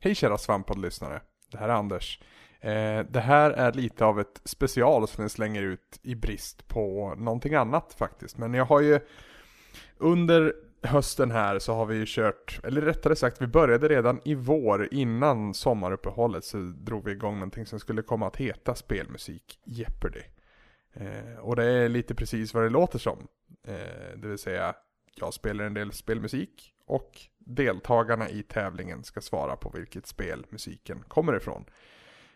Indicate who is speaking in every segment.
Speaker 1: Hej kära svamppoddlyssnare. Det här är Anders. Eh, det här är lite av ett special som jag slänger ut i brist på någonting annat faktiskt. Men jag har ju under hösten här så har vi ju kört, eller rättare sagt vi började redan i vår innan sommaruppehållet så drog vi igång någonting som skulle komma att heta spelmusik Jeopardy. Eh, och det är lite precis vad det låter som. Eh, det vill säga jag spelar en del spelmusik och deltagarna i tävlingen ska svara på vilket spel musiken kommer ifrån.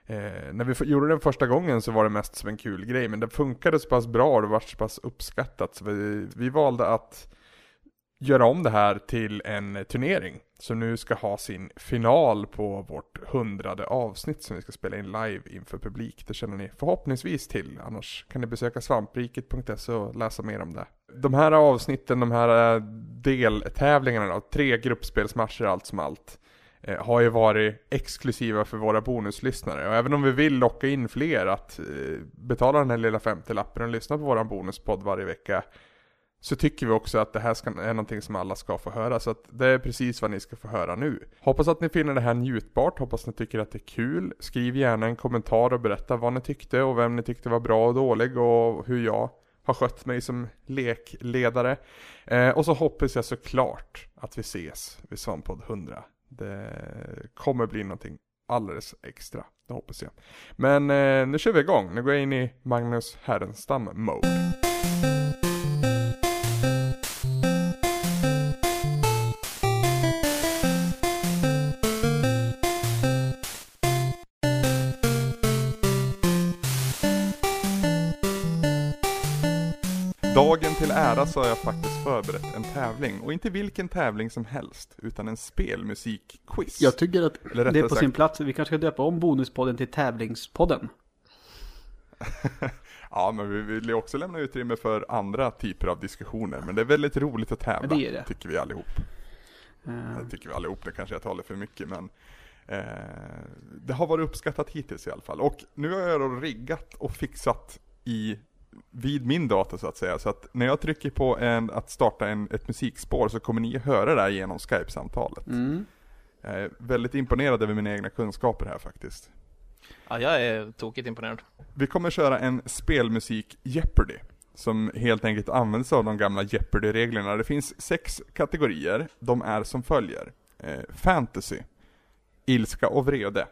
Speaker 1: Eh, när vi f- gjorde den första gången så var det mest som en kul grej men det funkade så pass bra och det var så pass uppskattat så vi, vi valde att göra om det här till en turnering som nu ska ha sin final på vårt hundrade avsnitt som vi ska spela in live inför publik. Det känner ni förhoppningsvis till, annars kan ni besöka svampriket.se och läsa mer om det. De här avsnitten, de här eh, deltävlingarna då, tre gruppspelsmatcher allt som allt, eh, har ju varit exklusiva för våra bonuslyssnare. Och även om vi vill locka in fler att eh, betala den här lilla 50-lappen och lyssna på våran bonuspodd varje vecka, så tycker vi också att det här ska, är någonting som alla ska få höra. Så att det är precis vad ni ska få höra nu. Hoppas att ni finner det här njutbart, hoppas ni tycker att det är kul. Skriv gärna en kommentar och berätta vad ni tyckte och vem ni tyckte var bra och dålig och hur jag har skött mig som lekledare. Eh, och så hoppas jag såklart att vi ses vid Svanpodd 100. Det kommer bli någonting alldeles extra, det hoppas jag. Men eh, nu kör vi igång, nu går jag in i Magnus Härenstam-mode. Dagen till ära så har jag faktiskt förberett en tävling, och inte vilken tävling som helst, utan en spelmusikquiz.
Speaker 2: Jag tycker att
Speaker 1: Eller
Speaker 2: det är
Speaker 1: rättare
Speaker 2: på sin plats. Vi kanske ska döpa om Bonuspodden till Tävlingspodden.
Speaker 1: Ja, men vi vill ju också lämna utrymme för andra typer av diskussioner, men det är väldigt roligt att tävla,
Speaker 2: Ja, det är det.
Speaker 1: tycker vi allihop.
Speaker 2: Eh,
Speaker 1: Det tycker vi allihop, det kanske jag talar för mycket, men eh, det har varit uppskattat hittills i alla fall. Och nu har jag då riggat och fixat i vid min dator så att säga, så att när jag trycker på en, att starta en, ett musikspår så kommer ni höra det här genom Skype-samtalet.
Speaker 2: Mm.
Speaker 1: Jag är väldigt imponerad över mina egna kunskaper här faktiskt.
Speaker 3: Ja, jag är tokigt imponerad.
Speaker 1: Vi kommer köra en spelmusik Jeopardy. Som helt enkelt används av de gamla Jeopardy-reglerna. Det finns sex kategorier. De är som följer. Eh, fantasy. Ilska och vrede.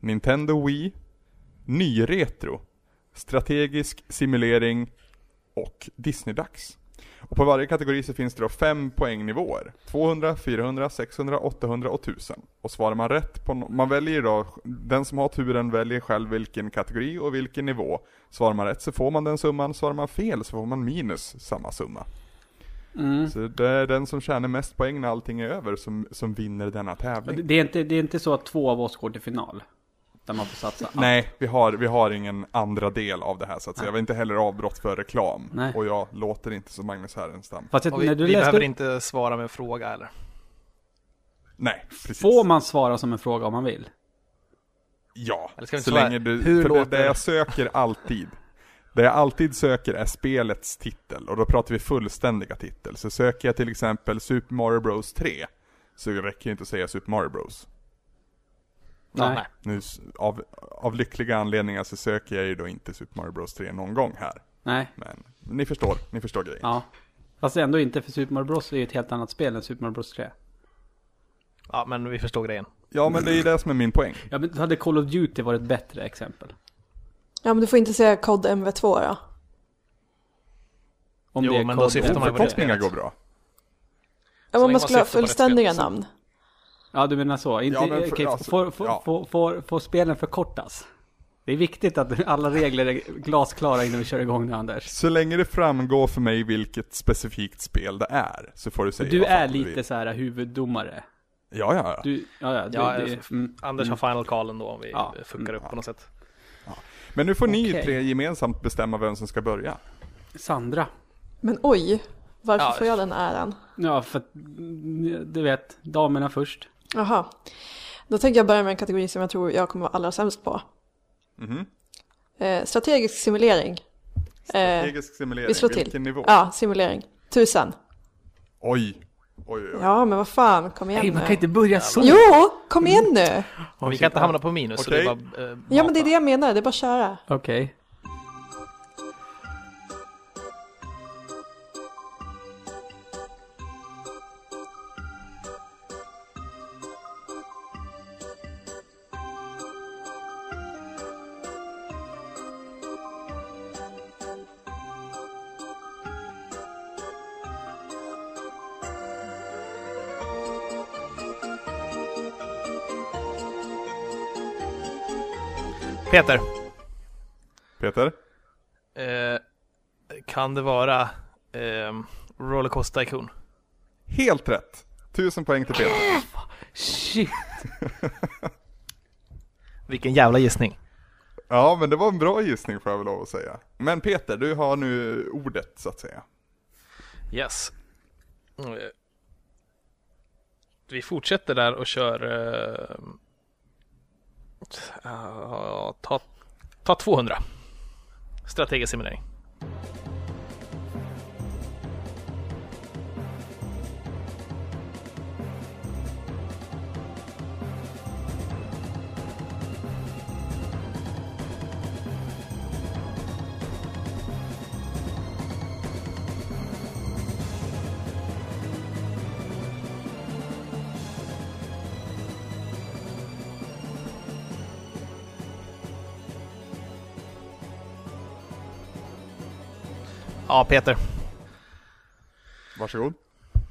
Speaker 1: Nintendo Wii. Nyretro. Strategisk simulering. Och Disney-dags. Och på varje kategori så finns det då fem poängnivåer. 200, 400, 600, 800 och 1000. Och svarar man rätt på no- man väljer då, den som har turen väljer själv vilken kategori och vilken nivå. Svarar man rätt så får man den summan, svarar man fel så får man minus samma summa.
Speaker 2: Mm.
Speaker 1: Så det är den som tjänar mest poäng när allting är över som, som vinner denna
Speaker 2: Ja, det-
Speaker 1: tävling.
Speaker 2: Det, är inte, det är inte så att två av oss går till final. Där man får satsa. allt.
Speaker 1: Nej, vi har, vi har ingen andra del av det här så att säga. Vi har inte heller avbrott för reklam.
Speaker 2: Nej.
Speaker 1: Och jag låter inte som Magnus Härenstam.
Speaker 2: Fast
Speaker 3: Och
Speaker 2: jag,
Speaker 3: vi
Speaker 2: när du
Speaker 3: vi behöver
Speaker 2: läste upp,
Speaker 3: inte svara med en fråga eller?
Speaker 1: Nej, precis.
Speaker 2: får man svara som en fråga om man vill?
Speaker 1: Ja,
Speaker 3: Eller ska vi
Speaker 1: så
Speaker 3: svara,
Speaker 1: länge du...
Speaker 3: hur
Speaker 1: för
Speaker 3: låter
Speaker 1: det, det
Speaker 3: det?
Speaker 1: jag söker alltid. Det jag alltid söker är spelets titel och då pratar vi fullständiga titel. Så söker jag till exempel Super Mario Bros 3 så räcker det inte att säga Super Mario Bros.
Speaker 3: Ja,
Speaker 2: Nej.
Speaker 3: nej.
Speaker 1: Nu, s- av, av lyckliga anledningar så söker jag ju då inte Super Mario Bros 3 någon gång här.
Speaker 2: Nej.
Speaker 1: Men ni förstår, ni förstår grejen.
Speaker 2: Ja. Fast ändå inte för Super Mario Bros är ju ett helt annat spel än Super Mario Bros 3.
Speaker 3: Ja, men vi förstår grejen.
Speaker 1: Ja men det är ju det som är min poäng.
Speaker 2: Ja men hade Call of Duty varit ett bättre exempel?
Speaker 4: Ja, men du får inte säga kod MV2 då.
Speaker 2: Om
Speaker 3: Jo, men då
Speaker 2: Call of
Speaker 3: syftar
Speaker 2: Duty.
Speaker 3: man ju på det.
Speaker 1: Förkortningar går
Speaker 4: Ja,
Speaker 1: bra.
Speaker 3: länge
Speaker 4: men
Speaker 3: man
Speaker 4: man skulle ha
Speaker 3: syftar på rätt
Speaker 4: fullständiga
Speaker 3: spel.
Speaker 4: namn.
Speaker 2: Ja du menar så. Inte,
Speaker 1: Ja, men för-
Speaker 2: okej,
Speaker 1: alltså,
Speaker 2: får, får,
Speaker 1: ja.
Speaker 2: får, får, får spelen förkortas? Det är viktigt att alla regler är glasklara innan vi kör igång nu Anders.
Speaker 1: Så länge det framgår för mig vilket specifikt spel det är så får du säga
Speaker 2: Du
Speaker 1: vad fan
Speaker 2: är
Speaker 1: du
Speaker 2: lite
Speaker 1: vill.
Speaker 2: så här huvuddomare.
Speaker 1: Ja, ja, ja.
Speaker 2: Du, ja, ja, du,
Speaker 3: Ja,
Speaker 2: du,
Speaker 3: jag-
Speaker 2: mm,
Speaker 3: Anders har final call ändå om vi
Speaker 2: Ja.
Speaker 3: fuckar upp på något sätt.
Speaker 1: Men nu får ni
Speaker 2: Okej.
Speaker 1: tre gemensamt bestämma vem som ska börja.
Speaker 2: Sandra.
Speaker 4: Men oj, varför
Speaker 3: Ja.
Speaker 4: får jag den äran?
Speaker 2: Ja, för att, mm, du vet, damerna först.
Speaker 4: Jaha. Då tänker jag börja med en kategori som jag tror jag kommer vara allra sämst på.
Speaker 1: Mhm.
Speaker 4: Eh, strategisk simulering. Eh,
Speaker 1: Strategisk simulering,
Speaker 4: vi slår till.
Speaker 1: vilken nivå?
Speaker 4: Ja, simulering. Tusen.
Speaker 1: Oj, Oj, oj, oj.
Speaker 4: Ja, men vad fan, kom igen
Speaker 2: Nej, man kan
Speaker 4: nu.
Speaker 2: inte börja så.
Speaker 4: Jo, kom igen nu.
Speaker 3: Och vi kan inte hamna på minus. Så det
Speaker 1: Okej.
Speaker 3: är bara, eh,
Speaker 4: Ja, men det är
Speaker 3: mata.
Speaker 4: det jag menar, det är bara att köra.
Speaker 2: Okej.
Speaker 3: Peter,
Speaker 1: Peter?
Speaker 3: eh, kan det vara eh, Rollercoaster Tycoon?
Speaker 1: Helt rätt! Tusen poäng till Peter.
Speaker 2: Äh, Shit.
Speaker 3: Vilken jävla gissning.
Speaker 1: Ja, men det var en bra gissning får jag väl lov att säga. Men Peter, du har nu ordet så att säga.
Speaker 3: Yes. Eh, Vi fortsätter där och kör... Eh, ah, ta, ta 200. Strategisk simulering. Ja, Peter.
Speaker 1: Varsågod.
Speaker 3: Eh,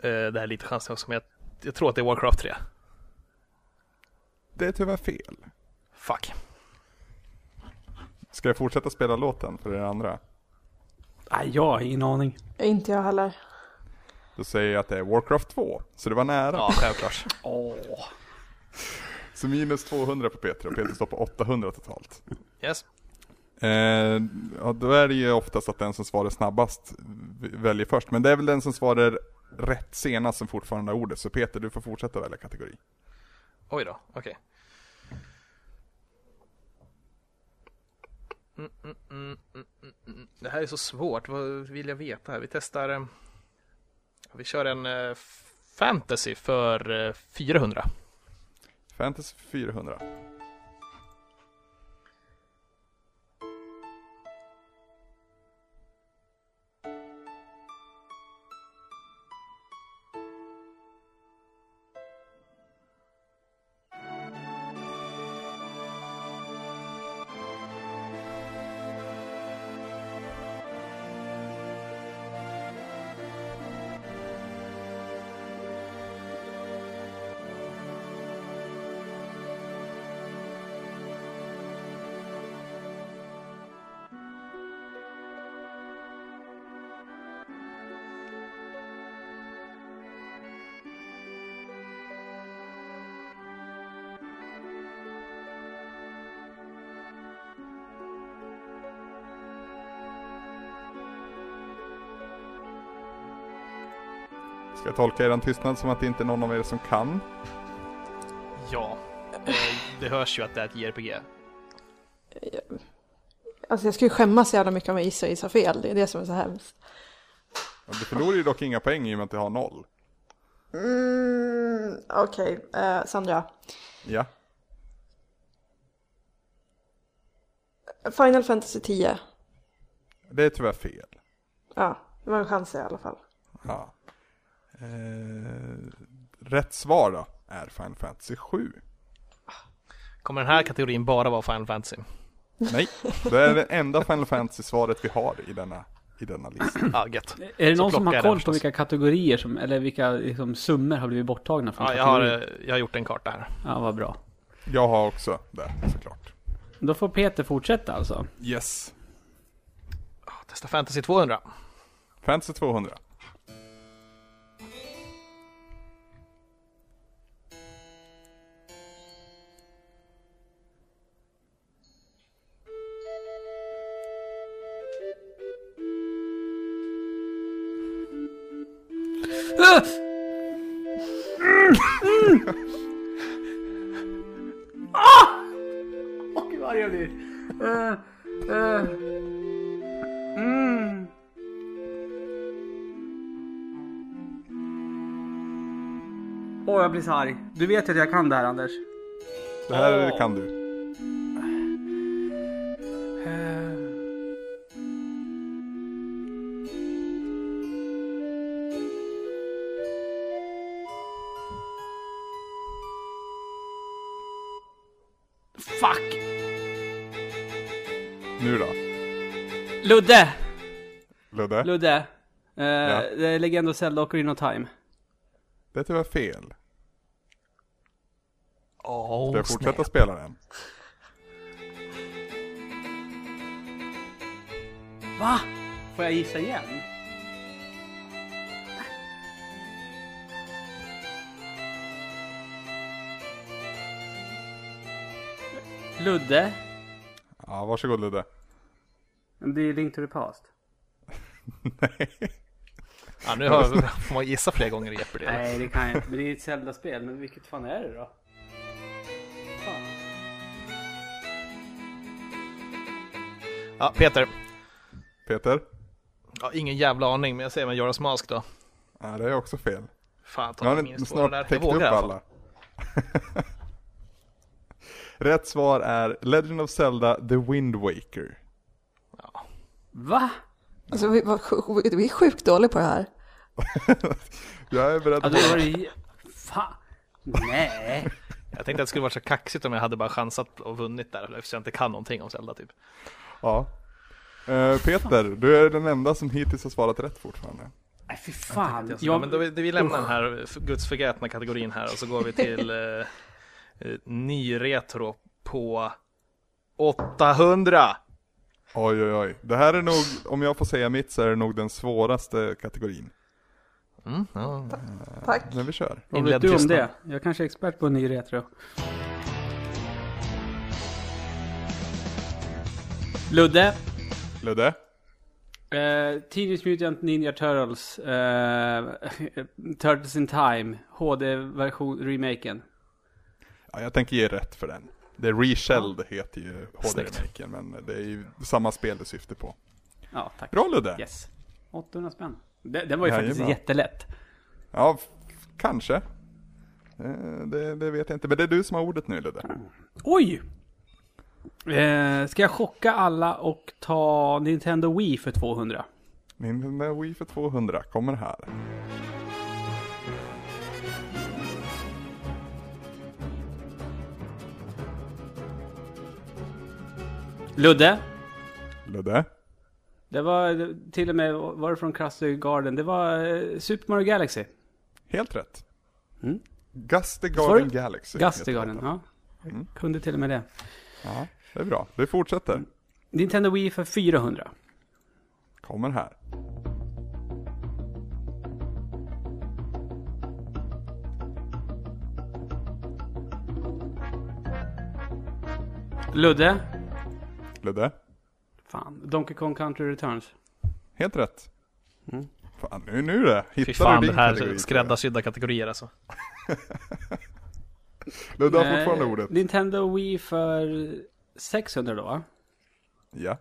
Speaker 3: det här är lite chansning också, men jag, jag tror att det är Warcraft 3.
Speaker 1: Det är tyvärr fel.
Speaker 3: Fuck.
Speaker 1: Ska jag fortsätta spela låten för er andra?
Speaker 2: Nej, jag har ingen aning.
Speaker 4: Inte jag heller.
Speaker 1: Då säger jag att det är Warcraft 2, så det var nära.
Speaker 3: Ja, självklart.
Speaker 1: Så minus 200 på Peter och Peter står på 800 totalt.
Speaker 3: Yes.
Speaker 1: Eh, ja, då är det ju oftast att den som svarar snabbast v- väljer först, men det är väl den som svarar rätt senast som fortfarande har ordet. Så Peter, du får fortsätta välja kategori.
Speaker 3: Oj då, okej. Mm, mm, mm, mm, mm, mm. Det här är så svårt, vad vill jag veta här? Vi testar... eh, Vi kör en eh, f- fantasy för eh, 400.
Speaker 1: Fantasy 400. Ska jag tolka eran tystnad som att det inte är någon av er som kan?
Speaker 3: Ja, eh, det hörs ju att det är ett JRPG.
Speaker 4: Alltså jag skulle skämmas så jävla mycket om jag gissar och gissar fel, det är det som är så hemskt.
Speaker 1: Ja, Du förlorar ju dock inga poäng i och med att du har noll.
Speaker 4: Mm, Okej, eh, Sandra.
Speaker 1: Ja.
Speaker 4: Final Fantasy 10.
Speaker 1: Det är tyvärr fel.
Speaker 4: Ja, det var en chans i alla fall.
Speaker 1: Ja. Eh, rätt svar då är Final Fantasy 7.
Speaker 3: Kommer den här kategorin bara vara Final Fantasy?
Speaker 1: Nej, det är det enda Final Fantasy-svaret vi har i denna, i denna lista.
Speaker 3: Ja, gött.
Speaker 2: Är det
Speaker 3: Så
Speaker 2: någon som
Speaker 3: plockar
Speaker 2: har
Speaker 3: jag
Speaker 2: koll på
Speaker 3: den förstås.
Speaker 2: vilka kategorier som, eller vilka liksom, summor har blivit borttagna från
Speaker 3: Ja, jag, har,
Speaker 2: kategorier?
Speaker 3: eh, jag har gjort en karta här.
Speaker 2: Ja, vad bra.
Speaker 1: Jag har också det, såklart.
Speaker 2: Då får Peter fortsätta alltså.
Speaker 1: Yes.
Speaker 3: Ah, Testa Fantasy 200.
Speaker 1: Fantasy 200.
Speaker 2: Gud vad arg jag blir. jag blir så arg. Du vet ju att jag kan det här Anders.
Speaker 1: Det här kan du.
Speaker 2: Eh, Fuck!
Speaker 1: Nu då?
Speaker 2: Ludde!
Speaker 1: Ludde?
Speaker 2: Ludde. Eh, Det är Legend of Zelda Ocarina of Time.
Speaker 1: Det är tyvärr fel.
Speaker 3: Åh,
Speaker 1: Ska jag fortsätta spela den?
Speaker 2: Va? Får jag gissa igen? Ludde?
Speaker 1: Ja, varsågod Ludde.
Speaker 2: Men Det är ju Link to the Past.
Speaker 1: Nej.
Speaker 3: Ja, nu har, får man gissa fler gånger i Jeopardy. eller?
Speaker 2: Nej, det kan jag inte. Men det är ju ett Zelda-spel. Men vilket fan är det då? Fan.
Speaker 3: Ja, Peter.
Speaker 1: Peter?
Speaker 3: Ja, ingen jävla aning, men jag säger med Joras Mask då.
Speaker 1: Ja, det är också fel.
Speaker 3: Fan, ta
Speaker 1: Nu har
Speaker 3: det
Speaker 1: ni
Speaker 3: minst två där.
Speaker 1: snart
Speaker 3: Jag
Speaker 1: täckt
Speaker 3: vågar alltså.
Speaker 1: upp
Speaker 3: i alla fall.
Speaker 1: alla. Rätt svar är Legend of Zelda The Wind Waker.
Speaker 2: Va?
Speaker 4: Alltså vi, var, sj- vi är sjukt dåliga på det här.
Speaker 1: Jag är beredd
Speaker 2: Ja,
Speaker 1: på
Speaker 2: då var det ju... Fan. Nej.
Speaker 3: Jag tänkte att det skulle varit så kaxigt om jag hade bara chansat och vunnit där, eftersom jag inte kan någonting om Zelda typ.
Speaker 1: Ja. Eh, Peter, du är den enda som hittills har svarat rätt fortfarande.
Speaker 2: Nej, fy fan.
Speaker 3: Jag, men då, vi- vi lämnar den här f- gudsförgätna kategorin här och så går vi till eh, eh, ny retro på 800.
Speaker 1: Oj, oj, oj. Det här är nog, om jag får säga mitt, så är det nog den svåraste kategorin.
Speaker 3: Mm, ja.
Speaker 4: Tack.
Speaker 1: Men vi kör.
Speaker 2: Vad
Speaker 3: Inledd
Speaker 2: vet du om
Speaker 3: tystnad.
Speaker 2: det? Jag kanske är expert på ny retro. Ludde.
Speaker 1: Ludde?
Speaker 2: Eh, Teenage Mutant Ninja Turtles. Eh, Turtles in Time. HD-version, remaken.
Speaker 1: Ja, jag tänker ge rätt för den. The Reshelled heter ju
Speaker 3: Snyggt.
Speaker 1: HD-remaken, men det är ju samma spel det syftar på.
Speaker 2: Ja, tack.
Speaker 1: Bra Ludde!
Speaker 2: Yes. 800 spänn. Den, den var ju
Speaker 1: Ja,
Speaker 2: faktiskt
Speaker 1: jajamän.
Speaker 2: jättelätt.
Speaker 1: Ja, f- kanske. Eh, Det, det vet jag inte, men det är du som har ordet nu Ludde.
Speaker 2: Mm. Oj! Eh, ska jag chocka alla och ta Nintendo Wii för 200?
Speaker 1: Nintendo Wii för 200 kommer här.
Speaker 2: Ludde?
Speaker 1: Ludde?
Speaker 2: Det var till och med, var det från Crusty Garden? Det var eh, Super Mario Galaxy.
Speaker 1: Helt rätt.
Speaker 2: Mm.
Speaker 1: Guster
Speaker 2: Svarar
Speaker 1: Garden
Speaker 2: du?
Speaker 1: Galaxy.
Speaker 2: Gusty
Speaker 1: heter
Speaker 2: Garden,
Speaker 1: det. Mm.
Speaker 2: ja. Jag kunde till och med det.
Speaker 1: ja. Det är bra, du fortsätter.
Speaker 2: Nintendo Wii för 400.
Speaker 1: Kommer här.
Speaker 2: Ludde?
Speaker 1: Ludde?
Speaker 2: Fan, Donkey Kong Country Returns. Mm.
Speaker 1: Helt rätt. Fan, nu, nu det. Hittar
Speaker 3: Fy fan,
Speaker 1: du
Speaker 3: det
Speaker 1: din
Speaker 3: här
Speaker 1: kategori,
Speaker 3: skräddarsydda kategorier alltså.
Speaker 1: Ludde har
Speaker 2: Eh,
Speaker 1: fortfarande ordet.
Speaker 2: Nintendo Wii för 600 då va?
Speaker 1: Ja.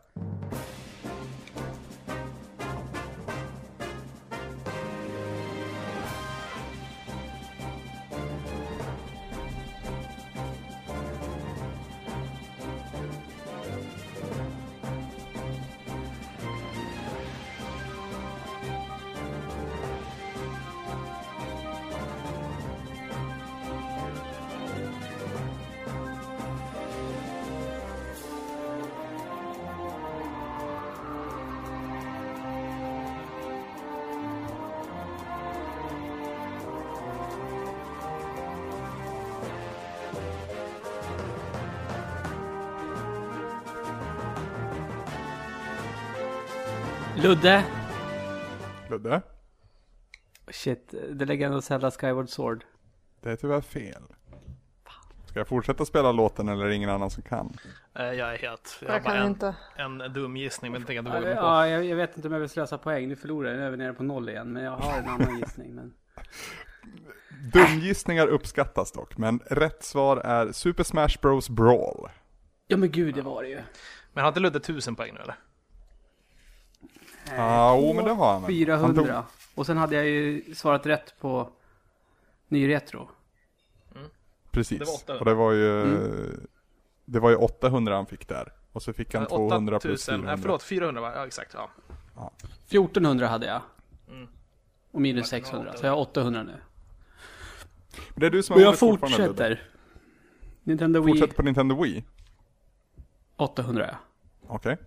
Speaker 2: Ludde?
Speaker 1: Ludde?
Speaker 2: Shit, The Legend of Zelda Skyward Sword.
Speaker 1: Det är tyvärr fel. Ska jag fortsätta spela låten eller är det ingen annan som kan?
Speaker 3: Eh, Jag är helt, jag har
Speaker 4: Jag
Speaker 3: bara
Speaker 4: kan
Speaker 3: en,
Speaker 4: inte.
Speaker 3: en dum gissning men jag tänker att du vågar mig på.
Speaker 2: Ja, jag, jag vet inte om jag vill slösa poäng. Nu förlorar jag. Nu är vi nere på noll igen. Men jag har en annan gissning. Men...
Speaker 1: Dumgissningar uppskattas dock, men rätt svar är Super Smash Bros Brawl.
Speaker 2: Ja men gud, det var det ju.
Speaker 3: Men har inte Ludde 1000 poäng nu eller?
Speaker 2: Eh,
Speaker 1: Ja, ah, men det har han. väl. Han
Speaker 2: 400. Och sen hade jag ju svarat rätt på ny retro.
Speaker 1: Precis.
Speaker 3: Det var 800.
Speaker 1: Och det var ju...
Speaker 2: Mm.
Speaker 1: Det var ju 800 han fick där. Och så fick han 200 plus
Speaker 3: 8000,
Speaker 1: 400.
Speaker 3: Eh, nej förlåt 400 va? Ja exakt. Ja.
Speaker 2: 1400 hade jag. Och minus
Speaker 3: Martin har
Speaker 2: 600,
Speaker 3: 800.
Speaker 2: så jag har 800 nu.
Speaker 1: Men det är du som
Speaker 2: Och
Speaker 1: har
Speaker 2: jag
Speaker 1: ordet fortfarande, Ludde.
Speaker 2: fortsätter. Nintendo Wii
Speaker 1: Fortsätter på Nintendo Wii.
Speaker 2: 800 ja.
Speaker 1: Okej.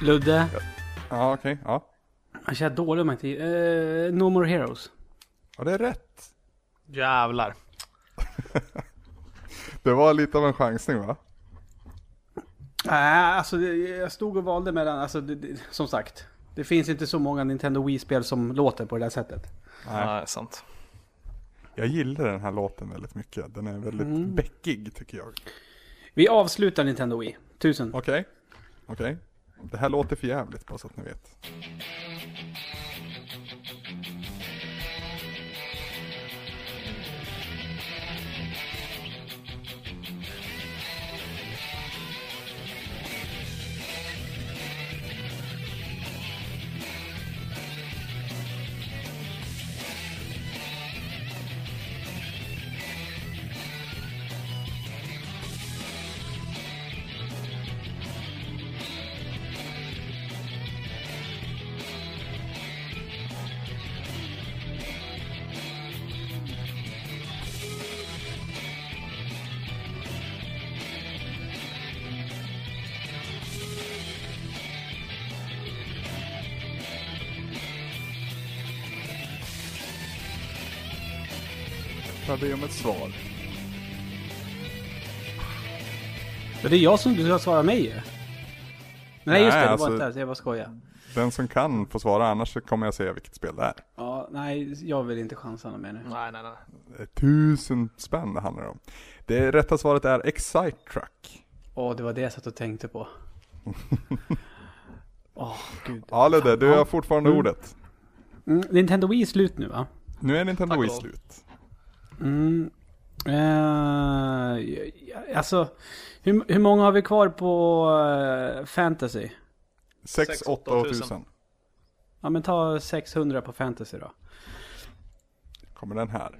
Speaker 2: Ludde,
Speaker 1: Ja, okej. Ja.
Speaker 2: jag känner dålig om jag inte... Eh, no More Heroes.
Speaker 1: ja, det är rätt.
Speaker 3: Jävlar.
Speaker 1: Det var lite av en chansning va?
Speaker 2: Nej, alltså det, jag stod och valde mellan, alltså det, det, som sagt. Det finns inte så många Nintendo Wii-spel som låter på det där sättet.
Speaker 1: Nej.
Speaker 3: Nej, sant.
Speaker 1: Jag gillar den här låten väldigt mycket. Den är väldigt
Speaker 2: Mm.
Speaker 1: bäckig tycker jag.
Speaker 2: Vi avslutar Nintendo Wii. Tusen.
Speaker 1: Okej. Okej. Det här låter för jävligt bara så att ni vet. Jag ber om ett svar.
Speaker 2: Men det är jag som du ska svara mig ju. Nej,
Speaker 1: Nej,
Speaker 2: just det, det
Speaker 1: alltså-
Speaker 2: var inte där, så jag bara skojar.
Speaker 1: Den som kan får svara annars så kommer jag säga vilket spel det är.
Speaker 2: Ja, nej, jag vill inte chansa något mer nu.
Speaker 3: Nej, nej, nej.
Speaker 1: Det är Tusen spänn det handlar om. Det rätta svaret är Excite Truck.
Speaker 2: Åh, det var det jag satt och tänkte på. Åh, gud.
Speaker 1: Ja Ludde, du har fortfarande
Speaker 2: Mm.
Speaker 1: ordet.
Speaker 2: Mm, Nintendo Wii är slut nu va?
Speaker 1: Nu är Nintendo
Speaker 3: Tack
Speaker 1: Wii
Speaker 3: och lov.
Speaker 1: slut.
Speaker 2: Mm. Eh, ja, alltså, hur, hur många har vi kvar på eh, fantasy?
Speaker 1: 6,
Speaker 3: Sex,
Speaker 1: 8 och
Speaker 3: åtta tusen.
Speaker 1: 1000.
Speaker 2: Ja, men ta 600 på fantasy då.
Speaker 1: Kommer den här.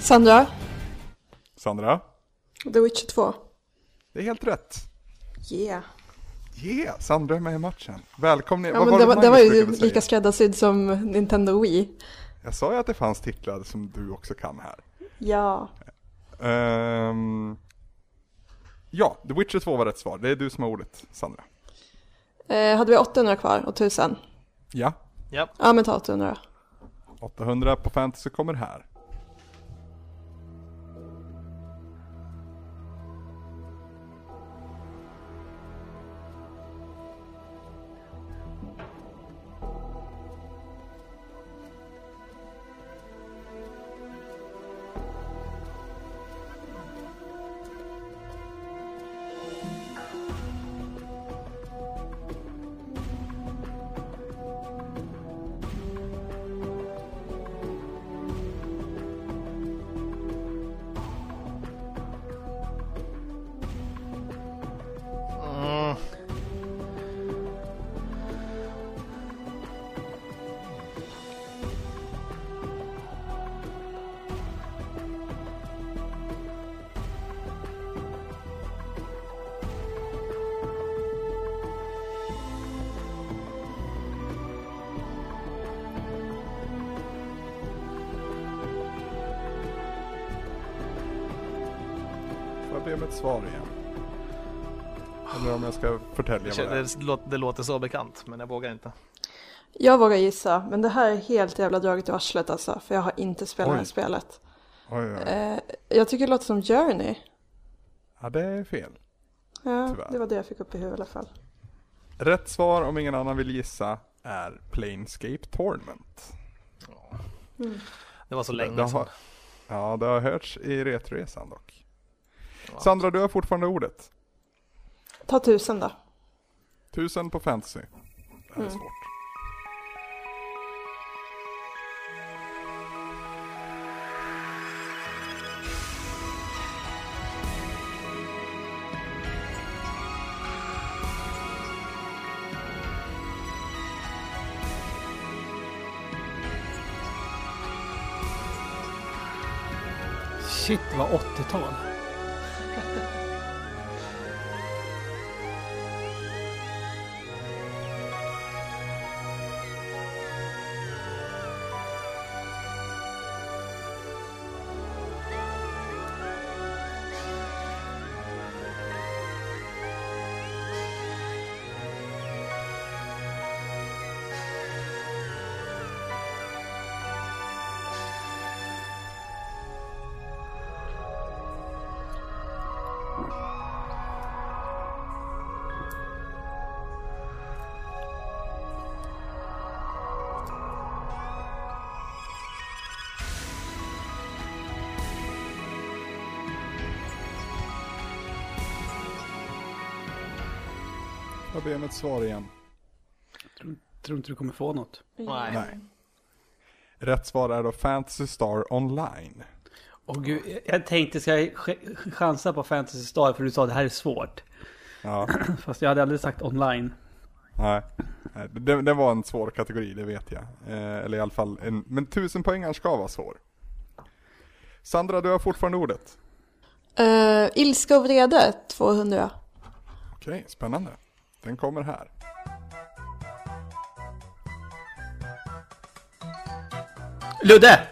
Speaker 4: Sandra,
Speaker 1: Sandra?
Speaker 4: The Witcher 2.
Speaker 1: Det är helt rätt. Eh,
Speaker 4: Yeah.
Speaker 1: Yeah, Sandra är med i matchen. Välkommen
Speaker 4: Ja,
Speaker 1: Vad
Speaker 4: men det, var, det var
Speaker 1: Magnus
Speaker 4: ju
Speaker 1: brukade
Speaker 4: lika
Speaker 1: säga?
Speaker 4: skräddarsydd som Nintendo Wii.
Speaker 1: Jag sa ju att det fanns titlar som du också kan här.
Speaker 4: Ja.
Speaker 1: Ehm, ja, The Witcher 2 var rätt svar. Det är du som har ordet, Sandra.
Speaker 4: Eh, hade vi 800 kvar och 1000?
Speaker 1: Ja,
Speaker 3: Ja,
Speaker 4: Ja, men ta 800 då.
Speaker 1: 800 på fantasy kommer här. problemets svar igen. Eller om jag ska förtälja
Speaker 3: Det,
Speaker 1: vad det är.
Speaker 3: känns- det, låter, det låter så bekant, men jag vågar inte.
Speaker 4: Jag vågar gissa, men det här är helt jävla draget i arslet alltså, för jag har inte spelat det här
Speaker 1: Oj.
Speaker 4: spelet.
Speaker 1: Oj, oj.
Speaker 4: Eh, jag tycker det låter som Journey.
Speaker 1: Ja, det är fel.
Speaker 4: Ja,
Speaker 1: Tyvärr.
Speaker 4: det var det jag fick upp i huvudet i alla fall.
Speaker 1: Rätt svar om ingen annan vill gissa är Planescape Torment.
Speaker 3: Det var så
Speaker 1: det
Speaker 3: länge sedan.
Speaker 1: har, Ja, det har hörts i Retroresan dock.
Speaker 3: Ja.
Speaker 1: Sandra, du har fortfarande ordet.
Speaker 4: Ta tusen då.
Speaker 1: Tusen på fantasy. Det här är svårt.
Speaker 2: Shit vad 80-tal.
Speaker 1: Jag ber om ett svar igen.
Speaker 2: Tror inte du kommer få något.
Speaker 3: Nej.
Speaker 1: Nej. Rätt svar är då Fantasy Star Online.
Speaker 2: Åh gud, jag- jag tänkte ska jag ch- chansa på Fantasy Star för du sa det här är svårt.
Speaker 1: Ja,
Speaker 2: Fast jag hade aldrig sagt online.
Speaker 1: nej. Nej, Det, det var en svår kategori, det vet jag. Eh, eller i alla fall, en, men tusen poängar ska vara svår. Sandra, du har fortfarande ordet.
Speaker 4: Eh, ilska och vrede, 200.
Speaker 1: Okej, spännande. Den kommer här.
Speaker 2: Ludde!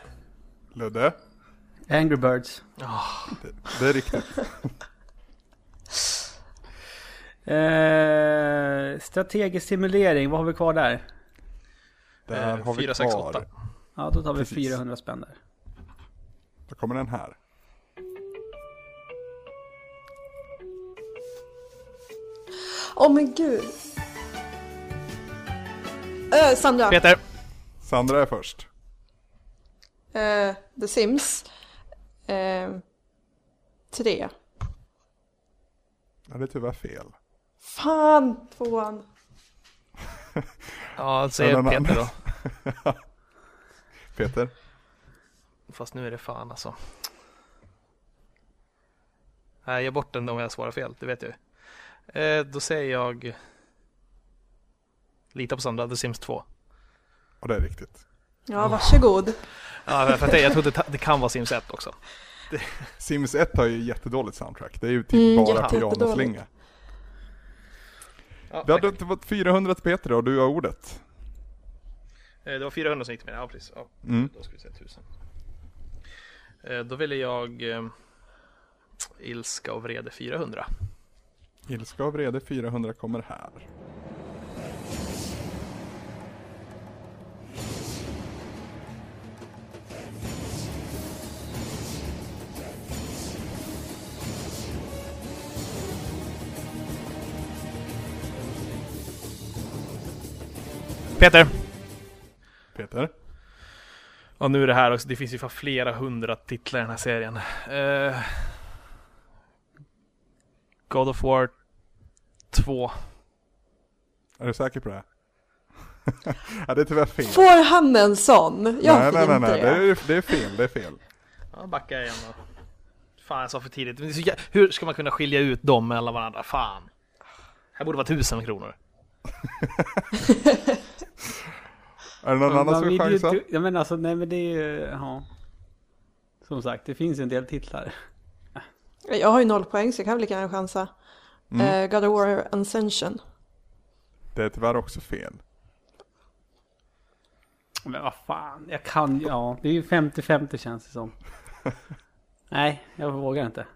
Speaker 1: Ludde,
Speaker 2: Angry Birds.
Speaker 1: det, det är riktigt.
Speaker 2: Eh, strategisk simulering, vad har vi kvar där?
Speaker 1: Där
Speaker 3: Eh,
Speaker 1: har vi
Speaker 3: fyra, sex,
Speaker 1: kvar.
Speaker 3: åtta.
Speaker 2: Ja, då tar vi
Speaker 1: Precis.
Speaker 2: 400 spänn där.
Speaker 1: Då kommer den här.
Speaker 4: Åh men gud. Eh, Sandra.
Speaker 3: Peter!
Speaker 1: Sandra är först.
Speaker 4: Eh, The Sims. Eh, tre.
Speaker 1: Ja, det är tyvärr fel.
Speaker 4: Fan, tvåan.
Speaker 3: Ja, säger
Speaker 1: Någon annan.
Speaker 3: Peter då.
Speaker 1: Peter?
Speaker 3: Fast nu är det fan alltså. Nej, ge bort den om jag svarar fel, det vet jag ju. eh, Då säger jag... Lita på Sandra, The Sims 2.
Speaker 1: Och det är riktigt.
Speaker 4: Ja, varsågod.
Speaker 3: Ja, för att jag, jag tror det, det kan vara Sims 1 också.
Speaker 1: Sims 1 har ju jättedåligt soundtrack. Det är ju typ
Speaker 4: Mm,
Speaker 1: bara
Speaker 4: jätte- jättedåligt.
Speaker 1: pianoslinga.
Speaker 3: Ja,
Speaker 1: Det hade inte varit 400 till Peter och du har ordet.
Speaker 3: Eh, Det var 400 som gick till mig, ja precis. Ja,
Speaker 1: Mm.
Speaker 3: Då ska vi säga 1000. Eh, Då ville jag eh, Ilska och vrede 400.
Speaker 1: Ilska och vrede 400 kommer här.
Speaker 3: Peter!
Speaker 1: Peter?
Speaker 3: Och nu är det här också, det finns ju fan flera hundra titlar i den här serien. Eh, God of War 2.
Speaker 1: Är du säker på det? ja, det är tyvärr fel.
Speaker 4: Får han en sån? Jag
Speaker 1: nej,
Speaker 4: fick
Speaker 1: nej, nej,
Speaker 4: inte
Speaker 1: nej. Det
Speaker 4: det.
Speaker 1: är, det är fel, det är fel.
Speaker 3: Ja, backar igen då. Fan, jag sa för tidigt. Men det är så jä- Hur ska man kunna skilja ut dem mellan varandra? Fan. Här borde vara tusen kronor.
Speaker 1: Är det någon
Speaker 2: Man-
Speaker 1: annan
Speaker 2: man
Speaker 1: som vill
Speaker 2: vill ju
Speaker 1: chansa?
Speaker 2: inte- Ja, men alltså, nej men det är ju, ja. Som sagt, det finns en del titlar.
Speaker 4: Jag har ju noll poäng så jag kan väl lika gärna chansa.
Speaker 1: Mm.
Speaker 4: Eh, God of War Ascension.
Speaker 1: Det är tyvärr också fel.
Speaker 2: Men vad fan, jag kan ju- ja. Det är ju 50-50 känns det som. Nej, jag vågar inte.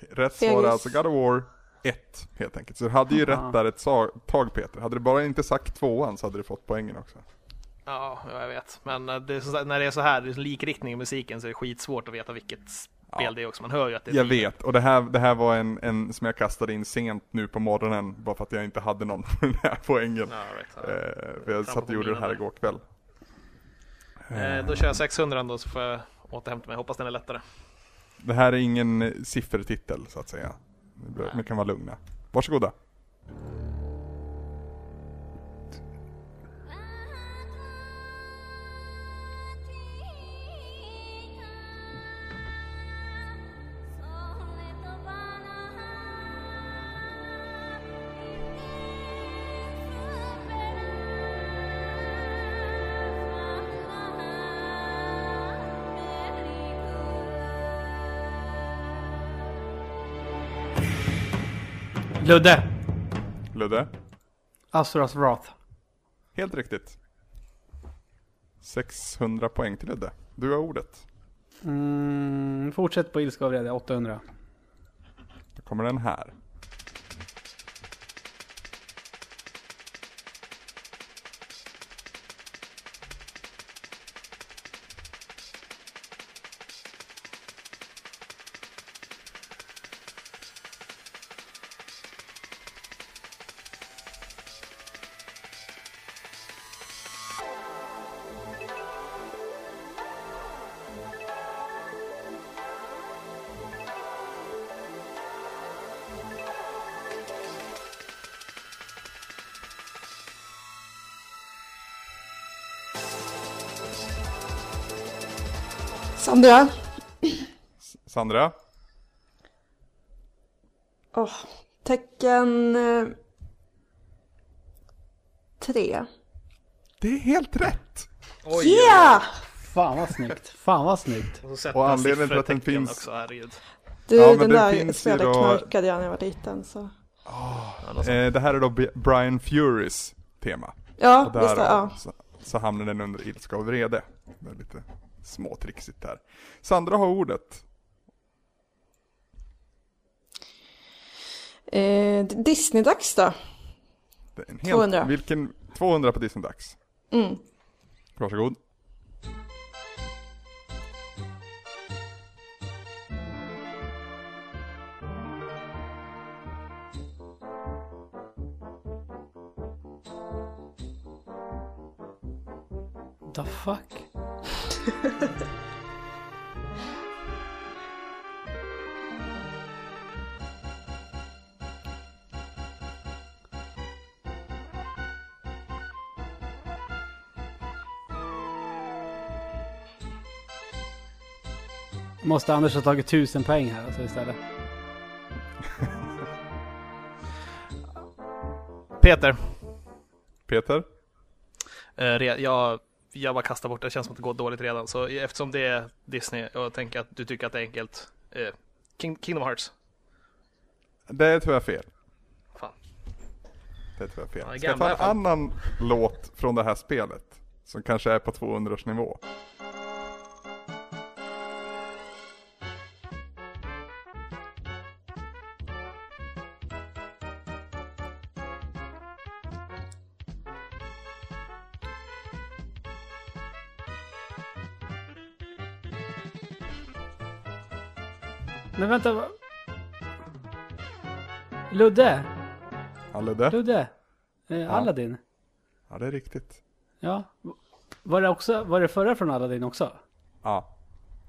Speaker 1: Jag Rätt svar är
Speaker 4: Fegis.
Speaker 1: alltså God of War 1 helt enkelt. Så du hade ju
Speaker 2: Aha.
Speaker 1: rätt där ett sa- tag Peter. Hade du bara inte sagt tvåan så hade du fått poängen också.
Speaker 3: Ja, ja, jag vet. Men eh, det är så, när det är så här det är så likriktning i musiken så är det skitsvårt att veta vilket spel det är också. Man hör ju att det är
Speaker 1: Jag vet, och det här, det här var en, en som jag kastade in sent nu på morgonen bara för att jag inte hade någon på den här poängen.
Speaker 3: Ja, right, ja.
Speaker 1: Eh, för jag
Speaker 3: på
Speaker 1: satt och gjorde det här
Speaker 3: minan där.
Speaker 1: igår kväll.
Speaker 3: Eh, Då kör jag 600 då så får jag återhämta mig. Hoppas den är lättare.
Speaker 1: Det här är ingen eh, siffertitel så att säga. Ni bör- Ni kan vara lugna. Varsågoda.
Speaker 2: Ludde!
Speaker 1: Ludde?
Speaker 2: Azuras Wrath.
Speaker 1: Helt riktigt. 600 poäng till Ludde. Du har ordet.
Speaker 2: Mm, fortsätt på ilska och vrede, 800.
Speaker 1: Då kommer den här.
Speaker 4: Sandra?
Speaker 1: S- Sandra?
Speaker 4: Åh, tecken... eh, Tre.
Speaker 1: Det är helt rätt!
Speaker 3: Oj,
Speaker 4: Yeah!
Speaker 2: Fan vad snyggt. Fan vad snyggt.
Speaker 3: Och, så sätta
Speaker 1: Och anledningen till att den
Speaker 3: siffertecken
Speaker 1: finns-
Speaker 3: Också, herregud.
Speaker 4: Du,
Speaker 1: Ja, men
Speaker 4: den
Speaker 1: den
Speaker 4: där
Speaker 1: finns ju
Speaker 4: spelade
Speaker 1: då-
Speaker 4: knarkade jag när jag var liten så...
Speaker 1: Eh, det här är då B- Brian Furys tema.
Speaker 4: Ja,
Speaker 1: Och
Speaker 4: visst det, ja.
Speaker 1: så, så hamnar den under ilska och vrede. Det är lite småtrixigt där. Sandra har ordet.
Speaker 4: Eh, D- Disney-dags då?
Speaker 1: Det är en helt,
Speaker 4: 200.
Speaker 1: Vilken, 200 på Disney Dags.
Speaker 4: Mm.
Speaker 1: Varsågod.
Speaker 2: The fuck? Måste Anders ha tagit tusen poäng här alltså istället.
Speaker 3: Peter,
Speaker 1: Peter?
Speaker 3: eh, re- jag, jag bara kastar bort det. Det känns som att det går dåligt redan. Så eftersom det är Disney och jag tänker att du tycker att det är enkelt. Eh, King, Kingdom Hearts.
Speaker 1: Det är tyvärr fel.
Speaker 3: Fan.
Speaker 1: Det är tyvärr
Speaker 3: Ja, det är
Speaker 1: fel. Ska jag ta
Speaker 3: gamla i
Speaker 1: en
Speaker 3: alla fall.
Speaker 1: annan låt från det här spelet? Som kanske är på 200-års nivå.
Speaker 2: Men vänta. va- Ludde?
Speaker 1: Alledde?
Speaker 2: Ludde? Eh, Aladdin?
Speaker 1: Ja, det är riktigt.
Speaker 2: Ja. Var det, också, var det förra från Aladdin också?
Speaker 1: Ja.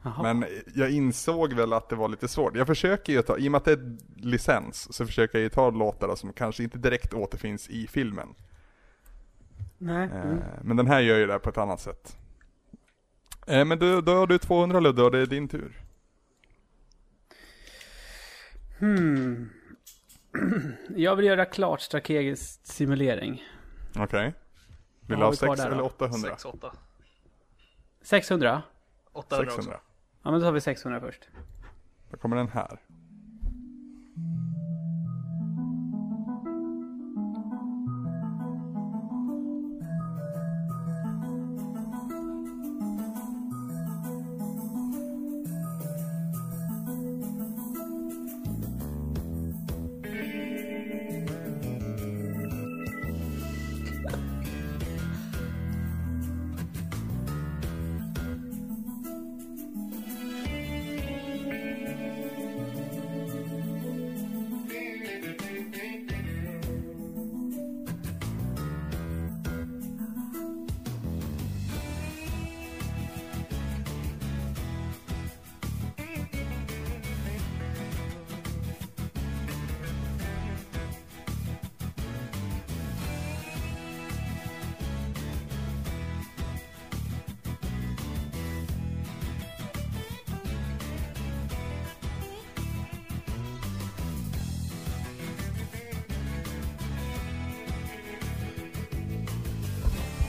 Speaker 2: Jaha.
Speaker 1: Men jag insåg väl att det var lite svårt. Jag försöker ju ta, i och med att det är licens, så försöker jag ju ta låtar som kanske inte direkt återfinns i filmen.
Speaker 2: Nej.
Speaker 1: Eh,
Speaker 2: Mm.
Speaker 1: Men den här gör ju det här på ett annat sätt. Eh, Men då, då har du 200 Ludde och det är din tur.
Speaker 2: Hmm. Jag vill göra klart strategisk simulering.
Speaker 1: Okej.
Speaker 2: Vad
Speaker 1: Vill
Speaker 2: har
Speaker 1: du ha
Speaker 2: vi kvar
Speaker 1: 6
Speaker 2: där då?
Speaker 1: eller Eh, 800?
Speaker 3: 6, 8.
Speaker 2: 600?
Speaker 3: 800 också.
Speaker 1: 600.
Speaker 2: Ja, men då tar vi 600 först.
Speaker 1: Då kommer den här.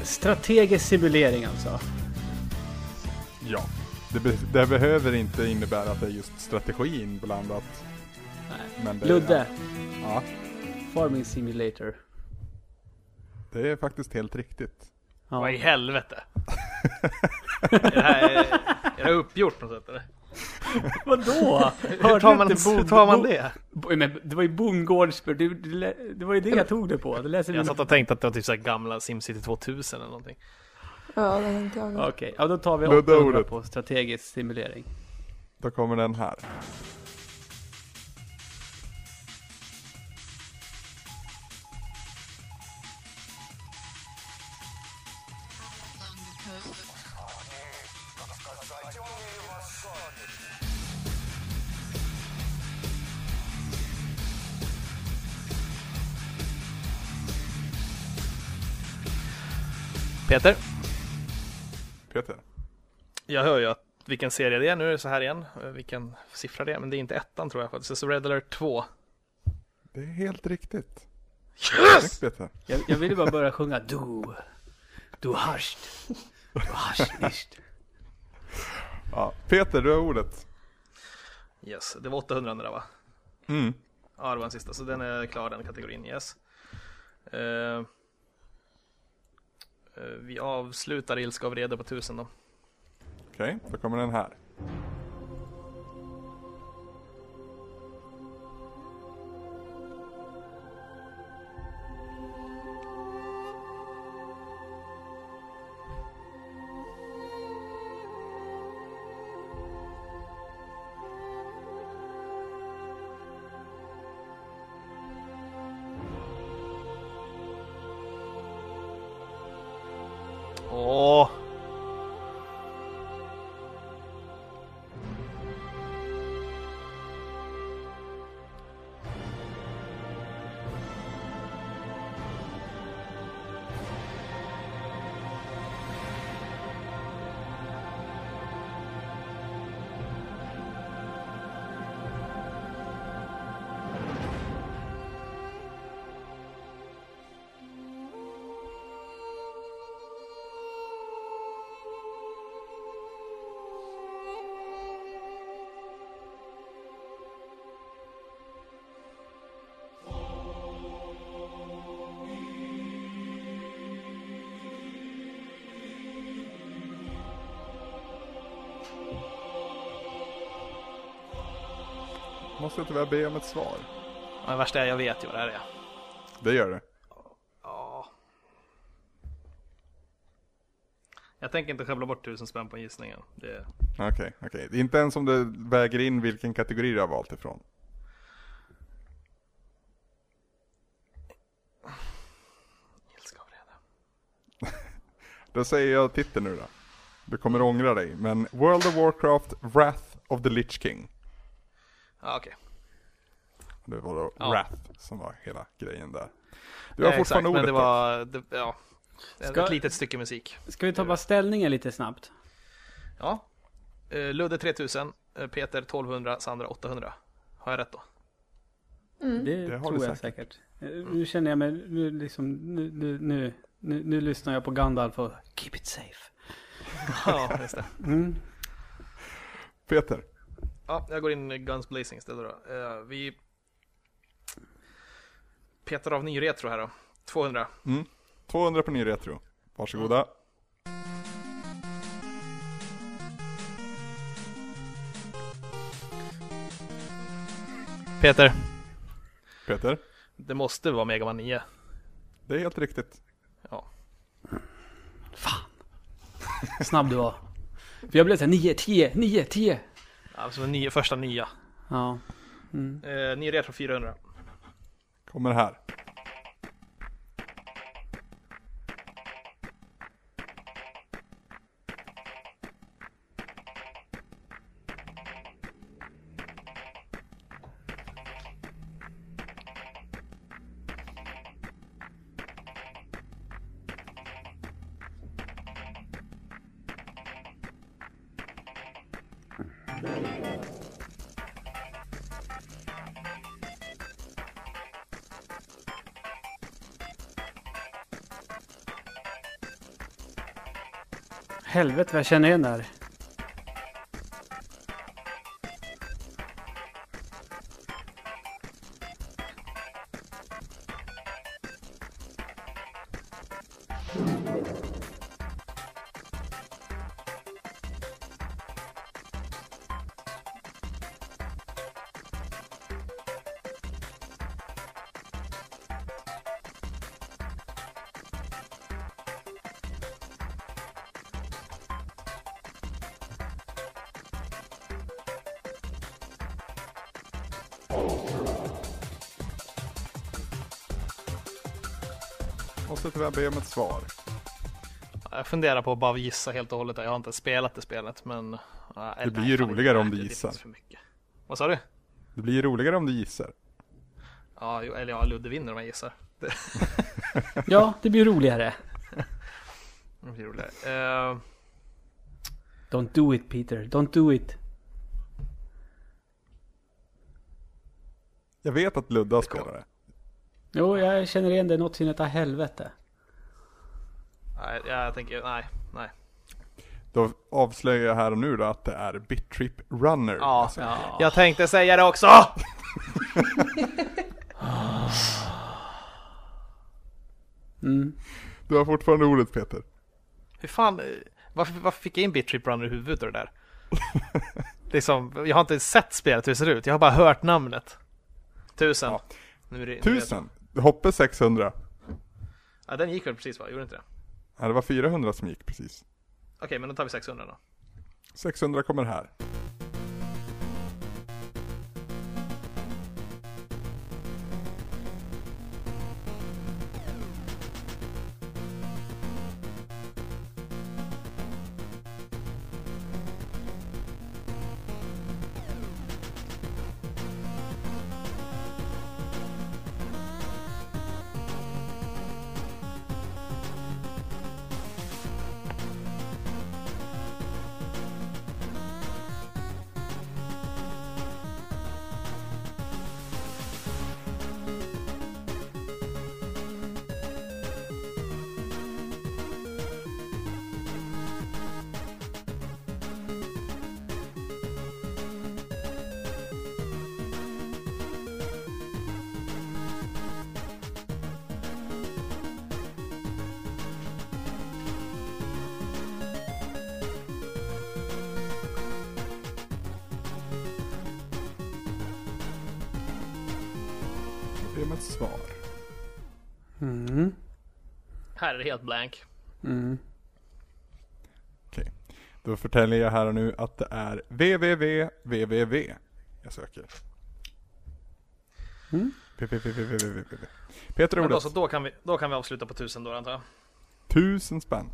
Speaker 2: Strategisk simulering alltså.
Speaker 1: Ja. Det, be- det behöver inte innebära att det är just strategi inblandat.
Speaker 2: Nej.
Speaker 1: Men det
Speaker 2: Ludde,
Speaker 1: Är, ja,
Speaker 2: Farming Simulator.
Speaker 1: det är faktiskt helt riktigt.
Speaker 2: Ja.
Speaker 3: Vad i helvete? är, det här, eh, är det uppgjort på något sätt eller?
Speaker 2: Vadå?
Speaker 3: Hur
Speaker 2: Hörde
Speaker 3: tar
Speaker 2: du
Speaker 3: man,
Speaker 2: inte
Speaker 3: hur
Speaker 2: Bond-
Speaker 3: tar man
Speaker 2: Bo-
Speaker 3: det?
Speaker 2: Bo- Men det var ju Bongårdsspel, det, det, lä- det var ju det jag tog det på. Det läser vi
Speaker 3: Jag satt och tänkte att det var typ så här gamla Simcity 2000 eller någonting.
Speaker 4: Ja, det tänkte jag med.
Speaker 2: Okej, ja, då tar vi
Speaker 1: Ludde
Speaker 2: 800
Speaker 1: ordet.
Speaker 2: på strategisk simulering.
Speaker 1: Då kommer den här.
Speaker 3: Peter?
Speaker 1: Peter.
Speaker 3: Jag hör ju att vilken serie det är, nu är det så här igen, eh, vilken siffra det är, men det är inte ettan tror jag faktiskt, så Red Alert 2.
Speaker 1: Det är helt riktigt. Snyggt
Speaker 3: Yes!
Speaker 1: Peter.
Speaker 2: Jag, jag ville bara börja sjunga du, du hast, du hast nicht.
Speaker 1: Ja. Peter, du har ordet.
Speaker 3: Yes, det var 800 där va?
Speaker 1: Mm.
Speaker 3: Ja, det var den sista, så den är klar den kategorin, yes. Eh, eh, vi avslutar Ilska av vrede på 1000 då.
Speaker 1: Okej, då kommer den här.
Speaker 3: Åh!
Speaker 1: Måste jag tyvärr be om ett svar.
Speaker 3: Ja, det värsta är jag vet ju vad det här är.
Speaker 1: Det gör det.
Speaker 3: Ja. Jag tänker inte skämla bort 1000 spänn på gissningen. Det...
Speaker 1: Okej, okej. Inte ens om det väger in vilken kategori du har valt ifrån.
Speaker 3: Ilska av vrede.
Speaker 1: Då säger jag titeln nu då. Du kommer ångra dig, men World of Warcraft Wrath of the Lich King.
Speaker 3: Ja, okej.
Speaker 1: Det var då
Speaker 3: Ja.
Speaker 1: Wrath som var hela grejen där. Du har
Speaker 3: Eh,
Speaker 1: fortfarande
Speaker 3: men
Speaker 1: ordet
Speaker 3: det var, det, ja.
Speaker 2: Ska-
Speaker 3: Ett litet stycke musik.
Speaker 2: Ska vi ta bara ställningen lite snabbt?
Speaker 3: Ja. Eh, Ludde 3000, eh, Peter 1200, Sandra 800. Har jag rätt då?
Speaker 2: Det,
Speaker 1: Det har
Speaker 2: tror
Speaker 1: du
Speaker 2: jag säkert. Eh, Nu känner jag mig, nu liksom, nu, nu, nu, nu, nu lyssnar jag på Gandalf och keep it safe.
Speaker 3: ja, just det.
Speaker 2: Mm.
Speaker 1: Peter.
Speaker 3: Ja, jag går in i Guns Blazing istället då. Eh, vi petar av ny retro här då. 200.
Speaker 1: 200 Mm. på ny retro. Varsågoda.
Speaker 3: Peter.
Speaker 1: Peter.
Speaker 3: Det måste vara Mega Man 9.
Speaker 1: Det är helt riktigt.
Speaker 3: Ja.
Speaker 2: Fan. Snabb du var. För jag blev såhär 9, 10, 9, 10.
Speaker 3: Alltså den nya, första nya.
Speaker 2: Ja. Mm.
Speaker 3: Eh, ny retro 400.
Speaker 1: Kommer här.
Speaker 2: Helvete vad jag känner igen det här.
Speaker 1: Måste tyvärr be om ett svar.
Speaker 3: Jag funderar på att bara gissa helt och hållet. Jag har inte spelat det spelet, men... Det
Speaker 1: Det blir ju roligare om du gissar.
Speaker 3: För mycket. Vad sa du?
Speaker 1: Det blir ju roligare om du gissar.
Speaker 3: Ja, jo, eller ja, Ludde vinner om jag gissar. Det
Speaker 2: Ja, det blir roligare.
Speaker 3: det blir roligare. Eh,
Speaker 2: Don't do it Peter, don't do it.
Speaker 1: Jag vet att Ludde har spelat det.
Speaker 2: Jo, jag känner igen det något sin utav helvete.
Speaker 3: nej, jag tänker... Nej, nej.
Speaker 1: Då avslöjar jag här och nu då att det är Bit Trip Runner.
Speaker 3: Ja,
Speaker 1: Alltså,
Speaker 3: ja, jag tänkte säga det också! Mm.
Speaker 1: Du har fortfarande ordet Peter.
Speaker 3: Hur fan... eh, Varför, varför fick jag in Bit Trip Runner i huvudet och det där? liksom, jag har inte sett spelet hur det ser ut. Jag har bara hört namnet. Tusen.
Speaker 1: Ja.
Speaker 3: Nu är det, nu är det-
Speaker 1: Tusen! Hoppe 600.
Speaker 3: Ja, den gick väl precis va? Gjorde inte det?
Speaker 1: Nej, det var 400 som gick precis.
Speaker 3: Okej, men då tar vi 600 då.
Speaker 1: 600 kommer här. Be om ett svar.
Speaker 2: Mm.
Speaker 3: Här är det helt blank.
Speaker 2: Mm.
Speaker 1: Okej. Då förtäljer jag här och nu att det är www.www jag söker.
Speaker 2: Mm.
Speaker 1: PPPPPPPP. Peter
Speaker 3: Men då,
Speaker 1: ordet.
Speaker 3: så då, kan vi, då kan vi avsluta på 1000 då antar jag.
Speaker 1: Tusen spänn.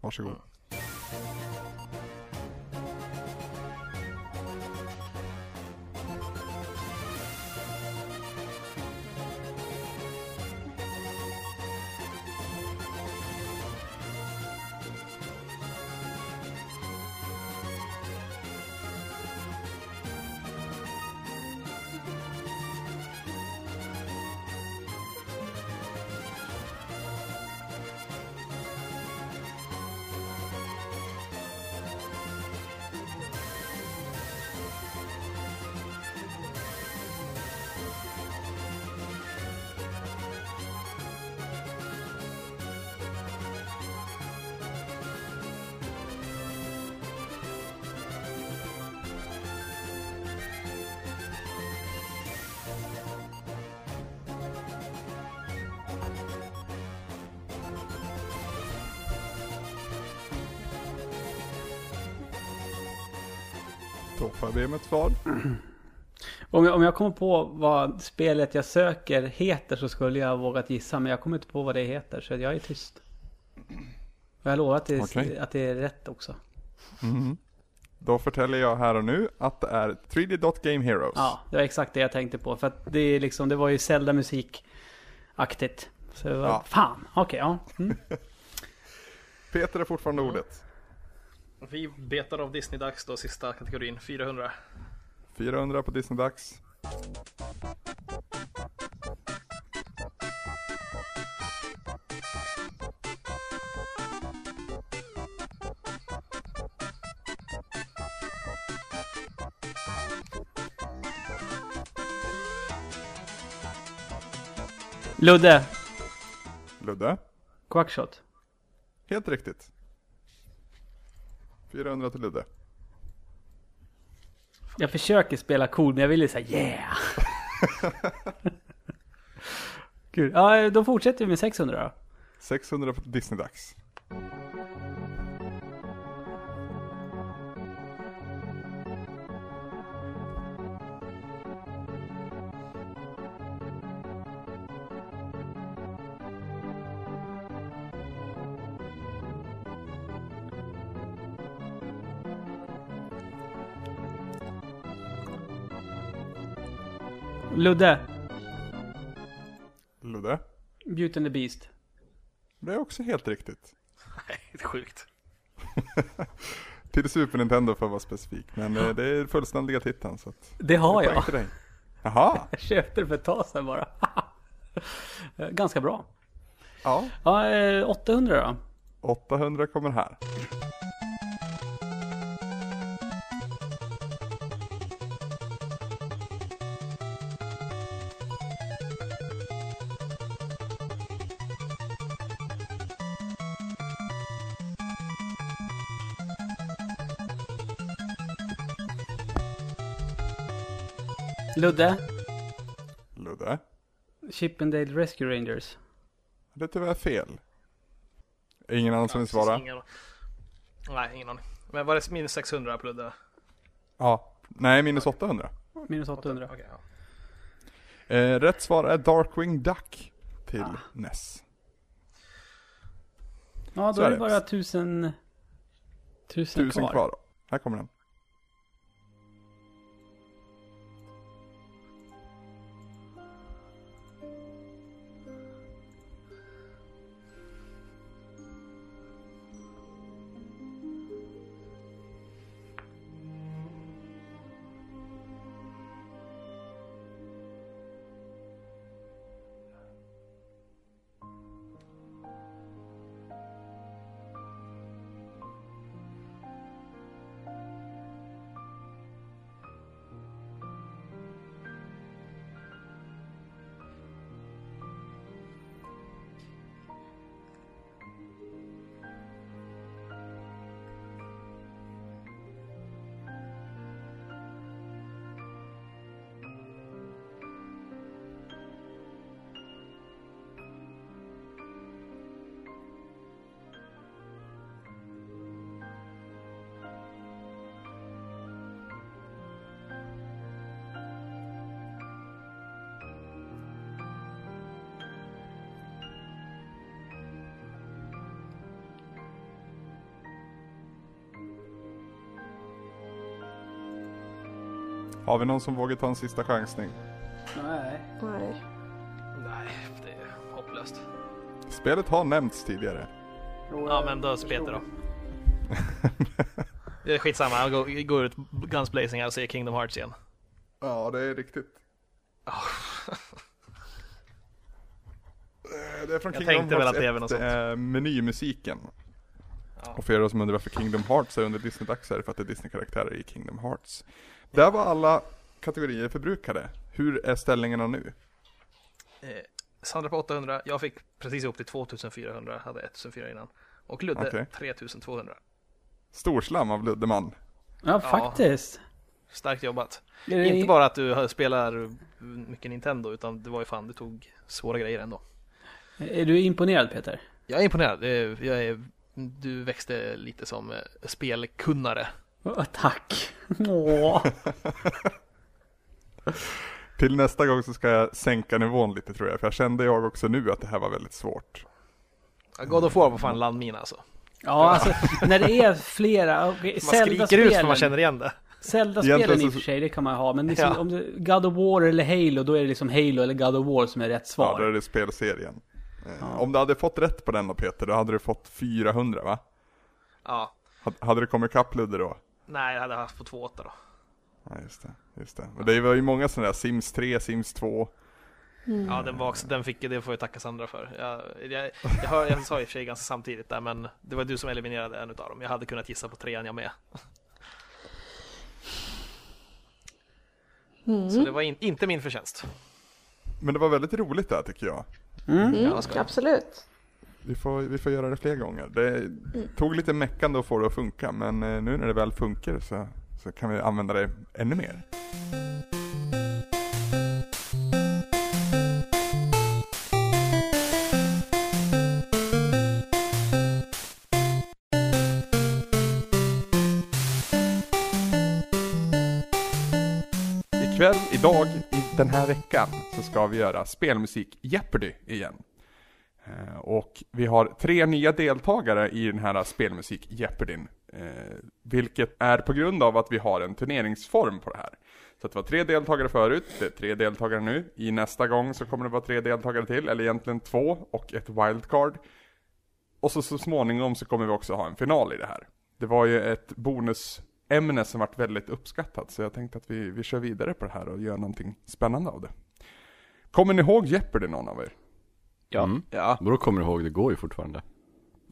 Speaker 1: Varsågod. Då får jag be om ett svar.
Speaker 2: Mm. Om, jag, om jag kommer på vad spelet jag söker heter så skulle jag vågat gissa men jag kommer inte på vad det heter så jag är tyst. Och jag lovar att det,
Speaker 1: Okej.
Speaker 2: att det är rätt också.
Speaker 1: Då förtäljer jag här och nu att det är 3D Dot Game Heroes.
Speaker 2: Ja, det var exakt det jag tänkte på. För att det, är liksom, det var ju Zelda musikaktigt. Så det var,
Speaker 1: Ja.
Speaker 2: fan, okej ja. Mm.
Speaker 1: Peter är fortfarande ordet.
Speaker 3: Vi betar av Disney-dags då, sista kategorin, 400.
Speaker 1: 400 på Disney-dags.
Speaker 2: Ludde,
Speaker 1: Ludde?
Speaker 2: Quackshot.
Speaker 1: Helt riktigt. 400 till Ludde.
Speaker 2: Jag försöker spela cool, men jag vill ju säga yeah. Gud, ja, då fortsätter vi med 600 då.
Speaker 1: 600 på Disney-dags.
Speaker 2: Ludde,
Speaker 1: Ludde?
Speaker 2: Beauty and the Beast.
Speaker 1: Det är också helt riktigt.
Speaker 3: Nej, det är sjukt.
Speaker 1: Till Super Nintendo för att vara specifik. Men eh, det är fullständiga titeln så att...
Speaker 2: Det har jag.
Speaker 1: Poäng till dig. Jaha,
Speaker 2: Jag köpte det för ett tag sedan bara. Eh, Ganska bra.
Speaker 1: ja.
Speaker 2: Ja, eh, 800 då.
Speaker 1: 800 kommer här.
Speaker 2: Ludde,
Speaker 1: Ludde?
Speaker 2: Chippendale Rescue Rangers.
Speaker 1: Det är tyvärr fel. Ingen annan som vill svara?
Speaker 3: Ingen... Nej, ingen aning. Men var det minus 600 på Ludde?
Speaker 1: Ja. Nej, minus 800.
Speaker 2: Minus 800.
Speaker 3: Okej, ja.
Speaker 1: Eh, rätt svar är Darkwing Duck till E NES.
Speaker 2: Ja,
Speaker 1: Så
Speaker 2: då
Speaker 1: är
Speaker 2: är det
Speaker 1: det.
Speaker 2: bara 1000 1000
Speaker 1: Tusen
Speaker 2: kvar.
Speaker 1: kvar. Här kommer den. Har vi någon som vågar ta en sista chansning?
Speaker 2: Nej.
Speaker 4: Nej.
Speaker 3: Nej, det är hopplöst.
Speaker 1: Spelet har nämnts tidigare.
Speaker 3: Ja, men då Peter då. Det är skitsamma, han går, går ut Guns Blazing här och säger Kingdom Hearts igen.
Speaker 1: Ja, det är riktigt.
Speaker 3: Ja.
Speaker 1: Eh, Det är från
Speaker 3: Jag
Speaker 1: Kingdom
Speaker 3: tänkte väl
Speaker 1: Hearts
Speaker 3: att det är
Speaker 1: 1,
Speaker 3: väl något sånt.
Speaker 1: är menymusiken.
Speaker 3: Ja.
Speaker 1: Och för er som undrar varför Kingdom Hearts är under Disney-dags är det för att det är Disney-karaktärer i Kingdom Hearts. Där var alla kategorier förbrukade. Hur är ställningarna nu?
Speaker 3: Eh, Sandra på 800, jag fick precis ihop till 2400, hade 1400 innan. Och Ludde
Speaker 1: Okej.
Speaker 3: 3200.
Speaker 1: Storslam av Luddeman.
Speaker 2: Ja, faktiskt.
Speaker 3: Starkt jobbat.
Speaker 2: Är det-
Speaker 3: Inte bara att du har- spelar mycket Nintendo, utan det var ju fan, du tog svåra grejer ändå.
Speaker 2: Är du imponerad Peter?
Speaker 3: Jag är imponerad. Eh, Jag är, du växte lite som eh, spelkunnare.
Speaker 2: Ja, tack. Åh.
Speaker 1: Till nästa gång så ska jag sänka nivån lite tror jag, för jag kände jag också nu att det här var väldigt svårt.
Speaker 3: Ja, God of War var fan landmina alltså.
Speaker 2: Ja, alltså när det är flera. Okay,
Speaker 3: Man skriker ut för man känner igen det.
Speaker 2: Zelda-spelen
Speaker 1: Egentligen
Speaker 2: i
Speaker 1: så-
Speaker 2: och för sig, det kan man ha. Men liksom,
Speaker 3: Ja.
Speaker 2: om det, God of War eller Halo, då är det liksom Halo eller God of War som är rätt
Speaker 1: Ja,
Speaker 2: svar.
Speaker 1: då är det spelserien. Eh, Om du hade fått rätt på den då Peter, då hade du fått 400 va?
Speaker 3: Ja,
Speaker 1: Hade- Hade du kommit ikapp Ludde då?
Speaker 3: nej, jag hade haft på 2,8 då.
Speaker 1: Ja, just det. Just det. Men det var ju många sådana där, Sims 3, Sims 2.
Speaker 3: Ja, den var också, den fick jag, det får jag tacka Sandra för. Jag, jag, jag, hör, jag sa i och för sig ganska samtidigt där, men det var du som eliminerade en utav dem. Jag hade kunnat gissa på trean jag med. Så det var in, inte min förtjänst.
Speaker 1: Men det var väldigt roligt där tycker jag.
Speaker 3: Mm, absolut. Mm.
Speaker 1: Vi får, vi får göra det fler gånger. Det tog lite meckande att få det att funka men eh, nu när det väl funkar så, så kan vi använda det ännu mer. Ikväll, idag, i den här veckan så ska vi göra spelmusik Jeopardy igen. Eh, Och vi har tre nya deltagare i den här spelmusik Jeopardyn. Eh, vilket är på grund av att vi har en turneringsform på det här. Så att det var tre deltagare förut, det är tre deltagare nu. I nästa gång så kommer det vara tre deltagare till, eller egentligen två och ett wildcard. Och så, så småningom så kommer vi också ha en final i det här. Det var ju ett bonusämne som varit väldigt uppskattat, så jag tänkte att vi, vi kör vidare på det här och gör någonting spännande av det. Kommer ni ihåg Jeopardy någon av er?
Speaker 5: Ja.
Speaker 6: Mm.
Speaker 5: ja.
Speaker 6: Vadå kommer du ihåg? Det går ju fortfarande.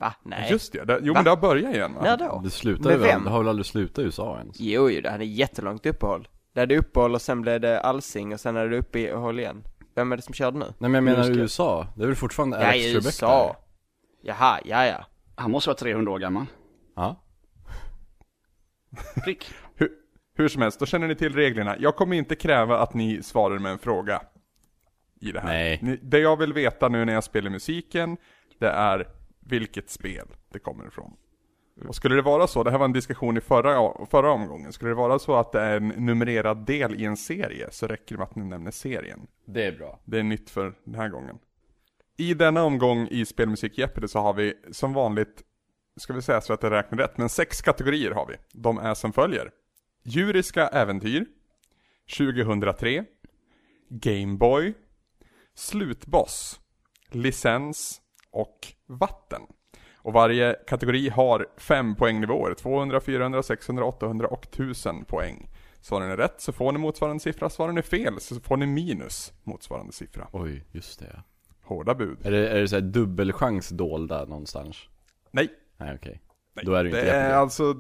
Speaker 5: Va? Nej.
Speaker 1: Just det, det jo
Speaker 5: Va?
Speaker 1: men det har börjat igen va?
Speaker 5: När då?
Speaker 6: Det slutar
Speaker 5: Med
Speaker 6: ju väl,
Speaker 5: vem?
Speaker 6: det har väl aldrig slutat i USA ens?
Speaker 5: Jo, jo, det hade jättelångt uppehåll. Det hade uppehåll och sen blev det allsing och sen hade det uppehåll igen. Vem är det som körde nu?
Speaker 6: Nej men jag menar
Speaker 5: Just det.
Speaker 6: USA, det är väl fortfarande
Speaker 5: Ja,
Speaker 6: Alex
Speaker 5: i
Speaker 6: Trebek
Speaker 5: USA. Jaha, ja, ja.
Speaker 7: Han måste vara 300 år gammal.
Speaker 6: där? Ja.
Speaker 7: Prick.
Speaker 1: Hur, hur som helst, då känner ni till reglerna. Jag kommer inte kräva att ni svarar med en fråga i det här.
Speaker 6: Nej.
Speaker 1: Ni, det jag vill veta nu när jag spelar musiken, det är vilket spel det kommer ifrån. Och skulle det vara så, det här var en diskussion i förra, förra omgången, skulle det vara så att det är en numrerad del i en serie så räcker det med att ni nämner serien.
Speaker 6: Det är bra.
Speaker 1: Det är nytt för den här gången. I denna omgång i Spelmusik Jeopardy så har vi som vanligt, ska vi säga så att jag räknar rätt, men sex kategorier har vi. De är som följer. Djuriska äventyr, 2003, Gameboy, Slutboss, Licens och Vatten. Och varje kategori har fem poängnivåer, 200, 400, 600, 800 och 1000 poäng. Svarar ni rätt så får ni motsvarande siffra, svarar ni fel så får ni minus motsvarande siffra.
Speaker 6: Oj, just det.
Speaker 1: Hårda bud.
Speaker 6: Är det, är det såhär dubbelchans dolda någonstans?
Speaker 1: Nej,
Speaker 6: Nej okej.
Speaker 1: nej.
Speaker 6: Då är det ju inte
Speaker 1: är
Speaker 6: Jeopardy.
Speaker 1: alltså,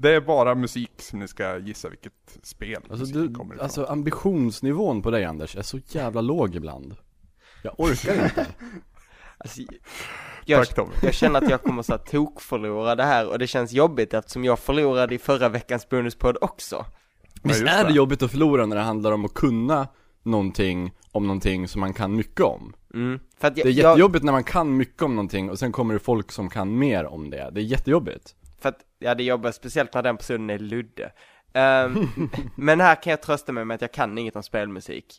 Speaker 1: det är bara musik som ni ska gissa vilket spel
Speaker 6: Alltså,
Speaker 1: musiken
Speaker 6: du,
Speaker 1: kommer ifrån.
Speaker 6: alltså ambitionsnivån på dig Anders är så jävla låg ibland. Jag orkar inte.
Speaker 5: Alltså, jag,
Speaker 1: Tack Tommy.
Speaker 5: jag känner att jag kommer så här tokförlora det här och det känns jobbigt eftersom jag förlorade i förra veckans bonuspodd också.
Speaker 6: Visst
Speaker 1: Ja, just
Speaker 6: är det
Speaker 1: det.
Speaker 6: jobbigt att förlora när det handlar om att kunna någonting om någonting som man kan mycket om?
Speaker 5: Mm. För att jag,
Speaker 6: Det är
Speaker 5: jag,
Speaker 6: jättejobbigt när man kan mycket om någonting och sen kommer det folk som kan mer om det. Det är jättejobbigt.
Speaker 5: för att, ja det jobbar speciellt när den personen är Ludde. Ehm, men här kan jag trösta mig med att jag kan inget om spelmusik.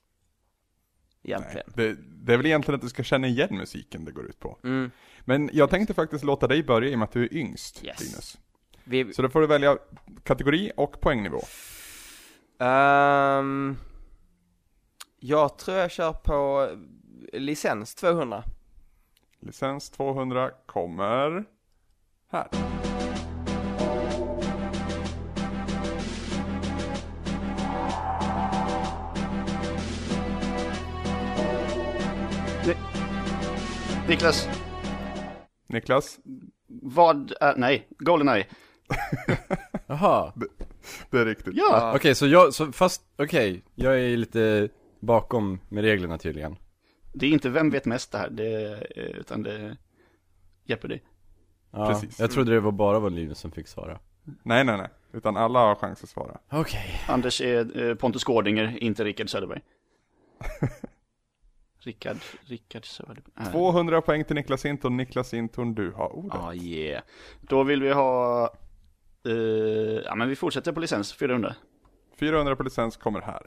Speaker 1: Nej,
Speaker 5: Egentligen.
Speaker 1: det, det är väl egentligen att du ska känna igen musiken det går ut på.
Speaker 5: Mm.
Speaker 1: Men jag tänkte faktiskt låta dig börja i och med att du är yngst,
Speaker 5: Yes.
Speaker 1: Linus.
Speaker 5: Vi,
Speaker 1: Så då får du välja kategori och poängnivå.
Speaker 5: Ehm, jag tror jag kör på eh, licens 200.
Speaker 1: Licens 200 kommer här.
Speaker 7: Niklas,
Speaker 1: eh, Niklas,
Speaker 7: vad är... Nej, Goldeneye.
Speaker 6: Jaha.
Speaker 1: det är riktigt.
Speaker 7: Ja!
Speaker 6: Okej, så jag, så fast, okej, jag är lite bakom med reglerna tydligen.
Speaker 7: Det är inte Vem vet mest det här, det, är- utan det är Jeopardy.
Speaker 6: Ja,
Speaker 1: Precis.
Speaker 6: Jag trodde det var bara vad Linus som fick svara.
Speaker 1: Nej, nej, nej. Utan alla har chans att svara.
Speaker 6: Okej.
Speaker 7: Anders är eh, Pontus Gårdinger, inte Rickard Söderberg. Rickard, Rickard Söderberg. Nej.
Speaker 1: 200 poäng till Niklas Hinton. Niklas Hinton, du har ordet.
Speaker 7: Ja, ah, yeah. Då vill vi ha... eh, ja, men vi fortsätter på licens, 400.
Speaker 1: 400 på licens kommer här.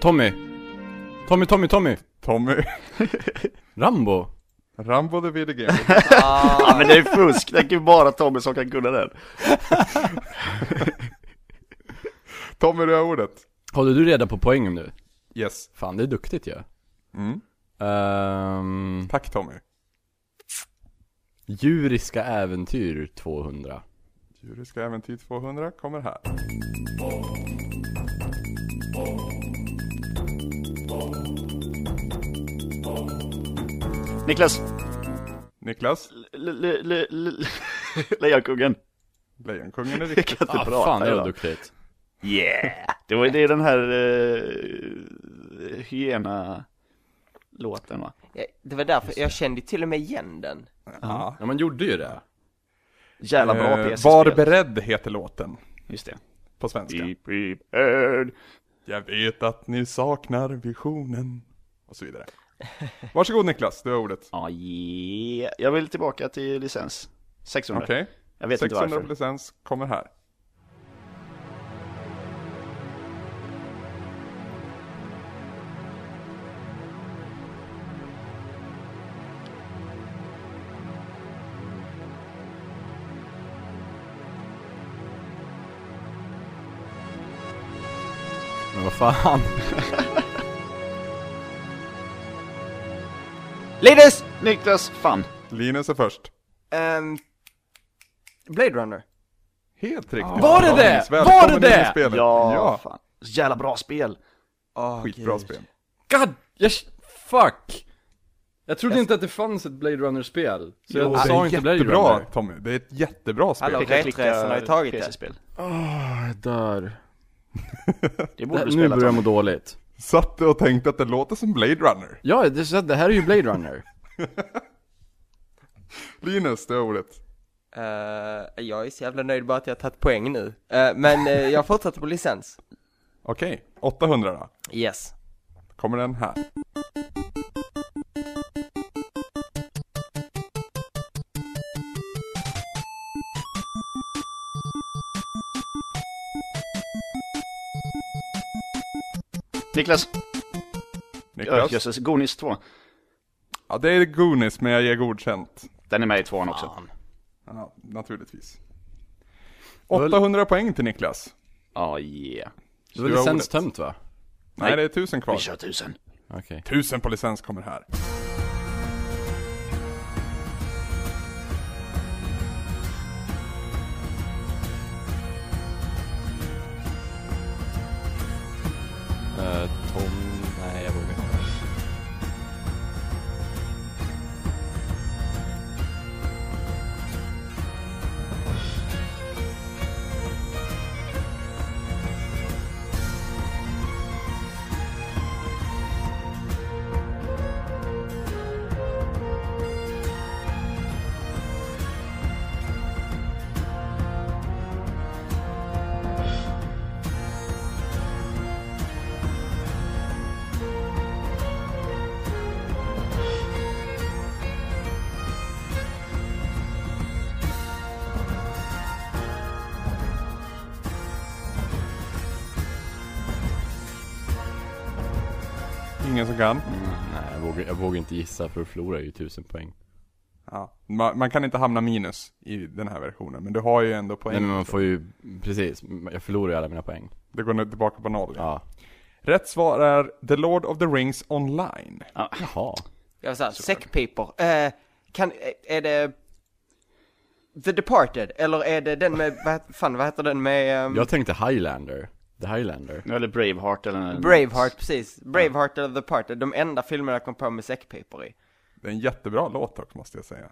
Speaker 6: Tommy! Tommy, Tommy, Tommy!
Speaker 1: Tommy,
Speaker 6: Rambo!
Speaker 1: Rambo the Video Game.
Speaker 6: Ah.
Speaker 7: Ja, men det är fusk, det är ju bara Tommy som kan kunna den.
Speaker 1: Tommy, du har ordet.
Speaker 6: Håller du reda på poängen nu?
Speaker 1: Yes.
Speaker 6: Fan, det är duktigt ju.
Speaker 1: Mm.
Speaker 6: Ehm,
Speaker 1: Tack Tommy.
Speaker 6: djuriska äventyr 200.
Speaker 1: Djuriska äventyr 200 kommer här.
Speaker 7: Niklas!
Speaker 1: Niklas,
Speaker 7: L- l- l- l- Lejonkungen.
Speaker 1: Lejonkungen är
Speaker 7: Jag
Speaker 1: riktigt...
Speaker 7: kan inte
Speaker 6: Ah,
Speaker 7: prata
Speaker 6: fan, det
Speaker 7: idag.
Speaker 6: var duktigt.
Speaker 7: Yeah! Det, var, det är den här eh, uh, hyena-låten va?
Speaker 5: Ja, Det var därför, jag kände till och med igen den.
Speaker 1: Ja.
Speaker 6: Ja, man gjorde ju det.
Speaker 7: Jävla bra
Speaker 1: Eh,
Speaker 7: PC-spel.
Speaker 1: Var beredd heter låten
Speaker 7: Just det.
Speaker 1: på svenska.
Speaker 7: Be prepared.
Speaker 1: Jag vet att ni saknar visionen. Och så vidare. Varsågod Niklas, du har ordet.
Speaker 7: Ja, yeah. Jag vill tillbaka till licens. 600.
Speaker 1: Okej.
Speaker 7: Jag vet inte
Speaker 1: 600
Speaker 7: varför.
Speaker 1: på licens kommer här.
Speaker 6: Men vad fan.
Speaker 5: Linus!
Speaker 7: Niklas, fan.
Speaker 1: Linus är först.
Speaker 5: Ehm... Blade Runner.
Speaker 1: Helt riktigt.
Speaker 6: Var det det?
Speaker 1: Linus,
Speaker 6: Var
Speaker 1: välkommen
Speaker 6: det det?
Speaker 1: in i spelet.
Speaker 7: Ja,
Speaker 1: Ja,
Speaker 7: fan. Så jävla bra spel.
Speaker 1: skitbra spel.
Speaker 6: God, jag... Fuck! Jag trodde inte att det fanns ett Blade Runner-spel. Så jag
Speaker 1: det
Speaker 6: sa
Speaker 1: är
Speaker 6: inte Blade
Speaker 1: jättebra
Speaker 6: Runner.
Speaker 1: Tommy, det är ett jättebra spel.
Speaker 5: Hallå.
Speaker 7: Klicka, klicka,
Speaker 5: Retresen har ju tagit det.
Speaker 7: PC-spel.
Speaker 6: Jag dör.
Speaker 7: Det
Speaker 6: Det,
Speaker 7: borde du
Speaker 6: nu
Speaker 7: spela.
Speaker 6: börjar
Speaker 7: Tom.
Speaker 6: jag må dåligt.
Speaker 1: Satt du och tänkte att det låter som Blade Runner?
Speaker 6: Ja, det, så det här är ju Blade Runner.
Speaker 1: Linus, det är ordet.
Speaker 5: Eh, jag är så jävla nöjd bara att jag har tagit poäng nu. Eh, men eh, jag fortsätter på licens.
Speaker 1: Okej, 800 då.
Speaker 5: Yes.
Speaker 1: Kommer den här.
Speaker 7: Niklas,
Speaker 1: Niklas?
Speaker 7: Jösses, Gonis 2.
Speaker 1: Ja, det är Goonies, men jag ger godkänt.
Speaker 7: Den är med i tvåan också.
Speaker 1: Ja, naturligtvis. 800 poäng till Niklas.
Speaker 7: Ja, yeah.
Speaker 6: Det var
Speaker 1: Du har
Speaker 6: licens
Speaker 1: ordet.
Speaker 6: tömt va?
Speaker 1: Nej,
Speaker 7: Nej.
Speaker 1: det är 1000
Speaker 7: Vi
Speaker 1: kvar.
Speaker 7: kör tusen.
Speaker 6: Okej.
Speaker 1: 1000 på licens kommer här.
Speaker 6: Eh, Tom... Nej, jag vågar inte.
Speaker 1: Ingen som kan.
Speaker 6: Nej, jag vågar, jag vågar inte gissa för då förlorar jag ju tusen poäng.
Speaker 1: Ja. Man, man kan inte hamna minus i den här versionen, men du har ju ändå poäng.
Speaker 6: Nej men man får ju, precis,
Speaker 7: Mm.
Speaker 6: jag förlorar ju alla mina poäng.
Speaker 1: Det går nu tillbaka på noll.
Speaker 6: Ja.
Speaker 1: Rätt svar är The Lord of the Rings Online.
Speaker 6: Jaha.
Speaker 5: Jag var såhär, säckpipor. Eh, kan, eh, är det... The Departed, eller är det den med, vad, het- fan vad heter den med... ehm,
Speaker 6: Jag tänkte Highlander. The Highlander.
Speaker 7: Nu är det Braveheart eller...
Speaker 5: Braveheart, precis. Braveheart eller The Departed, de enda filmerna jag kom på med säckpipor i.
Speaker 1: Det är en jättebra låt dock, måste jag säga.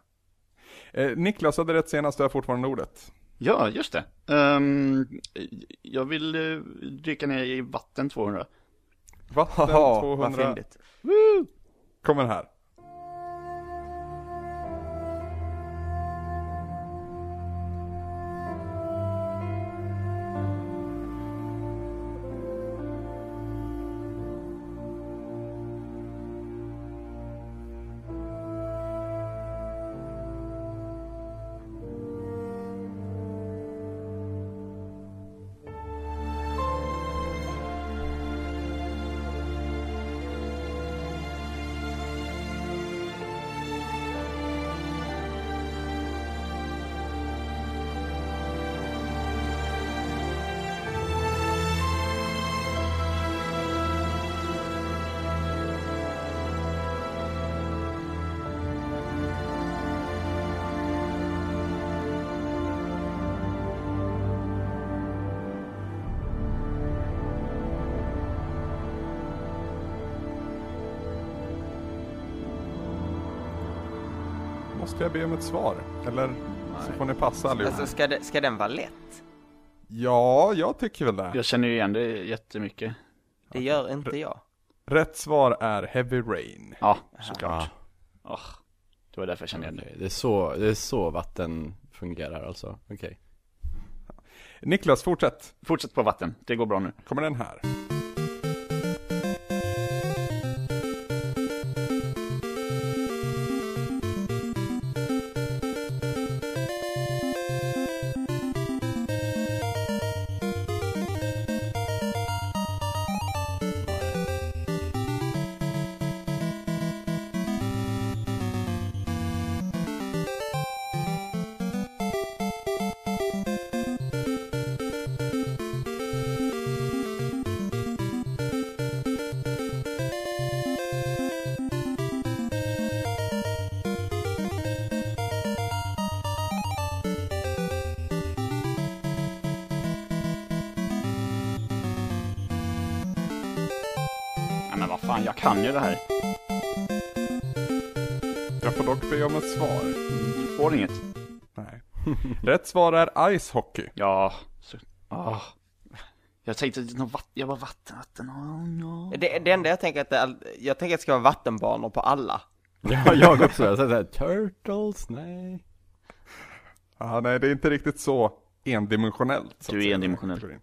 Speaker 1: Eh, Niklas hade rätt senast, du har fortfarande ordet.
Speaker 7: Ja, just det. Ehm, jag vill eh, dyka ner i vatten 200.
Speaker 1: Vatten
Speaker 5: Haha, vad
Speaker 1: 200
Speaker 5: fyndigt.
Speaker 1: kommer här. måste jag be om ett svar. Eller så får ni passa allihop.
Speaker 5: Alltså ska, det, ska den vara lätt?
Speaker 1: Ja, jag tycker väl det.
Speaker 7: Jag känner ju igen det jättemycket.
Speaker 5: Det gör inte jag.
Speaker 1: Rätt svar är Heavy Rain.
Speaker 7: Ja, såklart.
Speaker 6: Ja.
Speaker 7: Åh, det var därför jag kände igen det.
Speaker 6: Det är så, det är så vatten fungerar alltså. Okej.
Speaker 1: Niklas, fortsätt.
Speaker 7: Fortsätt på vatten, det går bra nu.
Speaker 1: Kommer den här.
Speaker 7: Nej men vad fan, jag kan ju det här.
Speaker 1: Jag får dock be om ett svar.
Speaker 7: Får inget.
Speaker 1: Nej. Rätt svar är Ice Hockey.
Speaker 7: Ja, så... ah. Jag tänkte något vatten, jag var vatten, vatten, oh, no.
Speaker 5: Det, det enda jag tänker att det, all- jag tänker att det ska vara vattenbanor på alla.
Speaker 6: Ja, jag också. Jag sa såhär, turtles, nej.
Speaker 1: Ah, nej, det är inte riktigt så endimensionellt. så
Speaker 7: Du
Speaker 1: att
Speaker 7: är
Speaker 1: säga.
Speaker 7: endimensionell.
Speaker 1: Mm.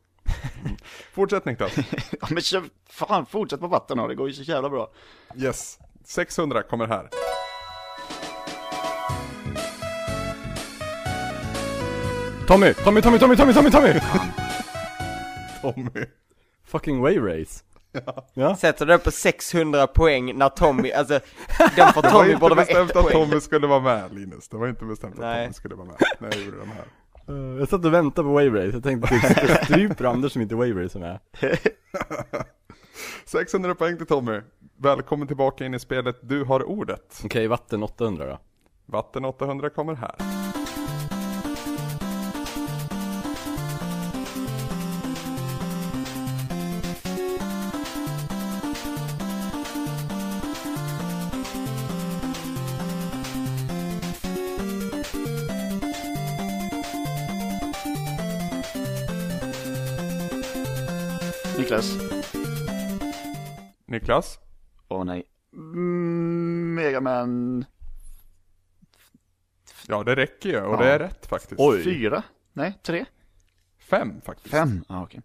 Speaker 1: Fortsätt Niklas.
Speaker 7: Ja men kör, fan fortsätt på vatten då, det går ju så jävla bra.
Speaker 1: Yes. 600 kommer här.
Speaker 6: Tommy, Tommy, Tommy, Tommy, Tommy, Tommy, Eh, Tommy!
Speaker 1: Tommy.
Speaker 6: Fucking wave race.
Speaker 5: Sätter det på 600 poäng när Tommy, alltså den för Tommy borde vara ett
Speaker 1: Det var inte bestämt att
Speaker 5: poäng.
Speaker 1: Tommy skulle vara med Linus. Det var inte bestämt att
Speaker 5: Nej.
Speaker 1: Tommy skulle vara med. När jag gjorde den här.
Speaker 6: Eh, jag satt och väntade på wave race. Jag tänkte typ, stryper Anders som inte wave race är med.
Speaker 1: 600 poäng till Tommy. Välkommen tillbaka in i spelet Du har ordet.
Speaker 6: Okej, vatten 800 då.
Speaker 1: Vatten 800 kommer här.
Speaker 7: Niklas.
Speaker 1: Niklas?
Speaker 7: Åh nej. Mm, Megaman
Speaker 1: Ja, det räcker ju och
Speaker 7: Ja.
Speaker 1: det är rätt faktiskt.
Speaker 7: fyra? Nej, tre?
Speaker 1: Fem faktiskt.
Speaker 7: Fem? Ja ah, okej.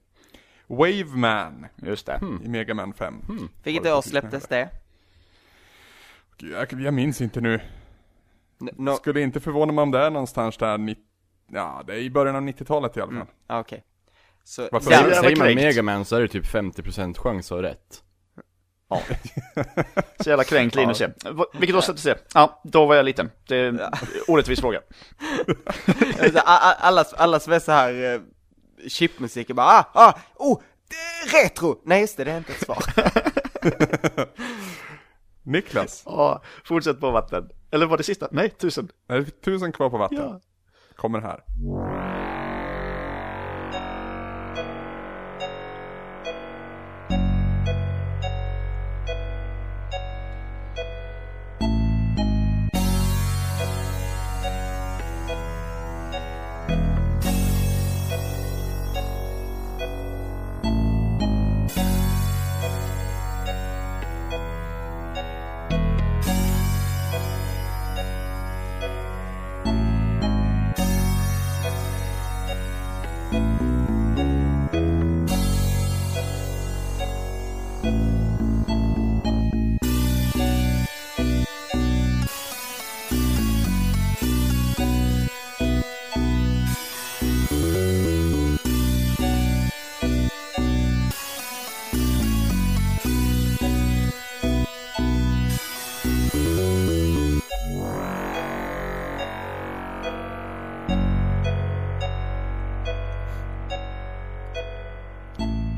Speaker 1: Waveman
Speaker 7: Just det. Hmm.
Speaker 1: i Mega Man 5.
Speaker 5: Vilket år släpptes det?
Speaker 1: Gud, Jag, jag minns inte nu.
Speaker 5: N- No,
Speaker 1: Skulle inte förvåna mig om det är någonstans där, nitt- ja det är i början av 90-talet i alla fall.
Speaker 7: Mm.
Speaker 5: ah, okej. Så,
Speaker 1: Varför
Speaker 5: där,
Speaker 7: det
Speaker 6: Säger man
Speaker 7: korrekt.
Speaker 6: megaman så är det typ 50% chans att ha rätt.
Speaker 7: Så jävla kränkt Linus ja. Vilket år släpptes det? Ja, då var jag liten. Det är en orättvis fråga.
Speaker 5: alltså, a- a- alla, alla som är så här eh, chipmusik är bara ah, ah, oh, det är retro! Nej just det, det är inte ett svar.
Speaker 1: Niklas,
Speaker 7: Ja, fortsätt på vatten. Eller var det sista? Nej, tusen.
Speaker 1: är det tusen kvar på vatten?
Speaker 7: Ja.
Speaker 1: Kommer här.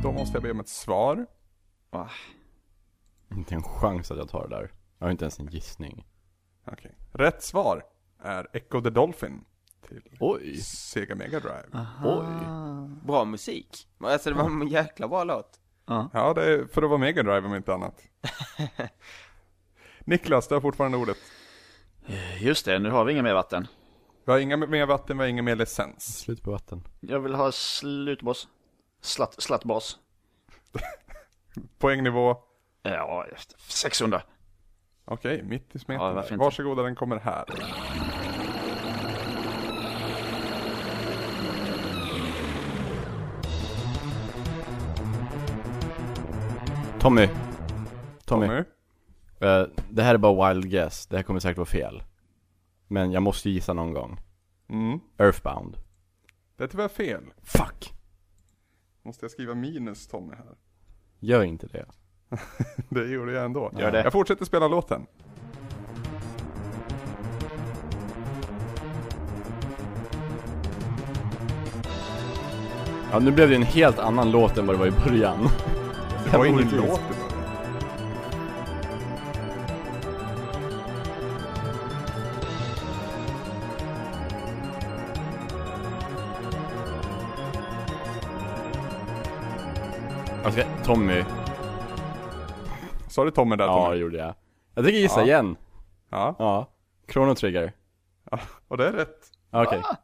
Speaker 1: Då måste jag be om ett svar.
Speaker 7: Ah.
Speaker 6: Inte en chans att jag tar det där. Jag har inte ens en gissning.
Speaker 1: Okej. Rätt svar är Echo the Dolphin till
Speaker 6: Oj,
Speaker 1: Sega Mega Drive.
Speaker 6: oj.
Speaker 5: Bra musik. Ah. Alltså det var en jäkla bra låt.
Speaker 1: Ja, det är för att vara Mega Drive om inte annat. Niklas, du har fortfarande ordet.
Speaker 7: Eh, Just det, nu har vi inga mer vatten.
Speaker 1: Vi har inga mer vatten, vi har ingen mer licens.
Speaker 6: Slut på vatten.
Speaker 7: Jag vill ha slutboss. Slatt, slattbas.
Speaker 1: Poängnivå,
Speaker 7: Ja, efter 600.
Speaker 1: okej, mitt i smeten.
Speaker 7: Ja, varför inte?
Speaker 1: Varsågoda, den kommer här.
Speaker 6: Tommy.
Speaker 1: Tommy.
Speaker 6: Tommy. Eh, det här är bara wild guess. Det här kommer säkert vara fel. Men jag måste gissa någon gång.
Speaker 1: Mm.
Speaker 6: Earthbound.
Speaker 1: Det är tyvärr fel.
Speaker 6: Fuck!
Speaker 1: Måste jag skriva minus Tommy här?
Speaker 6: Gör inte det.
Speaker 1: Det gjorde jag ändå.
Speaker 7: Gör det.
Speaker 1: Jag fortsätter spela låten.
Speaker 6: Ja, nu blev det en helt annan låt än vad det var i början.
Speaker 1: Det var ingen
Speaker 6: Orättvist.
Speaker 1: låt i början.
Speaker 6: Jag ska... Alltså, Tommy.
Speaker 1: Sa du Tommy där
Speaker 6: Ja, det
Speaker 1: Tommy?
Speaker 6: gjorde jag. Jag tänker gissa
Speaker 1: Ja.
Speaker 6: igen.
Speaker 1: Ja.
Speaker 6: Ja. Chrono Trigger.
Speaker 1: Och det är rätt.
Speaker 6: Ja, Okej.
Speaker 7: Ah.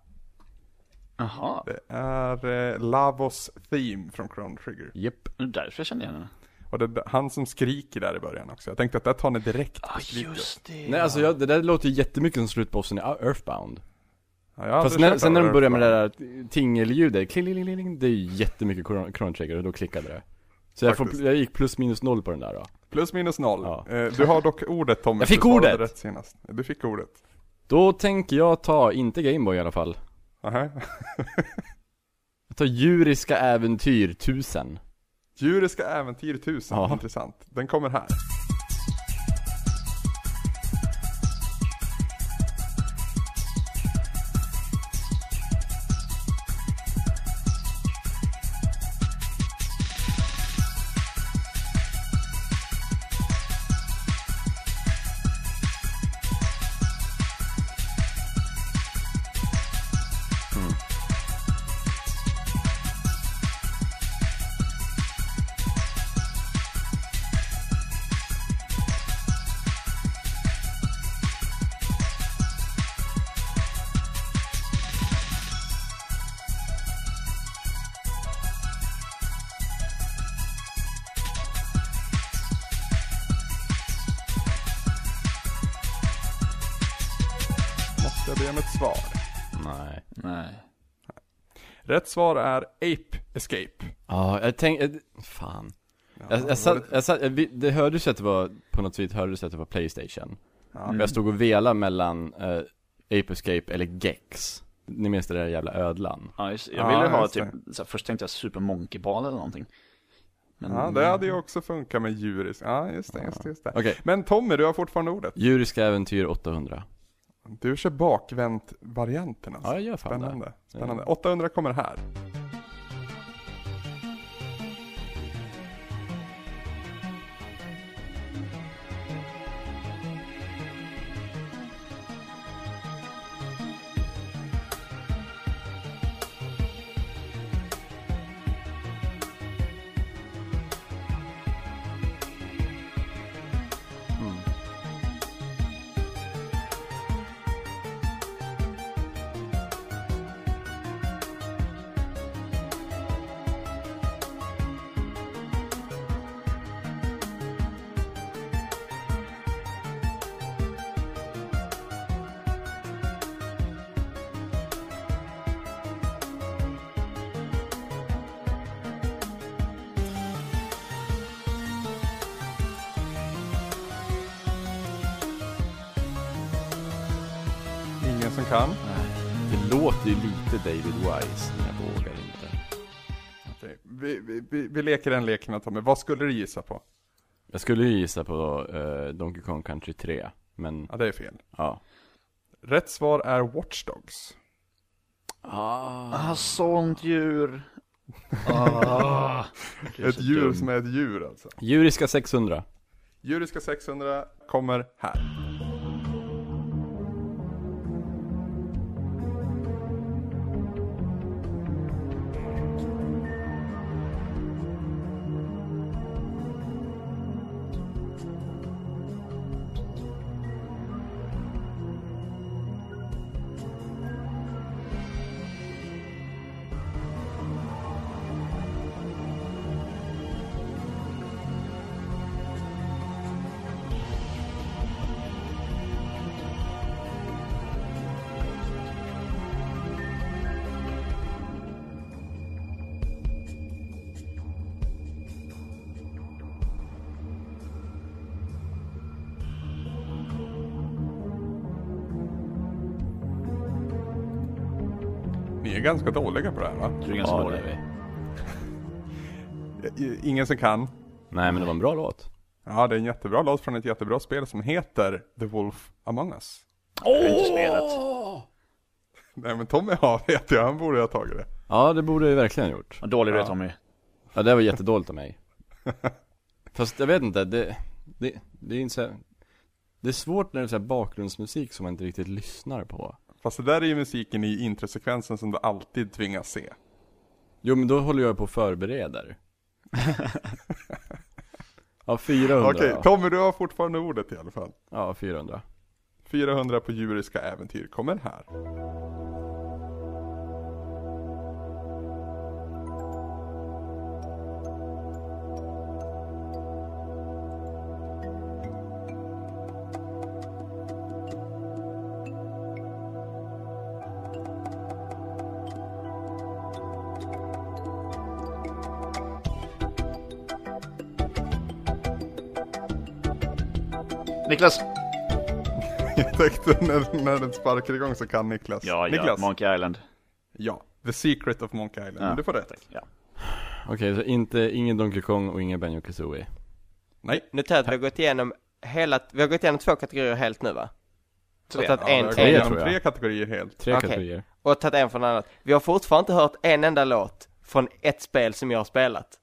Speaker 7: Jaha,
Speaker 1: Det är eh, Lavos Theme från Chrono Trigger.
Speaker 6: Japp.
Speaker 7: det är därför jag kände igen den.
Speaker 1: Och det är han som skriker där i början också. Jag tänkte att där tar ni direkt på
Speaker 7: Ah,
Speaker 1: skriket.
Speaker 7: just det.
Speaker 6: Nej, alltså jag, det där låter ju jättemycket som slutbossen i Earthbound.
Speaker 1: Ja, jag har
Speaker 6: Fast
Speaker 1: aldrig
Speaker 6: när,
Speaker 1: kört
Speaker 6: sen när de
Speaker 1: Earth
Speaker 6: börjar med det
Speaker 1: Bound.
Speaker 6: där tingeljudet, klingelingeling, det är ju jättemycket Chrono Chrono Trigger och då klickade det. Så jag, får,
Speaker 1: Faktiskt.
Speaker 6: jag gick plus minus noll på den där då.
Speaker 1: Plus minus noll.
Speaker 6: Ja.
Speaker 1: Eh, Du har dock ordet Tommy.
Speaker 6: Jag fick
Speaker 1: Du svarade
Speaker 6: ordet!
Speaker 1: Rätt senast. Du fick ordet.
Speaker 6: Då tänker jag ta, inte Gameboy i alla fall.
Speaker 1: Aha.
Speaker 6: Jag tar Djuriska Äventyr 1000.
Speaker 1: Djuriska äventyr 1000.
Speaker 6: Ja.
Speaker 1: Intressant. Den kommer här. Måste jag be om ett svar.
Speaker 6: Nej.
Speaker 7: Nej.
Speaker 1: Rätt svar är Ape Escape.
Speaker 6: Ja, jag tänkte, fan.
Speaker 1: Ja,
Speaker 6: Jag,
Speaker 1: det var
Speaker 6: jag satt,
Speaker 1: lite-
Speaker 6: jag satt, jag, vi- det hördes ju att det var, på något vis hördes att det var Playstation.
Speaker 1: Ja.
Speaker 6: Men jag stod och velade mellan eh, Ape Escape eller Gex. Ni minns det där jävla ödlan?
Speaker 7: Ja, just, jag
Speaker 1: Ja,
Speaker 7: ville ha
Speaker 1: just
Speaker 7: typ, så här, först tänkte jag Super Monkey Ball eller någonting. Men,
Speaker 1: Ja, det hade ju också funkat med djuris. Ja, just det, just det, just det.
Speaker 6: Okej.
Speaker 1: Men Tommy, du har fortfarande ordet.
Speaker 6: Djuriska Äventyr 800.
Speaker 1: Du kör bakvänt-varianten alltså.
Speaker 6: Ja, jag gör fan det.
Speaker 1: Spännande. Spännande. 800 kommer här. Ingen som kan.
Speaker 6: Det låter ju lite David Wise, men jag vågar inte.
Speaker 1: Okej. Vi, vi, vi, vi leker den leken då, Tommy. Vad skulle du gissa på?
Speaker 6: Jag skulle ju gissa på eh, Donkey Kong Country 3, men
Speaker 1: Ja, det är fel.
Speaker 6: ja.
Speaker 1: Rätt svar är Watch Dogs.
Speaker 7: Ah, sånt djur. Ah,
Speaker 1: Ett djur som är ett djur alltså.
Speaker 6: Djuriska 600.
Speaker 1: Djuriska 600 kommer här. är ganska dåliga på det här va?
Speaker 7: Jag tror det är ganska
Speaker 6: Ja, det
Speaker 7: dåligt.
Speaker 6: är vi.
Speaker 1: I- Ingen som kan.
Speaker 6: Nej men det var en bra låt.
Speaker 1: Ja, det är en jättebra låt från ett jättebra spel som heter The Wolf Among Us.
Speaker 7: Jag har inte spelat.
Speaker 1: Nej men Tommy har vet jag, han borde ha tagit det.
Speaker 6: Ja det borde jag ju verkligen ha gjort.
Speaker 7: Vad dålig du är Tommy.
Speaker 6: Ja det var jättedåligt av mig. Fast jag vet inte, det, det, det är inte så här, Det är svårt när det är så här bakgrundsmusik som man inte riktigt lyssnar på.
Speaker 1: Fast det där är ju musiken i introsekvensen som du alltid tvingas se.
Speaker 6: Jo men då håller jag på och förbereder. ja 400
Speaker 1: Okej,
Speaker 6: då.
Speaker 1: Tommy du har fortfarande ordet i alla fall.
Speaker 6: Ja 400.
Speaker 1: 400 på djuriska äventyr kommer här.
Speaker 7: Niklas!
Speaker 1: Jag tänkte när, när den sparkar igång så kan Niklas.
Speaker 7: Ja, ja.
Speaker 1: Niklas.
Speaker 7: Monkey Island.
Speaker 1: ja. The Secret of Monkey Island.
Speaker 7: Ja,
Speaker 1: Men du får rätt.
Speaker 7: Tack. Ja.
Speaker 6: Okej så inte, ingen Donkey Kong och ingen Benjo Kazooie.
Speaker 1: Nej.
Speaker 5: Nu tror jag att vi har gått igenom hela, vi har gått igenom två kategorier helt nu va?
Speaker 3: Tre.
Speaker 5: Och tagit en,
Speaker 1: vi har
Speaker 6: tre,
Speaker 1: gått
Speaker 5: en,
Speaker 1: igenom
Speaker 6: tror jag.
Speaker 1: tre kategorier helt.
Speaker 6: Tre
Speaker 5: Okej.
Speaker 6: kategorier.
Speaker 5: och tagit en från en annan. Vi har fortfarande inte hört en enda låt från ett spel som jag har spelat.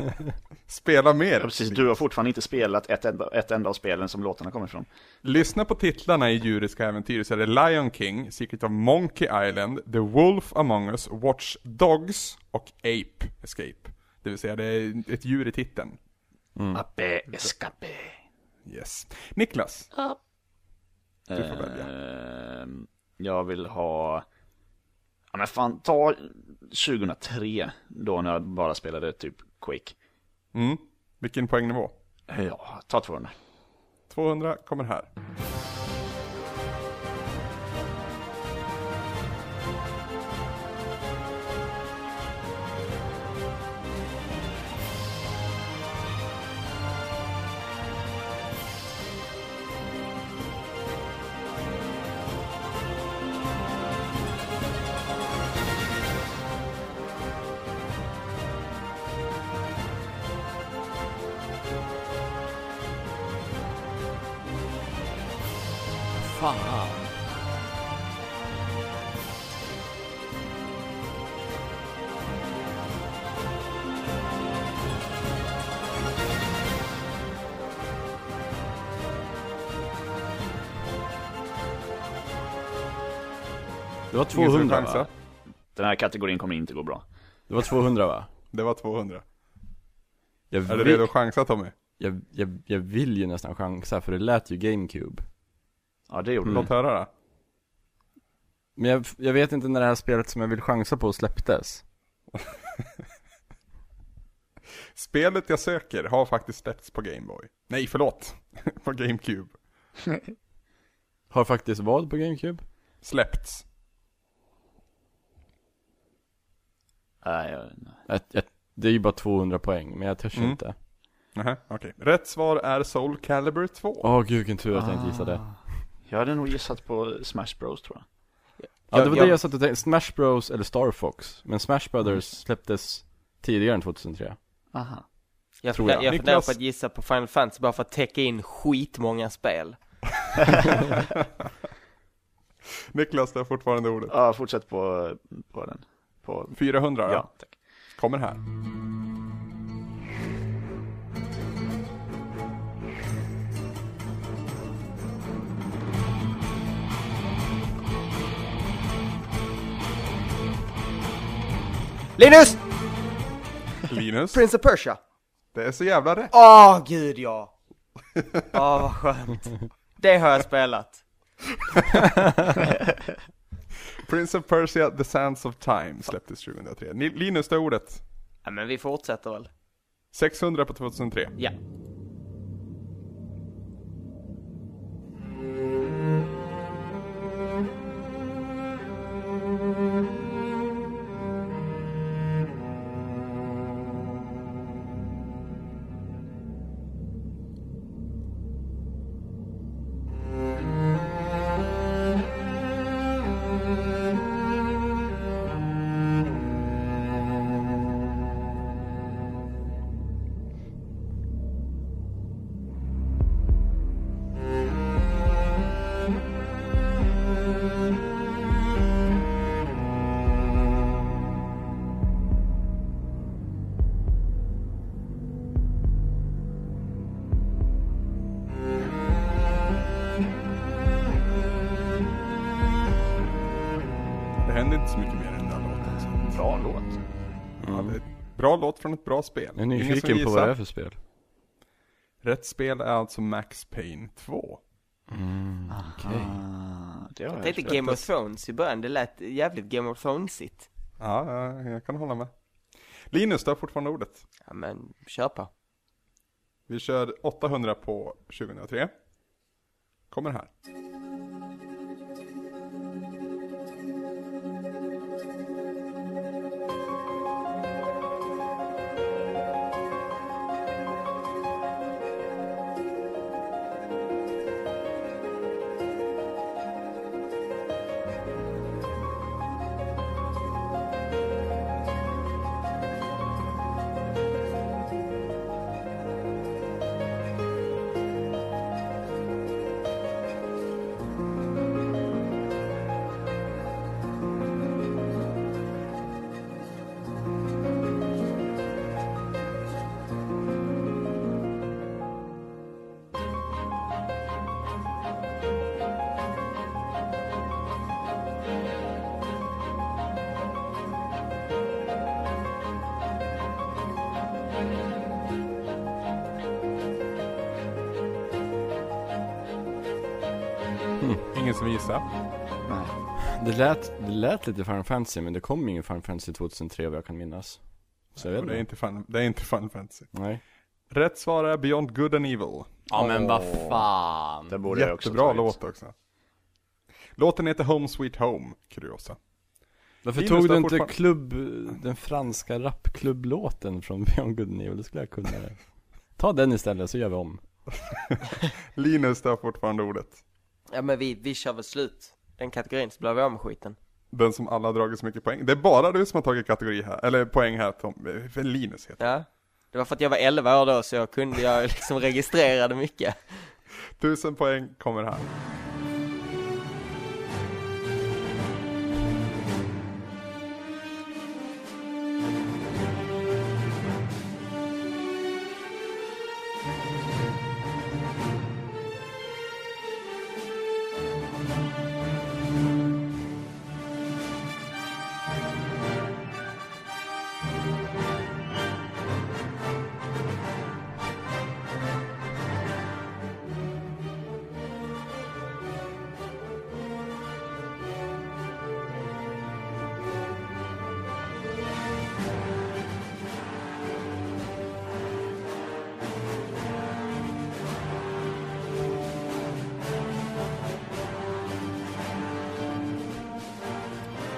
Speaker 1: Spela mer.
Speaker 7: Ja, precis, du har fortfarande inte spelat ett enda, ett enda av spelen som låtarna kommer ifrån.
Speaker 1: Lyssna på titlarna i Djuriska Äventyr så är det Lion King, Secret of Monkey Island, The Wolf Among Us, Watch Dogs och Ape Escape. Det vill säga det är ett djur i titeln.
Speaker 6: Mm.
Speaker 7: Ape Escape.
Speaker 1: Yes. Niklas, du får välja.
Speaker 7: Ehm, jag vill ha... Ja, men fan, ta 2003 då när jag bara spelade typ Quake.
Speaker 1: Mm. Vilken poängnivå?
Speaker 7: Ja, ta 200.
Speaker 1: 200 kommer här.
Speaker 6: Fan. Det var
Speaker 1: Ingen som vill
Speaker 6: 200 va?
Speaker 1: chansa?
Speaker 7: Den här kategorin kommer inte gå bra.
Speaker 6: Det var 200 va?
Speaker 1: Det var 200.
Speaker 6: Jag
Speaker 1: Är du
Speaker 6: vill-
Speaker 1: redo att chansa Tommy?
Speaker 6: jag, jag, jag vill ju nästan chansa för det lät ju GameCube.
Speaker 7: Ja, det gjorde
Speaker 6: Mm.
Speaker 1: Låt höra då.
Speaker 6: Men jag, jag vet inte när det här spelet som jag vill chansa på släpptes.
Speaker 1: Spelet jag söker har faktiskt släppts på Gameboy. Nej, förlåt. på GameCube.
Speaker 6: Har faktiskt vad på GameCube?
Speaker 1: Släppts.
Speaker 7: Nej, jag, nej.
Speaker 6: Ett, ett, det är ju bara 200 poäng, men jag törs
Speaker 1: Mm.
Speaker 6: inte.
Speaker 1: Nähä, okej. Rätt svar är Soul Calibur 2.
Speaker 6: Åh gud vilken tur att jag inte gissade.
Speaker 7: Ah. jag hade nog gissat på Smash Bros tror jag.
Speaker 6: Ja det var
Speaker 5: jag-
Speaker 6: det jag satt och tänkte, Smash Bros eller Star Fox. Men Smash Brothers
Speaker 1: Mm.
Speaker 6: släpptes tidigare än 2003.
Speaker 7: Aha.
Speaker 5: Jag,
Speaker 6: Tror
Speaker 5: fun-
Speaker 6: jag.
Speaker 5: jag funderar
Speaker 1: Niklas-
Speaker 5: på att gissa på Final Fantasy bara för att täcka in skitmånga spel.
Speaker 1: Niklas, du har fortfarande ordet.
Speaker 7: Ja, fortsätt på, på den. På,
Speaker 1: 400 ja.
Speaker 7: ja, tack.
Speaker 1: kommer här.
Speaker 5: Linus!
Speaker 1: Linus,
Speaker 5: Prince of Persia!
Speaker 1: det är så jävla rätt.
Speaker 5: Åh, gud ja! Åh, vad skönt. Det har jag spelat.
Speaker 1: Prince of Persia, The Sands of Time släpptes 2003. Ni- Linus, det är ordet.
Speaker 5: Ja, men vi fortsätter väl.
Speaker 1: 600 på 2003.
Speaker 5: Ja.
Speaker 1: inte så mycket mer än den där låten. Så.
Speaker 7: Bra låt.
Speaker 1: Ja, det är ett bra låt från ett bra spel.
Speaker 6: Mm. Jag är
Speaker 1: Ingen som
Speaker 6: nyfiken på vad
Speaker 1: gissar.
Speaker 6: det är för spel.
Speaker 1: Rätt spel är alltså Max Payne 2.
Speaker 6: Mm.
Speaker 7: Ah, det har
Speaker 5: Jag
Speaker 7: jag
Speaker 5: tänkte
Speaker 7: förstått.
Speaker 5: Game of Thrones i början, det lät jävligt Game of Thronesigt.
Speaker 1: Ja, ja, jag kan hålla med. Linus, du har fortfarande ordet.
Speaker 5: Ja men, kör på.
Speaker 1: Vi kör 800 på 2003. Kommer här. Mm. Ingen som gissar.
Speaker 6: Det lät, det lät lite Final Fantasy men det kom ingen Final Fantasy 2003 vad jag kan minnas. Så jag
Speaker 1: Och
Speaker 6: vet
Speaker 1: Det är
Speaker 6: inte.
Speaker 1: inte fun, det är inte fun fantasy.
Speaker 6: Nej.
Speaker 1: Rätt svar är Beyond Good and Evil.
Speaker 6: Ja men vad
Speaker 7: Det
Speaker 6: fan.
Speaker 7: borde jag också
Speaker 1: Jättebra
Speaker 7: tagit.
Speaker 1: låt också. Låten heter Home Sweet Home, kuriosa.
Speaker 6: Varför
Speaker 1: Linus,
Speaker 6: tog
Speaker 1: du
Speaker 6: du
Speaker 1: har
Speaker 6: inte
Speaker 1: fortfar-
Speaker 6: klubb, den franska rapklubblåten från Beyond Good and Evil? Det skulle jag kunna. det. Ta den istället så gör vi om.
Speaker 1: Linus, du har fortfarande ordet.
Speaker 5: Ja men vi, vi kör väl slut. Den kategorin så blir vi av med skiten.
Speaker 1: Den som alla har dragit så mycket poäng. Det är bara du som har tagit kategori här, eller poäng här Tom. Eh, För Linus heter
Speaker 5: Ja. Det var för att jag var 11 år då så jag kunde, jag liksom registrerade mycket.
Speaker 1: det. Tusen poäng kommer här.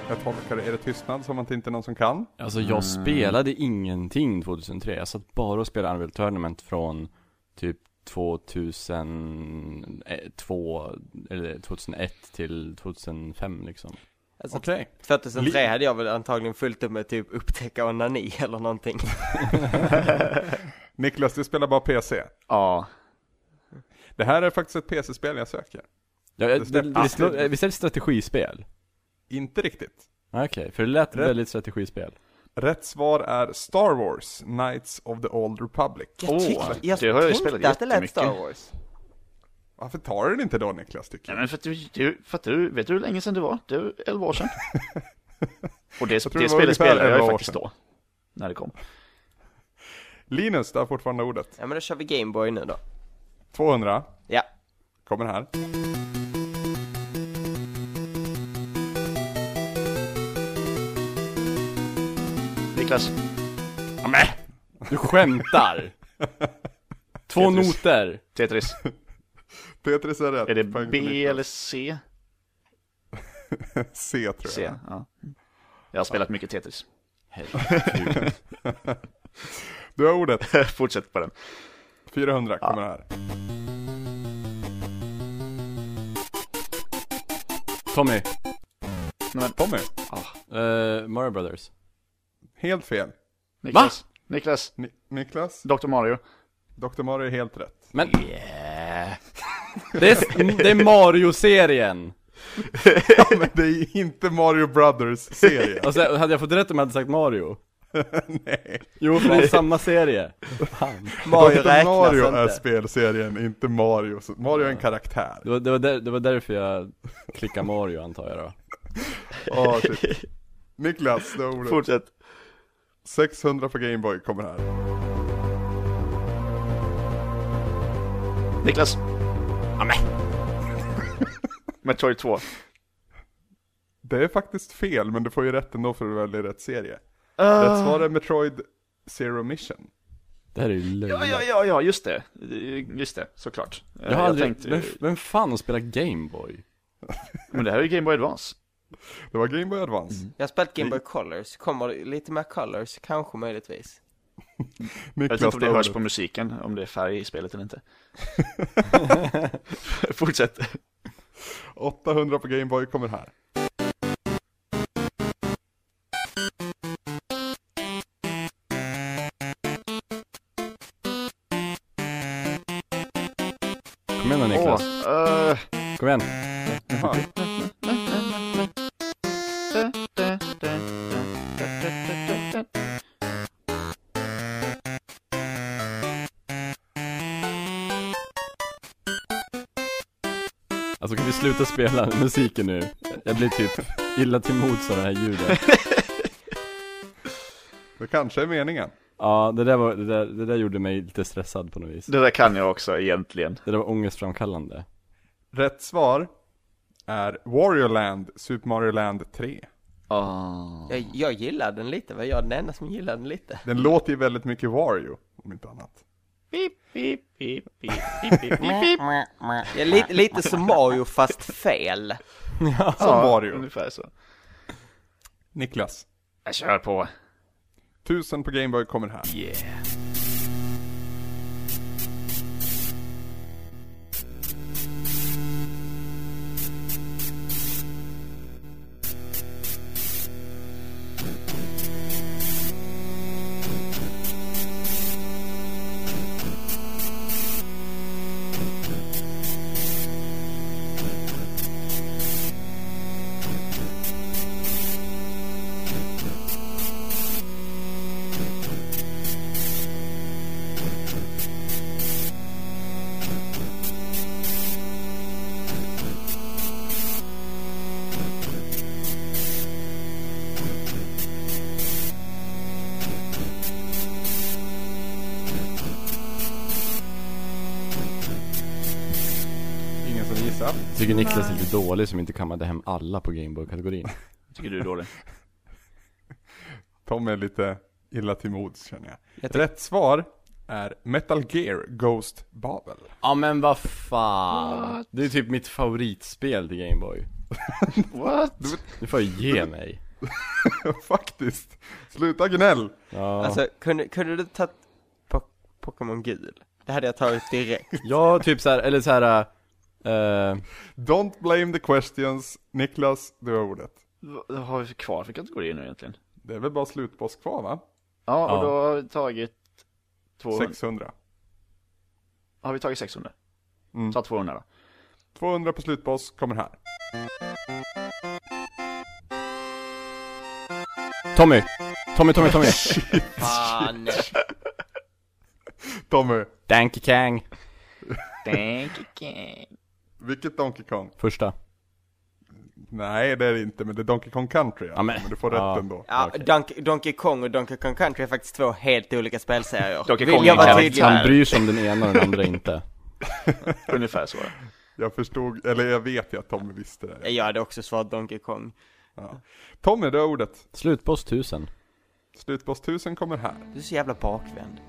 Speaker 1: Jag tolkar det. Är det tystnad som att det inte är någon som kan?
Speaker 6: Alltså jag spelade ingenting 2003. Jag satt bara och spelade Unreal Tournament från typ 2002 eller 2001 till 2005 liksom.
Speaker 5: Alltså,
Speaker 1: Okej.
Speaker 5: 2003 hade jag väl antagligen fullt upp med typ upptäcka onani eller någonting.
Speaker 1: Niklas, du spelar bara PC.
Speaker 7: Ja.
Speaker 1: Det här är faktiskt ett PC-spel jag söker.
Speaker 6: Ja,
Speaker 1: Det
Speaker 6: det, det,
Speaker 1: stämmer.
Speaker 6: det, visst
Speaker 1: eh,
Speaker 6: är- visst är det ett strategispel?
Speaker 1: Inte riktigt.
Speaker 6: Ah, Okej, för det lät
Speaker 1: Rätt.
Speaker 6: väldigt strategispel.
Speaker 1: Rätt svar är Star Wars, Knights of the Old Republic.
Speaker 5: Jag tyckte, jag
Speaker 7: det har jag ju
Speaker 5: tänkte
Speaker 7: spelat
Speaker 5: att det lät
Speaker 7: jättemycket.
Speaker 5: Star Wars.
Speaker 1: Varför tar du det inte då Niklas, tycker jag?
Speaker 7: Nej, men för att du, du, för att du, vet du hur länge sedan det var? Det är 11 år sedan. Och det,
Speaker 1: tror
Speaker 7: det,
Speaker 1: det var ungefär
Speaker 7: spelet spelade
Speaker 1: 11
Speaker 7: jag
Speaker 1: år
Speaker 7: ju faktiskt
Speaker 1: sedan.
Speaker 7: då. När det kom.
Speaker 1: Linus, du har fortfarande ordet.
Speaker 5: Ja men då kör vi Gameboy nu då.
Speaker 1: 200,
Speaker 5: Ja.
Speaker 1: kommer här.
Speaker 7: Niklas. Ja, men.
Speaker 6: Du skämtar! Två
Speaker 7: Tetris.
Speaker 6: noter!
Speaker 7: Tetris.
Speaker 1: Tetris är rätt.
Speaker 7: Är det
Speaker 1: Poäng för
Speaker 7: B
Speaker 1: Niklas.
Speaker 7: eller C?
Speaker 1: C tror jag.
Speaker 7: C, ja. Jag har spelat mycket Tetris.
Speaker 1: Du har ordet.
Speaker 7: Fortsätt på den.
Speaker 1: 400 kommer här.
Speaker 6: Tommy,
Speaker 1: Tommy,
Speaker 6: eh, Mario Brothers.
Speaker 1: helt fel.
Speaker 7: Niklas. Niklas.
Speaker 1: Ni- Niklas,
Speaker 7: Dr. Mario.
Speaker 1: Dr. Mario är helt rätt.
Speaker 6: Men... Det är, det är Mario-serien!
Speaker 1: ja, men det är inte Mario Brothers-serien.
Speaker 6: Alltså, hade jag fått rätt om jag hade sagt Mario?
Speaker 1: Nej.
Speaker 6: Jo, för det är samma serie.
Speaker 5: Mario
Speaker 1: Dr.
Speaker 5: räknas
Speaker 1: Mario
Speaker 5: inte.
Speaker 1: är spelserien, inte Mario. Så Mario är en karaktär.
Speaker 6: Det var, det, var där, det var därför jag klickade Mario antar jag då.
Speaker 1: Åh, shit. Niklas, det var ordet.
Speaker 7: Fortsätt.
Speaker 1: 600 på Gameboy kommer här.
Speaker 7: Niklas. Ja, men. Metroid 2.
Speaker 1: Det är faktiskt fel, men du får ju rätt ändå för du väljer rätt serie.
Speaker 7: Ah.
Speaker 1: Rätt svar är Metroid Zero Mission.
Speaker 6: Det här är ju löjligt.
Speaker 7: Ja, ja, ja, ja, just det. Just det, såklart. Eh,
Speaker 6: Jag har aldrig,
Speaker 7: tänkte ju-
Speaker 6: vem, vem fan har spelat Gameboy?
Speaker 7: Men det här är ju Game Boy Advance.
Speaker 1: Det var Game Boy Advance.
Speaker 5: Jag har spelat Game Boy Colors, kommer det lite mer Colors, kanske möjligtvis.
Speaker 7: Jag vet inte om
Speaker 1: tar
Speaker 7: det hörs
Speaker 1: ordet.
Speaker 7: på musiken, om det är färg i spelet eller inte. Fortsätt.
Speaker 1: 800 på Game Boy kommer här.
Speaker 6: Kom igen då Niklas,
Speaker 7: Åh, eh,
Speaker 6: kom igen.
Speaker 1: Jaha.
Speaker 6: Alltså kan vi sluta spela musiken nu? Jag blir typ illa till mods av det här ljudet.
Speaker 1: Det kanske är meningen.
Speaker 6: Ja, det där, var, det, där, det där gjorde mig lite stressad på något vis.
Speaker 7: det där kan jag också egentligen.
Speaker 6: Det där var ångestframkallande.
Speaker 1: Rätt svar är Wario Land, Super Mario Land 3.
Speaker 7: Oh.
Speaker 5: Jag, jag gillar den lite, var jag den enda som gillar den lite?
Speaker 1: Den låter ju väldigt mycket Wario, om inte annat.
Speaker 5: Jag är lite, lite som Mario fast fel.
Speaker 1: Som Wario.
Speaker 7: Ungefär så.
Speaker 1: Niklas.
Speaker 7: Jag kör på.
Speaker 1: 1000 på Game Boy kommer här.
Speaker 7: Yeah.
Speaker 1: Ingen som gissar.
Speaker 6: Jag tycker Niklas är lite dålig som inte kammade hem alla på Gameboy-kategorin.
Speaker 7: Tycker du är dålig?
Speaker 1: Tom är lite illa till mods känner jag.
Speaker 5: Jag tyck-
Speaker 1: Rätt svar är Metal Gear Ghost Babel.
Speaker 6: Ja men vad fan. Det är typ mitt favoritspel till Gameboy.
Speaker 7: What?
Speaker 6: Du får ju ge mig.
Speaker 1: Faktiskt. Sluta gnäll.
Speaker 6: Ja.
Speaker 5: Alltså, kunde, kunde du tagit po- Pokémon gul? Det hade jag tagit direkt.
Speaker 6: Ja, typ såhär, eller såhär, eh,
Speaker 1: Don't blame the questions. Niklas, du har ordet.
Speaker 7: Vad har vi kvar för kategorier nu egentligen?
Speaker 1: Det är väl bara slutboss kvar va?
Speaker 7: Ja, och
Speaker 6: Ja.
Speaker 7: då har vi tagit 200.
Speaker 1: 600.
Speaker 7: Har vi tagit 600?
Speaker 1: Mm.
Speaker 7: Ta 200 då.
Speaker 1: 200 på slutboss kommer här.
Speaker 6: Tommy! Tommy, Tommy, Tommy!
Speaker 5: Fan.
Speaker 1: Tommy,
Speaker 6: Donkey Kang!
Speaker 1: vilket Donkey Kong?
Speaker 6: Första.
Speaker 1: Nej det är det inte, men det är Donkey Kong Country. alltså,
Speaker 6: men-
Speaker 1: men du får rätt
Speaker 6: ja.
Speaker 1: ändå.
Speaker 5: Ja, Donkey, Donkey Kong och Donkey Kong Country är faktiskt två helt olika spelserier.
Speaker 7: Donkey
Speaker 5: Vill
Speaker 7: Kong
Speaker 5: jag
Speaker 7: är
Speaker 5: vara
Speaker 7: en
Speaker 5: tydlig
Speaker 6: Han
Speaker 5: här?
Speaker 6: bryr sig om den ena och den andra inte.
Speaker 7: Ungefär så.
Speaker 1: Jag förstod, eller jag vet ju att Tommy visste det.
Speaker 5: Jag hade också svarat Donkey Kong.
Speaker 1: Tommy, du har ordet.
Speaker 6: Slutboss 1000.
Speaker 1: Slutboss 1000 kommer här.
Speaker 5: Du är så jävla bakvänd.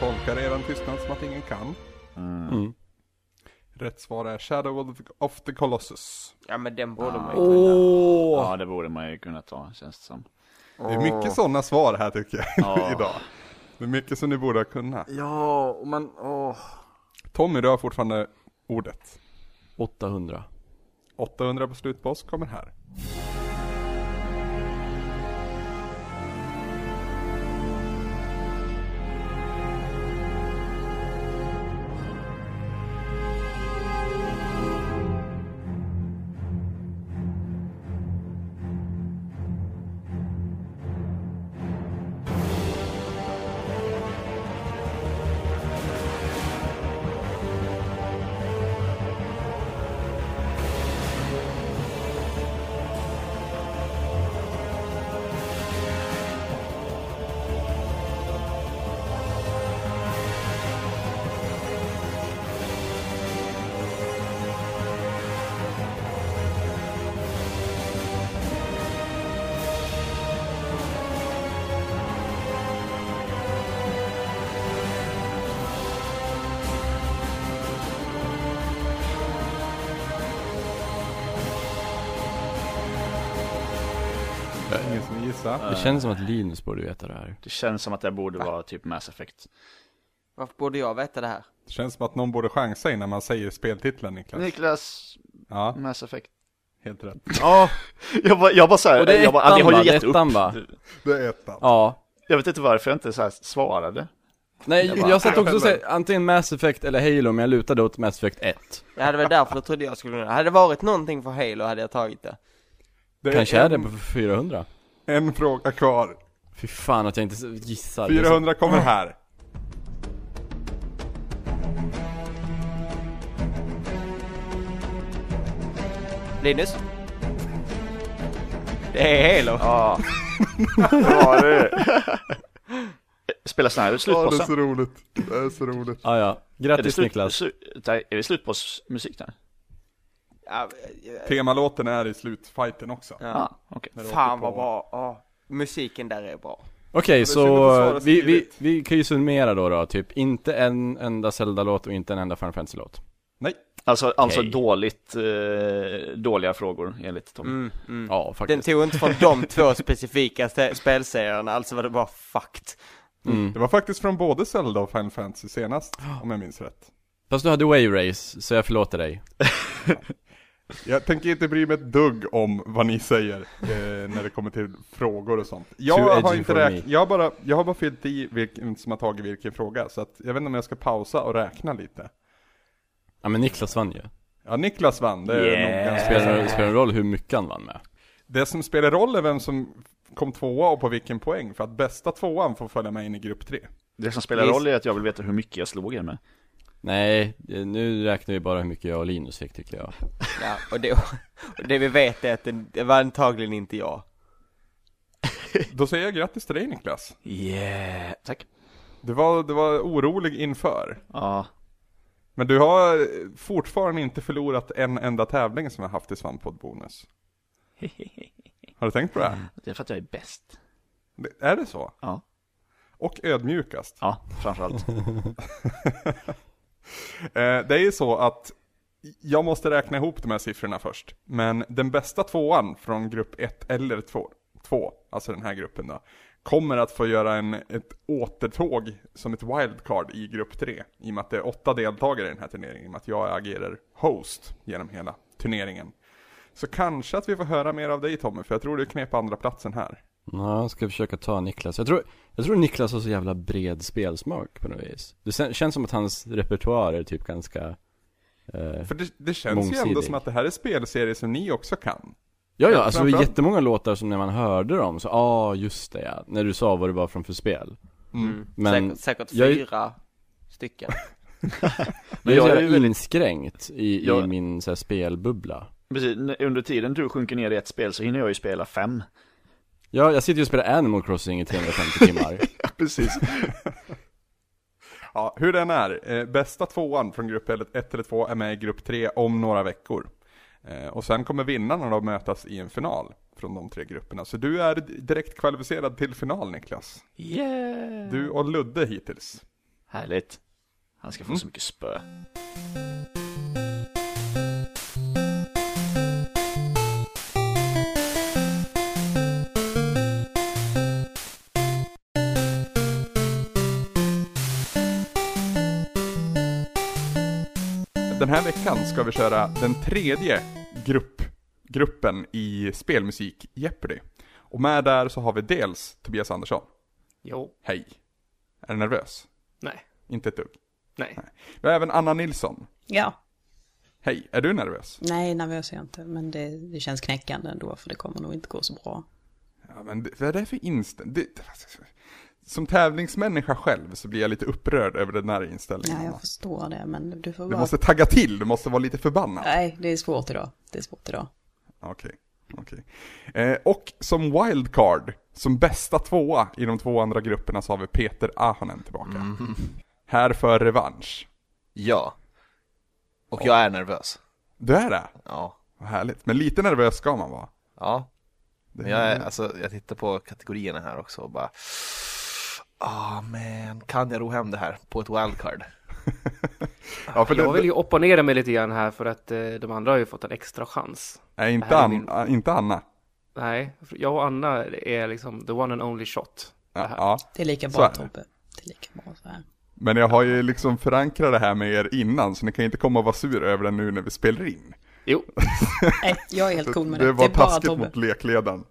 Speaker 1: tolkar eran tystnad som att ingen kan.
Speaker 6: Mm.
Speaker 1: Rätt svar är Shadow of the, of the Colossus.
Speaker 5: Ja men den borde
Speaker 6: Ah.
Speaker 5: man ju kunna.
Speaker 2: Åh!
Speaker 7: Ja, det borde man ju kunna ta, känns det som.
Speaker 1: Det är mycket sådana svar här tycker jag
Speaker 7: Ja.
Speaker 1: idag. Det är mycket som ni borde ha kunnat.
Speaker 8: Ja, och man, åh.
Speaker 1: Tommy, du har fortfarande ordet.
Speaker 6: 800.
Speaker 1: 800 på slutboss kommer här. Ingen som gissar.
Speaker 6: Det känns som att Linus borde veta det här.
Speaker 7: Det känns som att det borde vara typ Mass Effect.
Speaker 5: Varför borde jag veta det här?
Speaker 1: Det känns som att någon borde chansa innan man säger speltiteln Niklas.
Speaker 7: Niklas,
Speaker 1: Ja,
Speaker 7: Mass Effect.
Speaker 1: helt rätt.
Speaker 7: Ja, jag bara, jag bara såhär,
Speaker 6: Och det är
Speaker 7: jag bara,
Speaker 6: ettan,
Speaker 7: ni har
Speaker 6: va?
Speaker 7: ju
Speaker 6: Det är
Speaker 7: gett upp.
Speaker 6: ettan, va?
Speaker 1: Det är ettan.
Speaker 6: Ja.
Speaker 7: Jag vet inte varför jag inte så här svarade.
Speaker 6: Nej,
Speaker 7: Jag
Speaker 6: jag,
Speaker 7: bara-
Speaker 6: satt också och sa antingen Mass Effect eller Halo, men jag lutade åt Mass Effect 1.
Speaker 5: Det hade väl därför jag trodde jag skulle kunna. Hade det varit någonting för Halo hade jag tagit det.
Speaker 1: Det
Speaker 6: Kanske är det
Speaker 1: en,
Speaker 6: på 400.
Speaker 1: en fråga kvar.
Speaker 6: Fy fan att jag inte gissar. Det är så-
Speaker 1: 400 kommer här.
Speaker 5: Linus? Det är Halo.
Speaker 7: Ja. ja det. Spelar sån här
Speaker 1: Ja, det är
Speaker 7: slutbossen.
Speaker 1: så roligt. Det är så roligt.
Speaker 6: Ah, ja.
Speaker 7: är, det
Speaker 6: Grattis
Speaker 7: slut,
Speaker 6: Niklas.
Speaker 7: slu, nej, är det slutbossmusik där?
Speaker 5: Ja,
Speaker 1: Temalåten är i slutfighten också.
Speaker 5: Ja.
Speaker 7: Ja, ah, okej.
Speaker 1: När det
Speaker 5: fan
Speaker 1: åker
Speaker 5: vad
Speaker 1: på.
Speaker 5: bra. Ja. Musiken där är bra.
Speaker 6: Okej,
Speaker 1: det är synd att
Speaker 6: så
Speaker 1: försvara
Speaker 6: vi, vi,
Speaker 1: skrivet.
Speaker 6: vi kan ju summera då, då typ. Inte en enda Zelda-låt och inte en enda Final Fantasy-låt.
Speaker 1: Nej,
Speaker 7: Alltså, alltså
Speaker 6: Okej.
Speaker 7: dåligt, eh, dåliga frågor enligt Tom.
Speaker 5: Mm, mm.
Speaker 6: Ja,
Speaker 5: Den
Speaker 6: faktiskt.
Speaker 5: tog inte från de två specifika se- spelserierna, alltså var det bara fucked.
Speaker 6: Mm.
Speaker 1: det var faktiskt från både Zelda och Final Fantasy senast, om jag minns rätt.
Speaker 6: Fast du hade Wave Race, så jag förlåter dig.
Speaker 1: Jag tänker inte bry mig ett dugg om vad ni säger eh, när det kommer till frågor och sånt. Jag
Speaker 6: edgy
Speaker 1: har inte
Speaker 6: for
Speaker 1: räknat,
Speaker 6: me.
Speaker 1: jag, har bara, jag har bara fyllt i vilken som har tagit vilken fråga, så att jag vet inte om jag ska pausa och räkna lite.
Speaker 6: Ja men Niklas vann ju.
Speaker 1: Ja, Niklas vann, det är nog ganska
Speaker 6: Spelar, spelar en roll hur mycket han vann med.
Speaker 1: Det som spelar roll är vem som kom tvåa och på vilken poäng, för att bästa tvåan får följa med in i grupp tre.
Speaker 7: Det som spelar
Speaker 5: Visst.
Speaker 7: roll är att jag vill veta hur mycket jag slog er med.
Speaker 6: Nej, eh, nu räknar vi bara hur mycket jag och Linus fick tycker jag.
Speaker 5: Ja, och det, och det vi vet är att det, det var antagligen inte jag.
Speaker 1: Då säger jag grattis till dig Niklas.
Speaker 7: Yeah. Tack.
Speaker 1: Du var, du var orolig inför.
Speaker 7: Ja,
Speaker 1: Men du har fortfarande inte förlorat en enda tävling som jag haft i Svamppodd Bonus. Har du tänkt på det? här?
Speaker 7: det är för att jag är bäst.
Speaker 1: Det- Är det så?
Speaker 7: Ja.
Speaker 1: Och ödmjukast.
Speaker 7: Ja, framförallt.
Speaker 1: Eh, det är ju så att jag måste räkna ihop de här siffrorna först. Men den bästa tvåan från grupp 1 eller 2, två, alltså den här gruppen då, kommer att få göra en, ett återtåg som ett wildcard i grupp 3. I och med att det är åtta deltagare i den här turneringen, i och med att jag agerar host genom hela turneringen. Så kanske att vi får höra mer av dig Tommy, för jag tror du knep andra platsen här.
Speaker 6: Ja, jag ska försöka ta Niklas. Jag tror, jag tror Niklas har så jävla bred spelsmak på något vis. Det sen- känns som att hans repertoar är typ ganska... Eh,
Speaker 1: För det, det känns ju ändå
Speaker 6: Mångsidig.
Speaker 1: som att det här är spelserier som ni också kan.
Speaker 6: ja, ja, alltså det är
Speaker 1: framförallt-
Speaker 6: jättemånga låtar som när man hörde dem så, ja ah, just det ja. När du sa vad det var från för spel. Men
Speaker 1: Mm.
Speaker 5: Mm. säkert säkert
Speaker 6: jag är-
Speaker 5: fyra stycken.
Speaker 6: Men
Speaker 7: Men jag
Speaker 6: jag är
Speaker 7: är
Speaker 6: så
Speaker 7: ju
Speaker 6: jävla
Speaker 7: väldigt-
Speaker 6: inskränkt i,
Speaker 7: Jag-
Speaker 6: i min så här, spelbubbla.
Speaker 7: Precis, n- under tiden du sjunker ner i ett spel så hinner jag ju spela fem.
Speaker 6: Ja, jag sitter ju och spelar Animal Crossing i 350 timmar.
Speaker 7: Precis.
Speaker 1: Ja, hur den är. Eh, bästa tvåan från grupp 1 eller 2 är med i grupp 3 om några veckor. Eh, och sen kommer vinnarna då mötas i en final från de tre grupperna. Så du är d- direkt kvalificerad till final Niklas.
Speaker 7: Yeah!
Speaker 1: Du och Ludde hittills.
Speaker 7: Mm.
Speaker 1: Mm.
Speaker 7: Härligt. Han ska få så mycket spö.
Speaker 1: Den här veckan ska vi köra den tredje grupp, gruppen i spelmusik Jeopardy. Och med där så har vi dels Tobias Andersson.
Speaker 3: Jo.
Speaker 1: Hej. Är du nervös?
Speaker 3: Nej.
Speaker 1: Inte ett dugg.
Speaker 3: Nej.
Speaker 1: Vi har även Anna Nilsson.
Speaker 9: Ja.
Speaker 1: Hej, är du nervös?
Speaker 9: Nej, nervös är jag inte. Men det, det känns knäckande ändå för det kommer nog inte gå så bra.
Speaker 1: Ja, men det, vad är det för inställning? Det, som tävlingsmänniska själv så blir jag lite upprörd över den här inställningen.
Speaker 9: Ja,
Speaker 1: Anna.
Speaker 9: jag förstår det. Men du får
Speaker 1: Du
Speaker 9: vara...
Speaker 1: måste tagga till, du måste vara lite förbannad.
Speaker 9: Nej, det är svårt idag. Det är svårt idag.
Speaker 1: Okej, okej. Eh, och som wildcard, som bästa tvåa i de två andra grupperna så har vi Peter Ahonen tillbaka. Här för
Speaker 10: Mhm.
Speaker 1: revansch.
Speaker 10: Ja. Och jag är nervös.
Speaker 1: Du är det?
Speaker 10: Ja.
Speaker 1: Vad härligt. Men lite nervös ska man vara.
Speaker 10: Ja.
Speaker 1: Det
Speaker 10: Men jag, är, alltså, jag tittar på kategorierna här också och bara... Ah men, kan jag ro hem det här på ett wildcard?
Speaker 1: ja, för
Speaker 11: Jag
Speaker 1: det,
Speaker 11: vill ju opponera mig lite grann här för att eh, de andra har ju fått en extra chans.
Speaker 1: nej, inte,
Speaker 11: det här är
Speaker 1: Ann- äh, inte Anna.
Speaker 11: Nej, jag och Anna är liksom the one and only shot.
Speaker 1: Ja,
Speaker 11: här.
Speaker 1: ja.
Speaker 9: Det är lika
Speaker 1: Så
Speaker 9: bra,
Speaker 1: är det.
Speaker 9: Tobbe. Det är lika bra så här.
Speaker 1: Men jag har ju liksom förankrat det här med er innan, så ni kan ju inte komma och vara sur över det nu när vi spelar in.
Speaker 11: Jo,
Speaker 9: Nej, jag är helt cool med det.
Speaker 1: Det var taskigt
Speaker 9: Tobbe.
Speaker 1: mot lekledaren.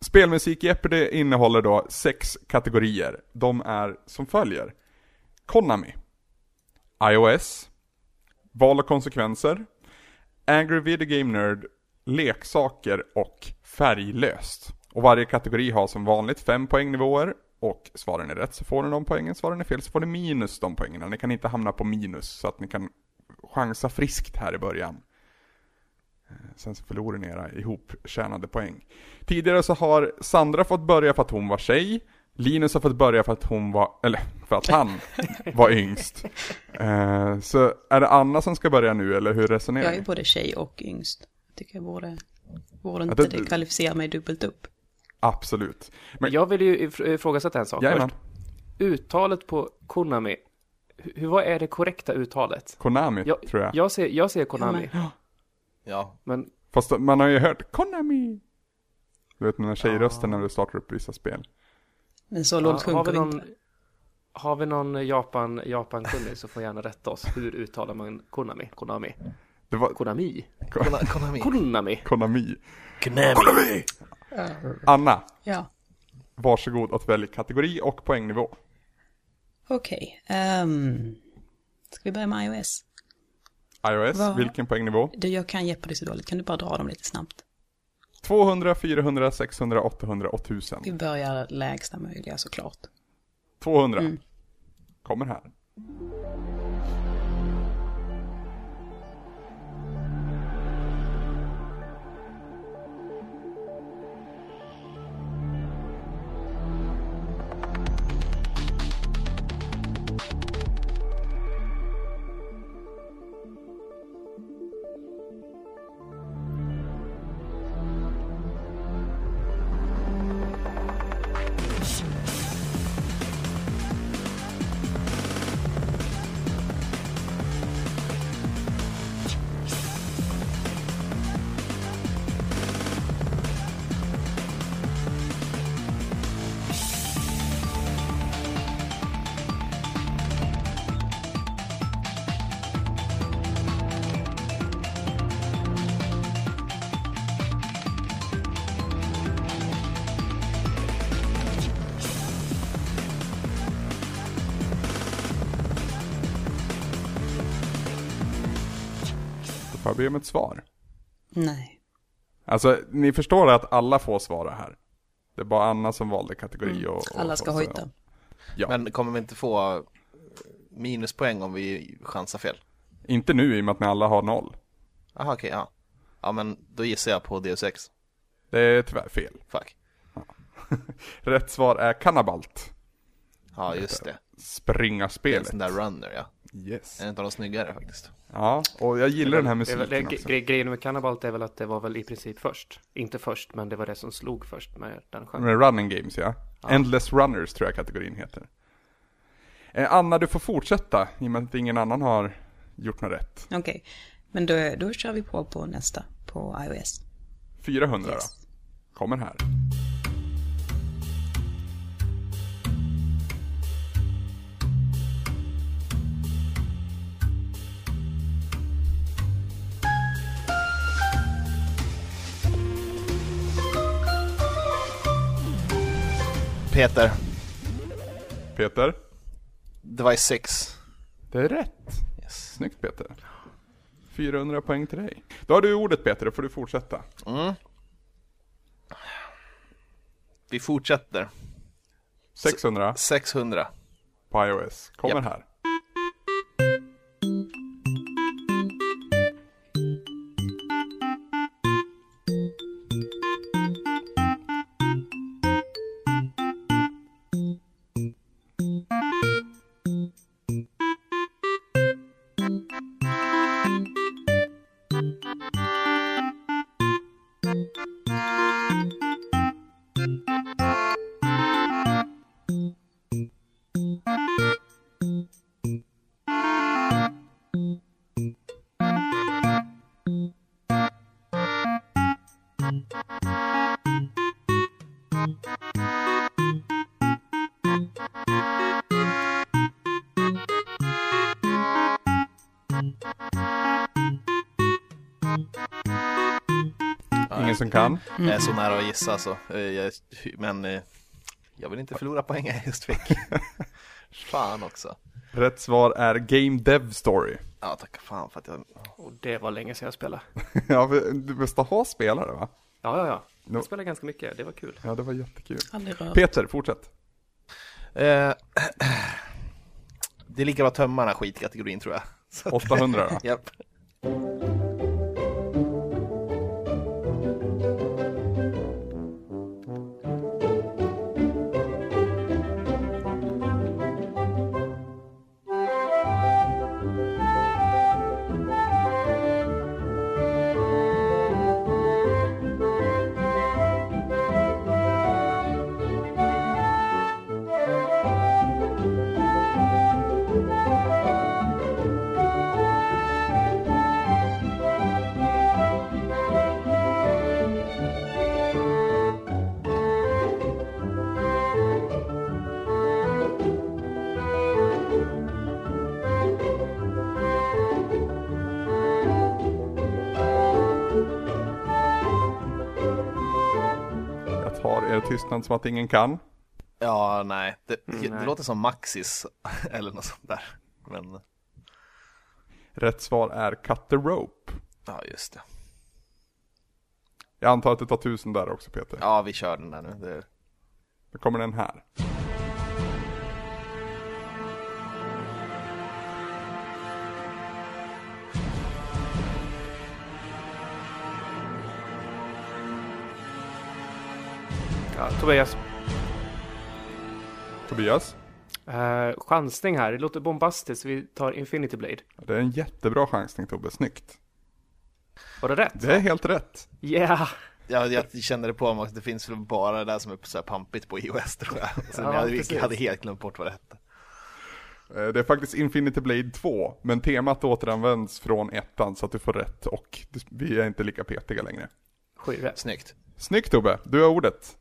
Speaker 1: Spelmusik i Jeopardy innehåller då sex kategorier. De är som följer. Konami. iOS. Val och konsekvenser. Angry Video Game Nerd. Leksaker och färglöst. Och varje kategori har som vanligt fem poängnivåer. Och svarar ni rätt så får ni de poängen, svarar ni fel så får ni minus de poängen. Ni kan inte hamna på minus så att ni kan chansa friskt här i början. Eh, Sen så förlorar ni era ihoptjänade poäng. Tidigare så har Sandra fått börja för att hon var tjej. Linus har fått börja för att hon var, eller för att han var yngst. Eh, så är det Anna som ska börja nu eller hur resonerar
Speaker 9: Jag är
Speaker 1: ni?
Speaker 9: både tjej och yngst. Jag tycker jag borde... Borde
Speaker 1: Ja,
Speaker 9: inte
Speaker 1: det-
Speaker 9: det kvalificera mig dubbelt upp?
Speaker 1: Absolut. Men-
Speaker 11: jag vill ju if- ifrågasätta en sak
Speaker 1: Jajamän,
Speaker 11: först. Uttalet på Konami, hur, hur- vad är det korrekta uttalet?
Speaker 1: Konami
Speaker 11: Jag,
Speaker 1: tror jag.
Speaker 11: jag, ser, jag ser Konami,
Speaker 10: Ja.
Speaker 11: men
Speaker 1: Fast man har ju hört Konami. Du vet den där tjejrösten
Speaker 11: Ah.
Speaker 1: när du startar upp vissa spel.
Speaker 9: Men så
Speaker 11: ja,
Speaker 9: långt
Speaker 11: har vi
Speaker 9: sjunker vi
Speaker 11: någon,
Speaker 9: inte.
Speaker 11: har vi någon Japan, Japan-kunnig så får gärna rätta oss. Hur uttalar man Konami? Konami?
Speaker 1: Det var
Speaker 11: Konami?
Speaker 10: Kona- Konami.
Speaker 11: Konami?
Speaker 1: Konami.
Speaker 10: Konami.
Speaker 1: Anna,
Speaker 9: Ja,
Speaker 1: varsågod att välja kategori och poängnivå.
Speaker 9: okej. Ehm, ska vi börja med iOS?
Speaker 1: iOS,
Speaker 9: Vad-
Speaker 1: vilken poängnivå?
Speaker 9: Du, jag kan Jeopardy så dåligt. Kan du bara dra dem lite snabbt?
Speaker 1: 200, 400, 600, 800 och 1000.
Speaker 9: Vi börjar lägsta möjliga såklart.
Speaker 1: 200.
Speaker 9: Mm.
Speaker 1: Kommer här. Då får jag be om ett svar.
Speaker 9: Nej.
Speaker 1: Alltså, ni förstår att alla får svara här. Det är bara Anna som valde kategori och... och
Speaker 9: Mm. Alla ska
Speaker 1: och-
Speaker 9: hojta.
Speaker 10: Men kommer vi inte få minuspoäng om vi chansar fel?
Speaker 1: Inte nu i och med att ni alla har noll.
Speaker 10: Jaha, okej, ja. Ja, men då gissar jag på DSX.
Speaker 1: Det är tyvärr fel.
Speaker 10: Fuck.
Speaker 1: Rätt svar är Cannabalt.
Speaker 10: Ja, just det. Det är en
Speaker 1: Springarspelet.
Speaker 10: sån där runner, ja.
Speaker 1: Yes.
Speaker 10: En av de snyggare faktiskt.
Speaker 1: Ja, och jag gillar den här
Speaker 11: Det är väl, det,
Speaker 1: musiken också.
Speaker 11: gre- grejen med Cannibalt är väl att det var väl i princip först. Inte först, men det var det som slog först med den genren.
Speaker 1: Med running games ja. Endless runners tror jag kategorin heter. Eh, Anna, du får fortsätta i och med att ingen annan har gjort något rätt.
Speaker 9: Okej, men då, då kör vi på på nästa på iOS.
Speaker 1: 400 då. Kommer här.
Speaker 3: Peter.
Speaker 1: Peter?
Speaker 3: Device 6.
Speaker 1: Det är rätt. Snyggt Peter. 400 poäng till dig. Då har du ordet Peter, då får du fortsätta.
Speaker 3: Mm. Vi fortsätter.
Speaker 1: 600
Speaker 3: 600.
Speaker 1: på iOS. Kommer
Speaker 3: Japp.
Speaker 1: här. Ingen som kan?
Speaker 3: Mm. Jag är så nära att gissa alltså. Eh, jag- Men eh, jag vill inte förlora poäng jag just fick. Fan också.
Speaker 1: Rätt svar är Game Dev Story.
Speaker 3: Ja, tacka fan för att jag...
Speaker 11: Och det var länge sedan jag spelade.
Speaker 1: ja, för du måste ha spelare va?
Speaker 11: Ja, ja, ja.
Speaker 1: No.
Speaker 11: Jag spelade ganska mycket. Det var kul.
Speaker 1: Ja, det var jättekul.
Speaker 9: Aldrig rört.
Speaker 1: Peter, fortsätt.
Speaker 3: Eh, det är lika bra att tömma den här skitkategorin tror jag. Så att-
Speaker 1: 800 då?
Speaker 3: Japp.
Speaker 1: Jag tar er tystnad som att ingen kan.
Speaker 3: Ja, nej. Det, det
Speaker 11: Mm, Nej.
Speaker 3: låter som Maxis eller något sånt där. Men
Speaker 1: Rätt svar är Cut the Rope.
Speaker 3: ja, just det.
Speaker 1: Jag antar att du tar 1000 där också Peter.
Speaker 3: Ja, vi kör den där nu. Det...
Speaker 1: Då kommer den här.
Speaker 11: Ja, Tobias,
Speaker 1: Tobias?
Speaker 11: eh, chansning här. Det låter bombastiskt. Vi tar Infinity Blade.
Speaker 1: Det är en jättebra chansning Tobbe, snyggt.
Speaker 11: Var det rätt?
Speaker 1: Det är helt rätt.
Speaker 11: Yeah!
Speaker 3: Ja, jag kände det på mig också. Det finns väl bara det där som är så här pampigt på iOS tror jag. Så
Speaker 11: Ja,
Speaker 3: jag hade,
Speaker 11: precis.
Speaker 3: jag hade helt glömt bort vad det hette.
Speaker 1: Eh, Det är faktiskt Infinity Blade 2, men temat återanvänds från ettan så att du får rätt och du- vi är inte lika petiga längre.
Speaker 11: Sjurätt.
Speaker 3: Snyggt.
Speaker 1: Snyggt Tobbe, du har ordet.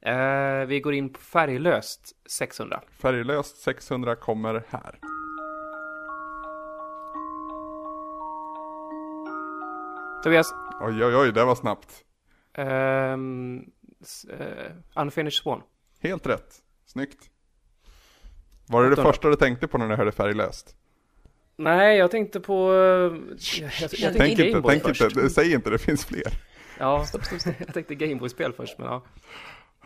Speaker 11: Eh, vi går in på färglöst 600.
Speaker 1: Färglöst 600 kommer här.
Speaker 11: Tobias,
Speaker 1: Oj oj oj, det var snabbt.
Speaker 11: ehm, s- eh, Unfinished Swan.
Speaker 1: Helt rätt, snyggt. Var det det första du tänkte på när du hörde färglöst?
Speaker 11: Nej, jag tänkte på... eh, Jag, jag, jag
Speaker 1: Tänk
Speaker 11: tänkte
Speaker 1: inte,
Speaker 11: Gameboy
Speaker 1: tänk
Speaker 11: först.
Speaker 1: inte, säg inte, det finns fler.
Speaker 11: Ja, jag tänkte Gameboy-spel först, men ja.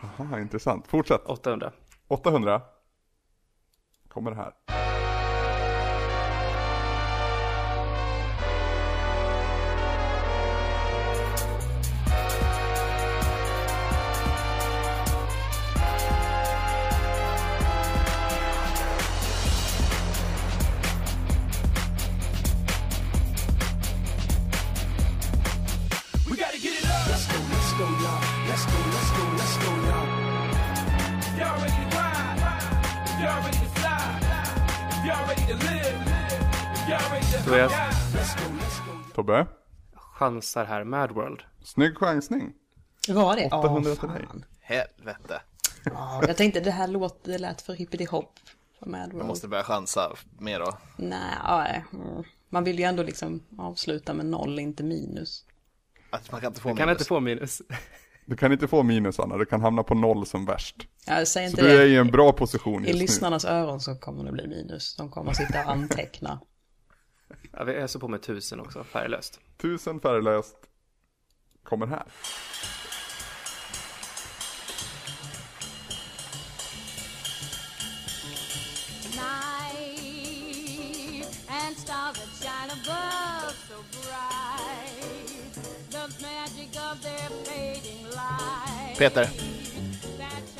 Speaker 1: Aha, intressant. Fortsätt.
Speaker 11: 800.
Speaker 1: 800. Kommer här.
Speaker 8: We gotta get it up. Let's go, let's go, y'all. Let's go, let's go, let's go, y'all. Y'all ready to ride? Y'all ready to fly?
Speaker 11: Tobias.
Speaker 1: Tobbe?
Speaker 11: Chansar här Mad World.
Speaker 1: Snygg chansning.
Speaker 9: Var det?
Speaker 1: 800
Speaker 9: Åh,
Speaker 1: till dig.
Speaker 9: fan.
Speaker 3: Helvete.
Speaker 9: Ja, jag tänkte det här låt, det lät för hippity-hopp för Mad
Speaker 3: Man
Speaker 9: World.
Speaker 3: måste börja chansa mer då.
Speaker 9: Nej, ja, mm. man vill ju ändå liksom avsluta med noll, inte minus.
Speaker 3: Att man kan inte få
Speaker 11: Kan inte få minus.
Speaker 1: Du kan inte få minus Anna, du kan hamna på noll som värst.
Speaker 9: Ja, säg inte
Speaker 1: så du
Speaker 9: det.
Speaker 1: är i en bra position
Speaker 9: I
Speaker 1: just nu.
Speaker 9: lyssnarnas öron så kommer det bli minus. De kommer sitta och anteckna.
Speaker 11: Ja, vi öser på med tusen också, färglöst.
Speaker 1: Tusen färglöst kommer här.
Speaker 12: Night and stars that shine above so bright. The magic of their fading light.
Speaker 3: Peter.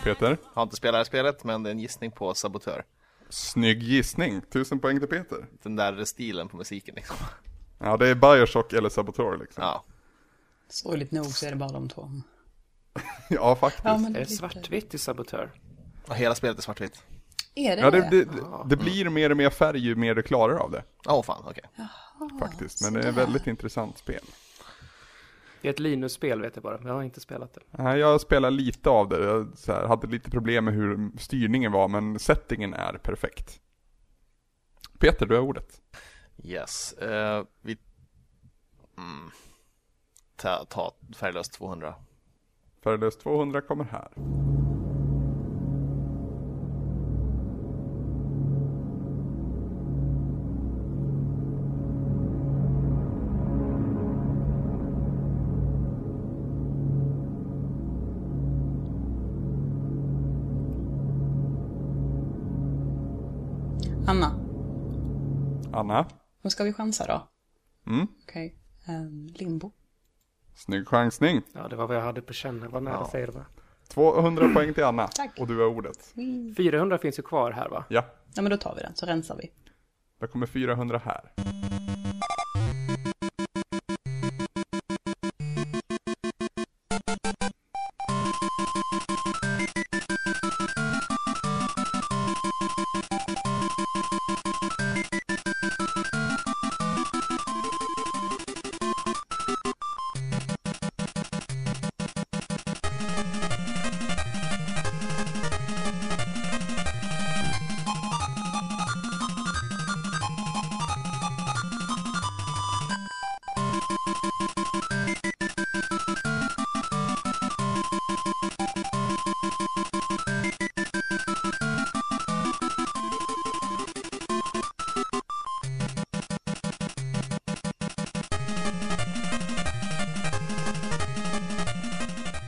Speaker 1: Peter?
Speaker 3: Har inte spelat det här spelet, men det är en gissning på Sabotör.
Speaker 1: Snygg gissning, tusen poäng till Peter.
Speaker 3: Den där stilen på musiken liksom.
Speaker 1: Ja, det är Bioshock eller Saboteur liksom.
Speaker 3: Ja,
Speaker 9: Sorgligt nog så är det bara de två.
Speaker 1: ja faktiskt.
Speaker 9: Ja, men det
Speaker 11: är
Speaker 9: blir-
Speaker 11: svartvitt i Sabotör.
Speaker 3: Och hela spelet är svartvitt. Ah.
Speaker 9: Är det
Speaker 1: ja,
Speaker 9: det?
Speaker 1: det, det, det, det blir mer och mer färg ju mer du klarar av det.
Speaker 3: Åh oh, fan, okej.
Speaker 1: Faktiskt, men det är ett väldigt intressant spel.
Speaker 11: Det är ett Linus-spel vet jag bara, men jag har inte spelat det.
Speaker 1: Nej, Jag spelar lite av det, jag så här, hade lite problem med hur styrningen var, men settingen är perfekt. Peter, du har ordet.
Speaker 3: Yes. Eh, vi... Mm. Ta, ta färglöst 200.
Speaker 1: Färglöst 200 kommer här.
Speaker 9: Anna,
Speaker 1: Anna?
Speaker 9: vad ska vi chansa då?
Speaker 1: Mm,
Speaker 9: Okej, ehm, limbo.
Speaker 1: snygg chansning.
Speaker 11: Ja, det var vad jag hade på känn. Jag var nära
Speaker 1: Ja.
Speaker 11: säger det bara.
Speaker 1: 200 poäng till Anna. Och du har ordet.
Speaker 11: 400 finns ju kvar här va?
Speaker 1: Ja,
Speaker 9: Ja, men då tar vi den, så rensar vi.
Speaker 1: det kommer 400 här.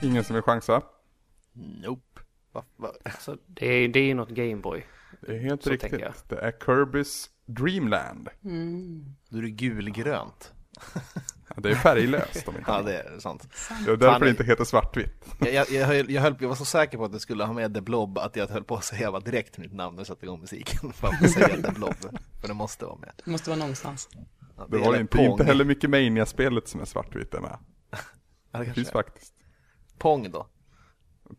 Speaker 1: Ingen som vill chansa.
Speaker 3: Nope. Va, va?
Speaker 11: Alltså, det är ju det är ju något Gameboy.
Speaker 1: Det är helt
Speaker 11: Så tänker jag.
Speaker 1: riktigt. Det är Kirbys Dreamland.
Speaker 9: Mm.
Speaker 3: Då är det gulgrönt.
Speaker 1: Ja, Det är färglöst om inte
Speaker 3: Ja,
Speaker 1: annat.
Speaker 3: det är sant.
Speaker 1: Det är därför
Speaker 3: Fan,
Speaker 1: det inte heter svartvitt.
Speaker 3: Jag, jag, jag, höll, jag, höll, jag var så säker på att du skulle ha med The Blob att jag höll på att säga bara direkt mitt namn när jag satte igång musiken. För att säga The Blob. För det måste vara med.
Speaker 9: Det måste vara någonstans.
Speaker 3: Ja,
Speaker 1: Det var
Speaker 3: gäller
Speaker 1: inte,
Speaker 3: Pong.
Speaker 1: inte heller mycket Mania-spelet som är svartvitt det med.
Speaker 3: Ja, det
Speaker 1: Det
Speaker 3: kanske
Speaker 1: finns
Speaker 3: är.
Speaker 1: faktiskt.
Speaker 3: Pong då?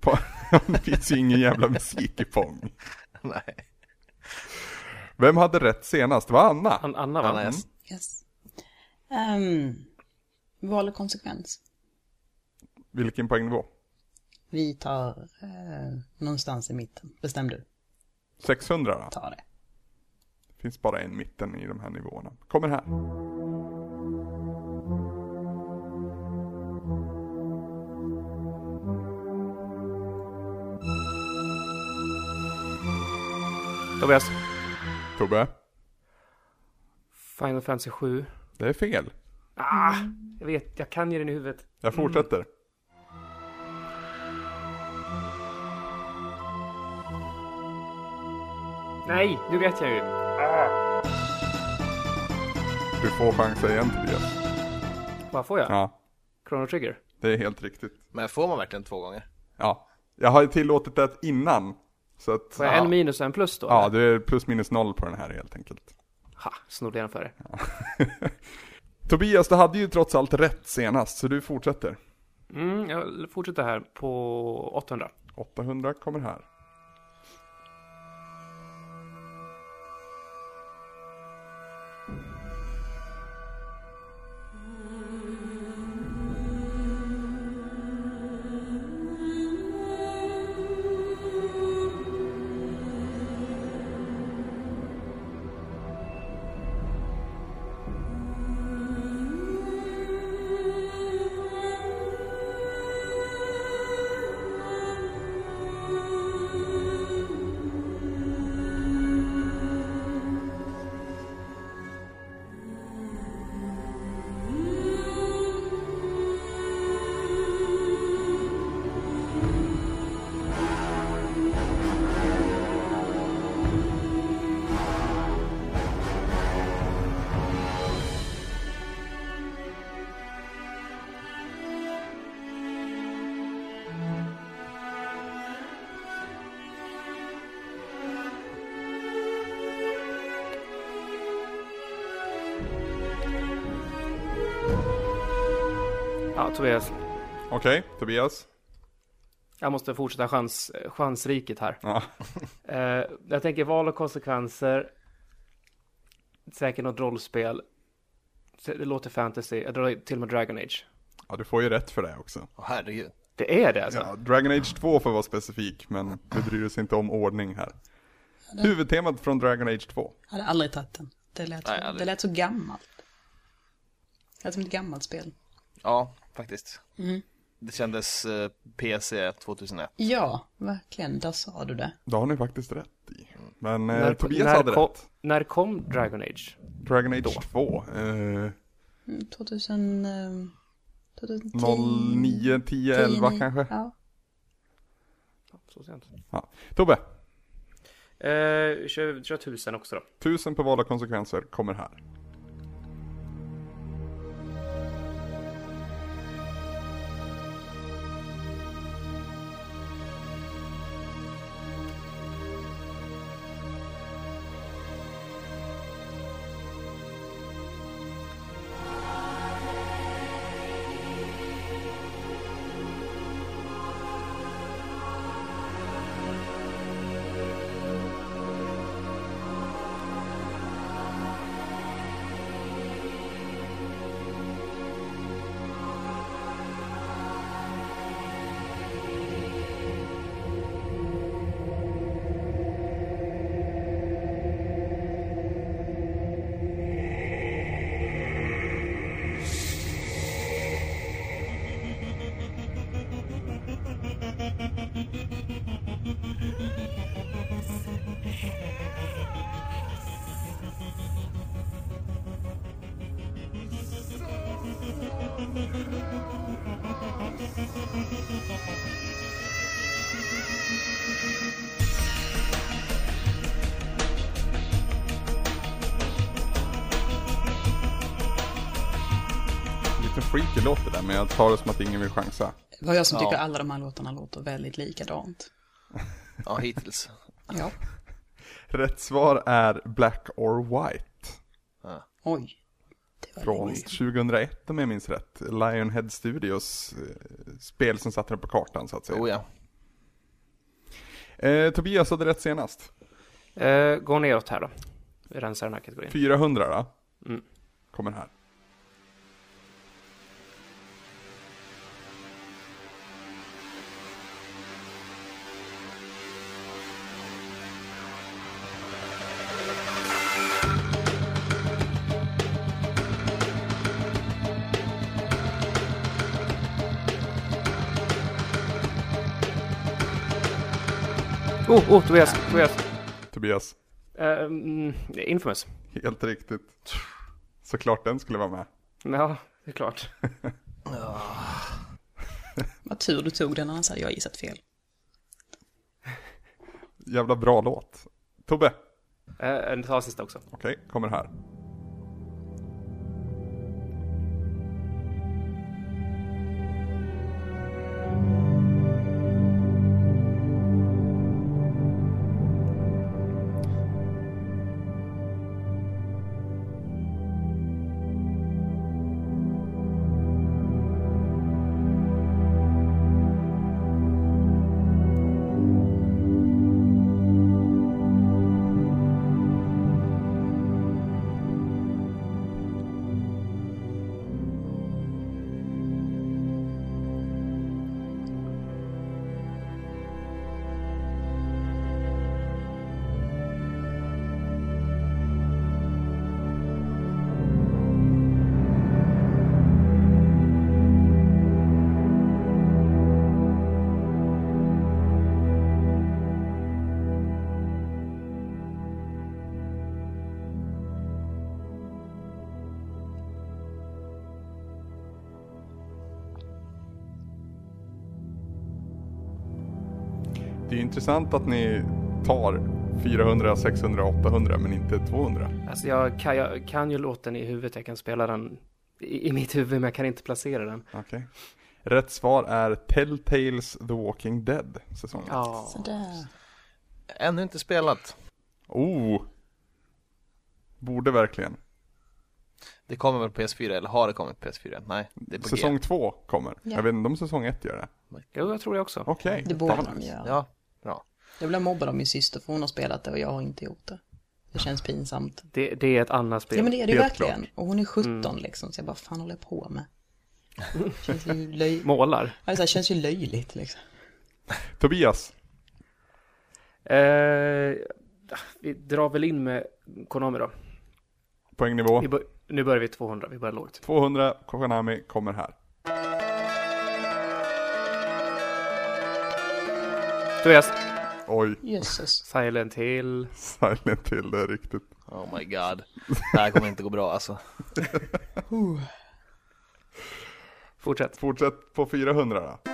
Speaker 1: På, det finns ju ingen jävla musik i Pong.
Speaker 3: Nej.
Speaker 1: Vem hade rätt senast? Det var Anna.
Speaker 11: An- Anna va? Anna, yes.
Speaker 9: Mm. Yes. Ehm, val och konsekvens.
Speaker 1: Vilken poängnivå?
Speaker 9: Vi tar eh, någonstans i mitten. Bestäm du.
Speaker 1: 600 då?
Speaker 9: Ta det.
Speaker 1: finns bara en mitten i de här nivåerna. Kommer här.
Speaker 11: Tobias.
Speaker 1: Tobbe,
Speaker 11: Final Fantasy 7.
Speaker 1: det är fel.
Speaker 11: Ah, jag vet, jag kan ju den i huvudet.
Speaker 1: Jag fortsätter.
Speaker 11: Mm. Nej, nu vet jag ju. Ah,
Speaker 1: Du får chansa igen Tobias.
Speaker 11: vad får jag?
Speaker 1: Ja,
Speaker 11: Chrono Trigger?
Speaker 1: det är helt riktigt.
Speaker 3: Men får man verkligen två gånger?
Speaker 1: Ja, jag har ju tillåtit det innan. Så att,
Speaker 11: Får jag en minus och en plus då?
Speaker 1: Ja, det är plus minus noll på den här helt enkelt.
Speaker 11: Ha, snodde jag den för dig.
Speaker 1: Tobias, du hade ju trots allt rätt senast, så du fortsätter.
Speaker 11: Mm, jag fortsätter här på 800.
Speaker 1: 800 kommer här.
Speaker 11: Ja, Tobias.
Speaker 1: Okej, Tobias.
Speaker 11: Jag måste fortsätta chans, chansriket här.
Speaker 1: Ja.
Speaker 11: Eh, jag tänker val och konsekvenser. Säkert något rollspel. Det låter fantasy. Jag drar till och med Dragon Age.
Speaker 1: Ja, du får ju rätt för det också.
Speaker 10: Åh herregud.
Speaker 11: Det är det alltså?
Speaker 1: Ja, Dragon Age 2 för att vara specifik, men vi bryr oss inte om ordning här. Huvudtemat från Dragon Age 2.
Speaker 9: Jag hade aldrig tagit den. Det lät,
Speaker 10: Nej,
Speaker 9: så,
Speaker 10: aldrig.
Speaker 9: det lät så gammalt. Det lät som ett gammalt spel.
Speaker 10: Ja, faktiskt.
Speaker 9: Mm.
Speaker 10: Det kändes eh, PC 2001.
Speaker 9: Ja, verkligen. Där sa du det.
Speaker 1: Då har ni faktiskt rätt i. Men eh,
Speaker 11: När-
Speaker 1: Tobias
Speaker 11: när
Speaker 1: hade
Speaker 11: kom-
Speaker 1: rätt.
Speaker 11: När kom Dragon Age?
Speaker 1: Dragon Age 2. Eh,
Speaker 9: Mm, 2000... eh, 2010.
Speaker 1: 09, 10, 11 kanske?
Speaker 9: Ja.
Speaker 11: Så sent.
Speaker 1: Ja. Tobbe,
Speaker 11: Eh, kör, kör tusen också då.
Speaker 1: tusen på valda konsekvenser kommer här. Lite freaky låt det där, men jag tar det som att ingen vill chansa.
Speaker 9: Det var jag som
Speaker 1: Ja.
Speaker 9: tycker alla de här låtarna låter väldigt likadant.
Speaker 10: Ja, hittills.
Speaker 9: Ja.
Speaker 1: Rätt svar är Black or White.
Speaker 9: Oj.
Speaker 1: Från 2001 om jag minns rätt. Lionhead Studios eh, spel som satte den på kartan så att säga.
Speaker 10: Oh, ja.
Speaker 1: eh, Tobias hade rätt senast.
Speaker 11: Eh, gå neråt här då. Vi rensar den här kategorin.
Speaker 1: 400 då.
Speaker 11: Mm.
Speaker 1: Kommer här.
Speaker 11: Oh, oh, Tobias, Tobias.
Speaker 1: Tobias,
Speaker 11: Eh, mm, infamous.
Speaker 1: helt riktigt. Såklart den skulle vara med.
Speaker 11: Ja, det är klart.
Speaker 9: Vad tur du tog den, annars hade jag gissat fel.
Speaker 1: Jävla bra låt. Tobbe,
Speaker 11: Eh, det tar sista också.
Speaker 1: okej, kommer här. Det är ju intressant att ni tar 400, 600, 800 men inte 200.
Speaker 11: Alltså jag kan, jag kan ju låten i huvudet, jag kan spela den i, i mitt huvud men jag kan inte placera den.
Speaker 1: Okej. Rätt svar är Telltales The Walking Dead säsong ett.
Speaker 10: Ännu inte spelat.
Speaker 1: Oh! Borde verkligen.
Speaker 10: Det kommer väl på PS4 eller har det kommit på PS4? än? Nej, det är på
Speaker 1: Säsong
Speaker 10: G.
Speaker 1: två kommer.
Speaker 9: Ja.
Speaker 1: Jag vet inte om säsong ett gör det.
Speaker 11: Jo, jag tror det också.
Speaker 1: Okej.
Speaker 9: Det borde de göra.
Speaker 10: Ja, bra.
Speaker 9: Jag blev mobbad av min syster för hon har spelat det och jag har inte gjort det. Det känns pinsamt.
Speaker 11: Det, det är ett annat spel.
Speaker 9: Ja men det är det ju
Speaker 11: Helt
Speaker 9: verkligen.
Speaker 11: klart.
Speaker 9: Och hon är 17
Speaker 11: Mm.
Speaker 9: liksom, så jag bara, fan håller jag på med? Känns ju löj...
Speaker 11: Målar.
Speaker 9: Ja, det känns ju löjligt liksom.
Speaker 1: Tobias.
Speaker 11: Eh, vi drar väl in med Konami då.
Speaker 1: Poängnivå.
Speaker 11: Vi bör, nu börjar vi 200, vi börjar lågt.
Speaker 1: 200 Konami kommer här.
Speaker 11: Tobias.
Speaker 1: Oj.
Speaker 9: Jesus.
Speaker 11: Silent Hill.
Speaker 1: Silent till det är riktigt.
Speaker 10: Oh my god. Det här kommer inte gå bra alltså.
Speaker 11: Fortsätt.
Speaker 1: Fortsätt på 400 då.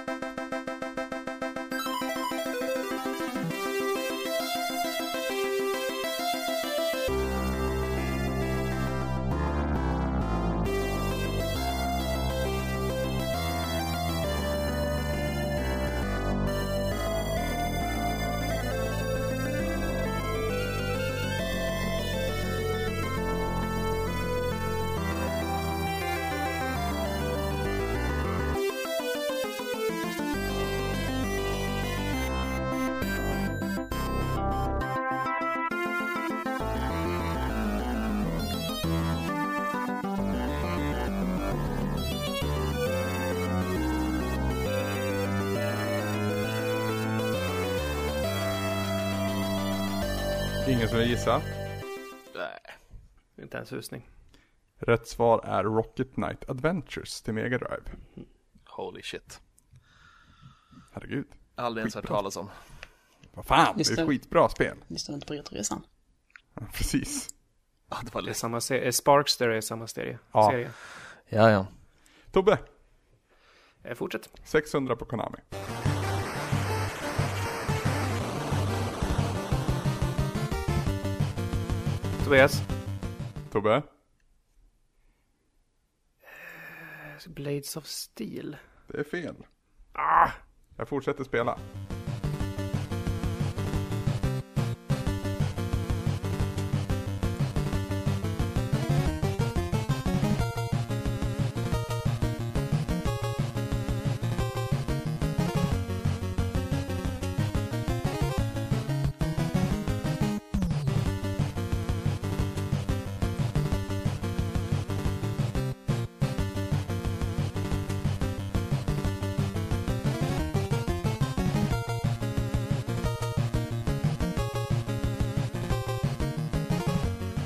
Speaker 1: Ingen som vill gissa.
Speaker 11: Nej. Inte ens susning.
Speaker 1: Rätt svar är Rocket Knight Adventures till Mega Drive.
Speaker 10: Holy shit.
Speaker 1: Herregud.
Speaker 10: Aldrig ens hört
Speaker 1: Skitbra.
Speaker 10: talas om.
Speaker 1: Vad fan,
Speaker 9: Just
Speaker 1: det är ett
Speaker 9: det.
Speaker 1: skitbra spel.
Speaker 9: Lyssnar inte på Retroresan.
Speaker 1: Ja, Precis.
Speaker 10: Ja, det var
Speaker 11: Det är
Speaker 10: läskigt.
Speaker 11: samma serie. Sparkster är samma serie.
Speaker 1: Ja.
Speaker 11: serie.
Speaker 10: Ja, ja.
Speaker 1: Tobbe,
Speaker 11: Eh, fortsätt.
Speaker 1: 600 på Konami.
Speaker 11: Tobias.
Speaker 1: Tobbe,
Speaker 11: Eh, Blades of Steel.
Speaker 1: det är fel.
Speaker 11: Ah!
Speaker 1: Jag fortsätter spela.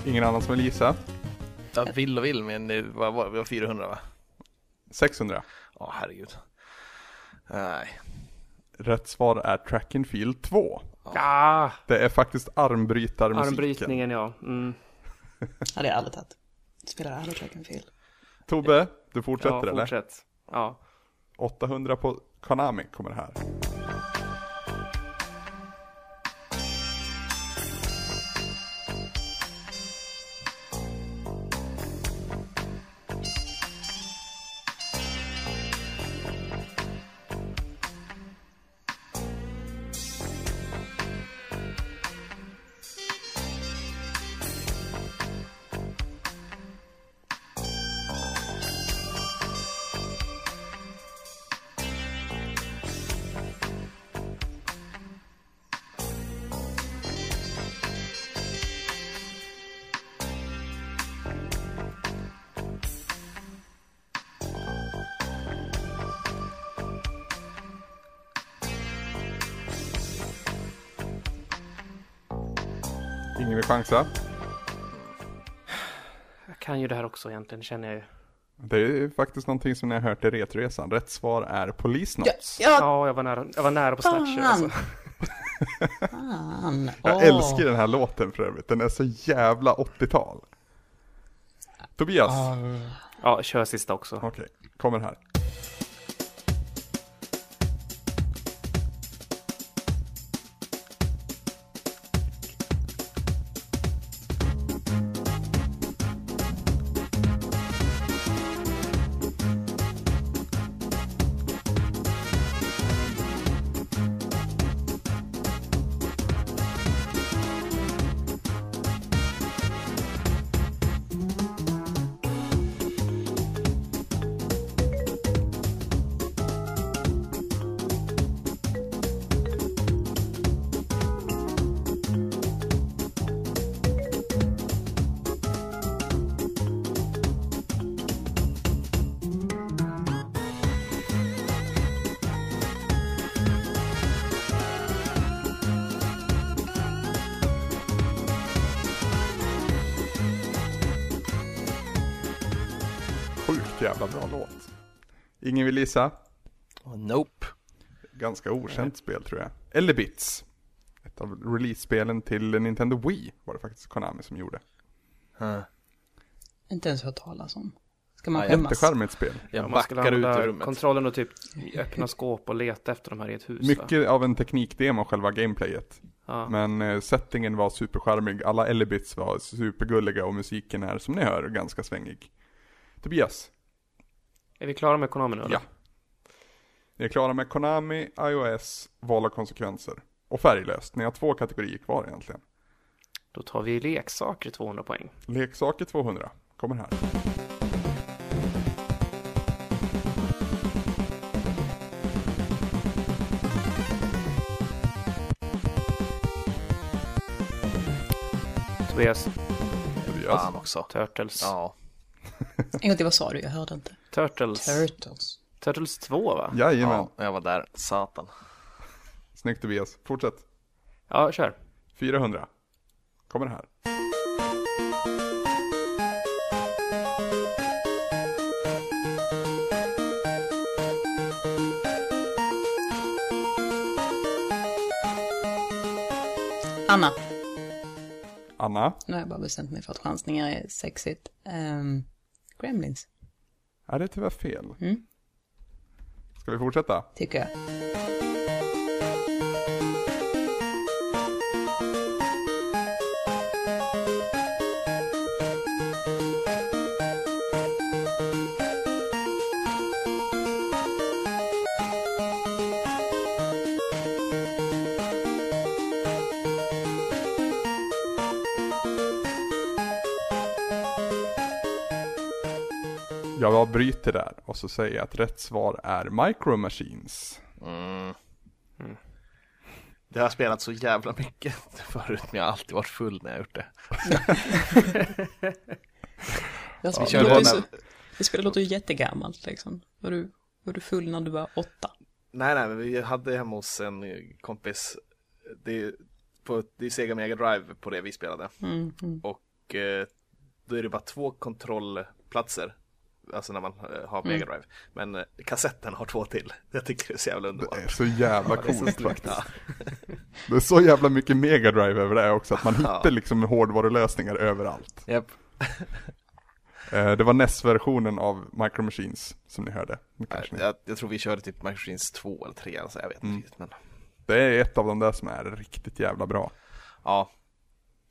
Speaker 1: Ingen annan som vill gissa?
Speaker 10: Jag vill och vill men det var, var, var 400 va?
Speaker 1: 600.
Speaker 10: Ja, herregud. Nej.
Speaker 1: Rätt svar är Track and Field 2.
Speaker 11: Ah!
Speaker 1: Det är faktiskt armbrytarmusiken.
Speaker 11: Armbrytningen ja. Mm.
Speaker 9: Ja, det är ärligt att spelar aldrig Dragon Field.
Speaker 1: Tobbe, du fortsätter
Speaker 11: ja,
Speaker 1: eller?
Speaker 11: fortsätt. Ja.
Speaker 1: 800 på Konami kommer här. Ingen vill chansa.
Speaker 11: Jag kan ju det här också egentligen känner jag ju.
Speaker 1: Det är faktiskt någonting som ni har hört i Retroresan. Rätt svar är Police Knots.
Speaker 11: Ja, jag, var nära, jag var nära på slasher alltså.
Speaker 9: Fan.
Speaker 1: Jag
Speaker 9: Åh.
Speaker 1: älskar den här låten för övrigt. Den är så jävla 80-tal. Tobias.
Speaker 11: Ja, kör sista också. Okej,
Speaker 1: kommer här. jävla bra låt. Ingen vill gissa?
Speaker 3: Nope.
Speaker 1: Ganska okänt spel tror jag. Eller Bits. Ett av release-spelen till Nintendo Wii var det faktiskt Konami som gjorde.
Speaker 9: Inte ens hört talas om. Ska man
Speaker 1: Ja,
Speaker 9: skämmas?
Speaker 1: Jättecharmigt spel.
Speaker 11: Ja, man skulle använda kontrollen och typ öppna skåp och leta efter de här i ett hus. va?
Speaker 1: Mycket av en teknikdemo själva gameplayet.
Speaker 11: Ja.
Speaker 1: Men eh, settingen var supercharmig, alla Elibits var supergulliga och musiken är som ni hör ganska svängig. Tobias,
Speaker 11: Är vi klara med Konami nu? eller?
Speaker 1: Ja. ni är klara med Konami, iOS, val och konsekvenser. Och färglöst, ni har två kategorier kvar egentligen.
Speaker 11: Då tar vi leksaker 200 poäng.
Speaker 1: Leksaker 200 kommer här.
Speaker 11: Tobias.
Speaker 1: Tobias.
Speaker 11: Fan
Speaker 3: också.
Speaker 11: Turtles. Ja.
Speaker 9: En gång till, vad sa du? Jag hörde inte.
Speaker 11: Turtles.
Speaker 9: Turtles.
Speaker 11: Turtles 2 va?
Speaker 1: Jajamän.
Speaker 3: Ja, jag var där. Satan.
Speaker 1: Snyggt Tobias, fortsätt.
Speaker 11: Ja, kör.
Speaker 1: 400 kommer här.
Speaker 9: Anna.
Speaker 1: Anna,
Speaker 9: Nu har jag bara bestämt mig för att chansningar är sexigt. Ehm, Gremlins,
Speaker 1: är det är tyvärr fel?
Speaker 9: Mm.
Speaker 1: Ska vi fortsätta?
Speaker 9: tycker jag.
Speaker 1: Jag bara bryter där och så säger jag att rätt svar är Micro Machines.
Speaker 3: Mm. Det har jag spelat så jävla mycket förut, men jag har alltid varit full när jag har gjort det.
Speaker 9: Jag
Speaker 3: Vi
Speaker 9: spelar,
Speaker 3: körde
Speaker 9: det, låter ju
Speaker 3: den
Speaker 9: så,
Speaker 3: här-
Speaker 9: det spelar låter ju jättegammalt liksom. Var du, var du full när du var åtta?
Speaker 3: Nej, nej, men vi hade hemma hos en kompis. Det är, på, det är Sega Mega Drive på det vi spelade.
Speaker 9: Mm, mm.
Speaker 3: Och eh, då är det bara två kontrollplatser. Alltså när man eh, har
Speaker 9: Mm.
Speaker 3: Mega Drive. Men eh, kassetten har två till. Jag tycker det är så jävla underbart.
Speaker 1: Det är så jävla
Speaker 3: Ja, det är så
Speaker 1: coolt
Speaker 3: snyggt.
Speaker 1: faktiskt. Det är så jävla mycket Mega Drive över det här också, att man
Speaker 3: Ja.
Speaker 1: hittar liksom hårdvarulösningar överallt.
Speaker 3: Ja. Japp.
Speaker 1: Eh, Det var NES-versionen av Micro Machines som ni hörde. Det kanske ni- Mm.
Speaker 3: Jag, jag tror vi körde typ Machines 2 eller 3, alltså, jag vet inte riktigt. Men
Speaker 1: Det är ett av de där som är riktigt jävla bra.
Speaker 3: ja,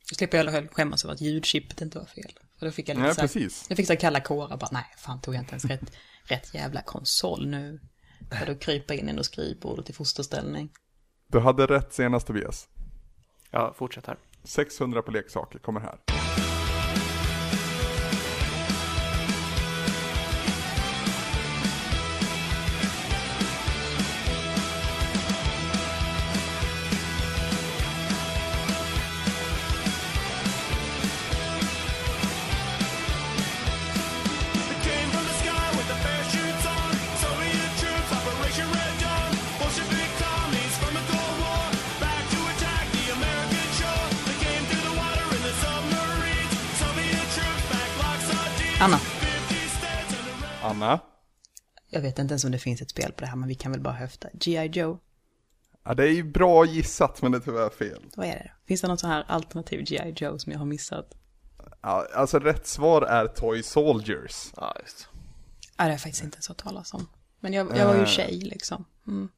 Speaker 9: Då slipper jag själv skämmas över att ljudchippet inte var fel. För då fick jag lite
Speaker 1: Nej,
Speaker 9: så här,
Speaker 1: precis.
Speaker 9: Jag fick så här kalla kårar bara, nej, fan tog jag inte ens rätt, rätt jävla konsol nu. Och då kryper jag in under skrivbordet i fosterställning.
Speaker 1: Du hade rätt senast Tobias.
Speaker 11: Ja, fortsätt här.
Speaker 1: 600 på leksaker kommer här.
Speaker 9: Anna,
Speaker 1: Anna,
Speaker 9: jag vet inte ens om det finns ett spel på det här, men vi kan väl bara höfta. G.I. Joe,
Speaker 1: ja, det är ju bra gissat men det är tyvärr fel.
Speaker 9: vad är det då? Finns det något så här alternativ G.I. Joe som jag har missat?
Speaker 1: Ja, alltså rätt svar är Toy Soldiers.
Speaker 3: Ja, just.
Speaker 9: Ja, det har jag faktiskt inte ens hört talas om. Men jag, jag var ju
Speaker 1: Eh.
Speaker 9: tjej liksom. Mm.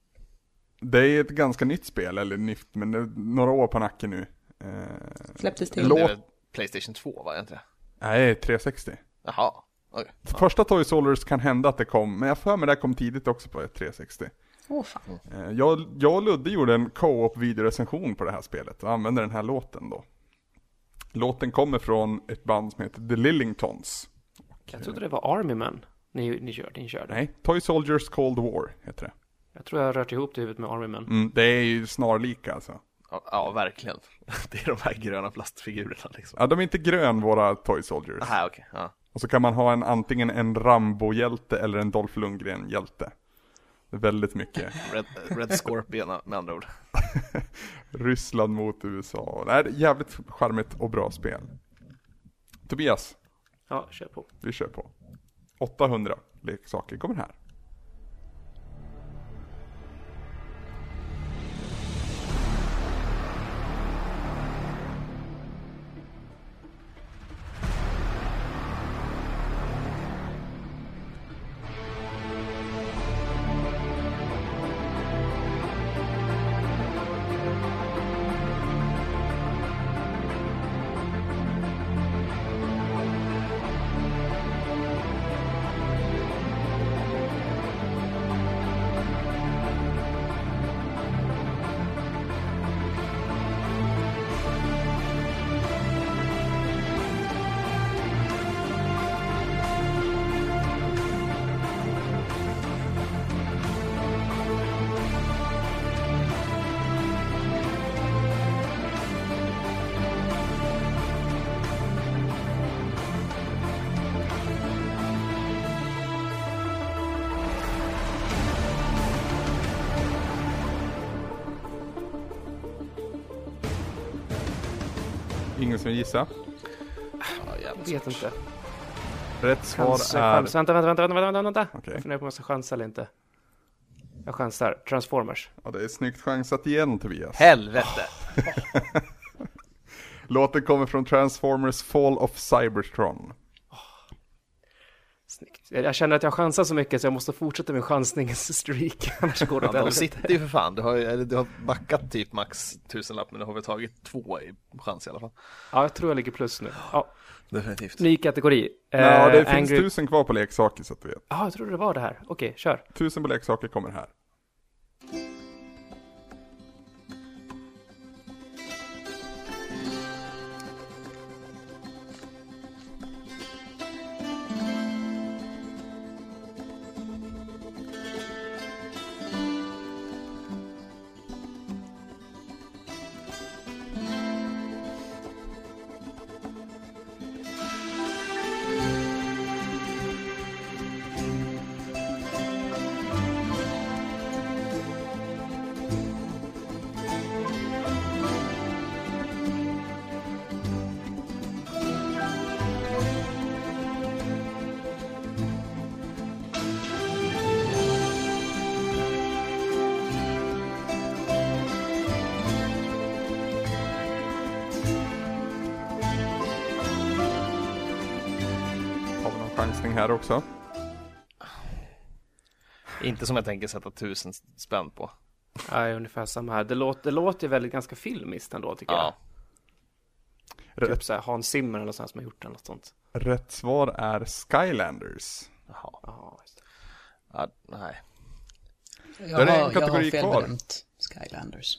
Speaker 1: Det är ett ganska nytt spel, eller nytt, men det är några år på nacken nu. Eh,
Speaker 9: Släpptes
Speaker 3: det
Speaker 9: till.
Speaker 3: är väl Playstation 2 var det inte det?
Speaker 1: Nej, 360.
Speaker 3: Jaha, oj.
Speaker 1: Första Toy Soldiers kan hända att det kom, men jag får mig det här kom tidigt också på 360.
Speaker 9: Åh fan.
Speaker 1: Eh, Jag, jag och Ludde gjorde en co-op videorecension på det här spelet och använde den här låten då. Låten kommer från ett band som heter The Lillingtons.
Speaker 11: Jag trodde det var Army Man ni, ni körde. Ni körde.
Speaker 1: Nej, Toy Soldiers Cold War heter det.
Speaker 11: Jag tror jag har rört ihop det i huvudet med Army Man.
Speaker 1: Mm, det är ju snarlika alltså.
Speaker 3: Ja, ja, verkligen. Det är de här gröna plastfigurerna liksom.
Speaker 1: Ja, de är inte grön våra Toy Soldiers.
Speaker 3: Aha, okej. Ja.
Speaker 1: Och så kan man ha en antingen en Rambo-hjälte eller en Dolph Lundgren-hjälte. Det är Väldigt mycket.
Speaker 3: Red, Red Scorpion med andra ord.
Speaker 1: Ryssland mot USA. Det här är jävligt charmigt och bra spel. Tobias,
Speaker 11: Ja, kör på.
Speaker 1: vi kör på. 800 leksaker kommer här. Ingen som vill gissa?
Speaker 11: Vet inte.
Speaker 1: Rätt svar
Speaker 11: Chans,
Speaker 1: är...
Speaker 11: chans. Vänta, vänta, vänta, vänta, vänta, vänta.
Speaker 1: Okej.
Speaker 11: Jag funderar på om jag ska chansa eller inte. Jag chansar. Transformers.
Speaker 1: Ja, det är snyggt chansat igen Tobias.
Speaker 11: Helvete.
Speaker 1: Låten kommer från Transformers Fall of Cybertron.
Speaker 11: Jag jag känner att jag chansar så mycket så jag måste fortsätta min chansningsstreak. Annars går det åt
Speaker 10: Ja, de
Speaker 11: helvete.
Speaker 10: sitter ju för fan. Du har, ju- eller, du har backat typ max tusenlapp men du har väl tagit två i chans i alla fall.
Speaker 11: Ja, jag tror jag ligger plus nu. Ja.
Speaker 10: Definitivt.
Speaker 11: Ny kategori.
Speaker 1: ja,
Speaker 11: Eh,
Speaker 1: det finns
Speaker 11: Angry-
Speaker 1: tusen kvar på leksaker så att du vet.
Speaker 11: Ja, jag trodde det var det här. Okej, kör.
Speaker 1: Tusen på leksaker kommer här. Har vi någon chansning här också?
Speaker 10: Inte som jag tänker sätta tusen spänn på.
Speaker 11: Ja, ungefär samma här. Det låter, det låter ju väldigt ganska filmiskt ändå tycker jag. Typ så här Hans Zimmer eller något sånt som har gjort den, något sånt.
Speaker 1: Rätt svar är Skylanders.
Speaker 10: Jaha.
Speaker 1: Ja, nej.
Speaker 9: Jag
Speaker 1: Då är det
Speaker 9: har-
Speaker 1: en kategori
Speaker 9: jag har
Speaker 1: kvar.
Speaker 9: felbedömt Skylanders.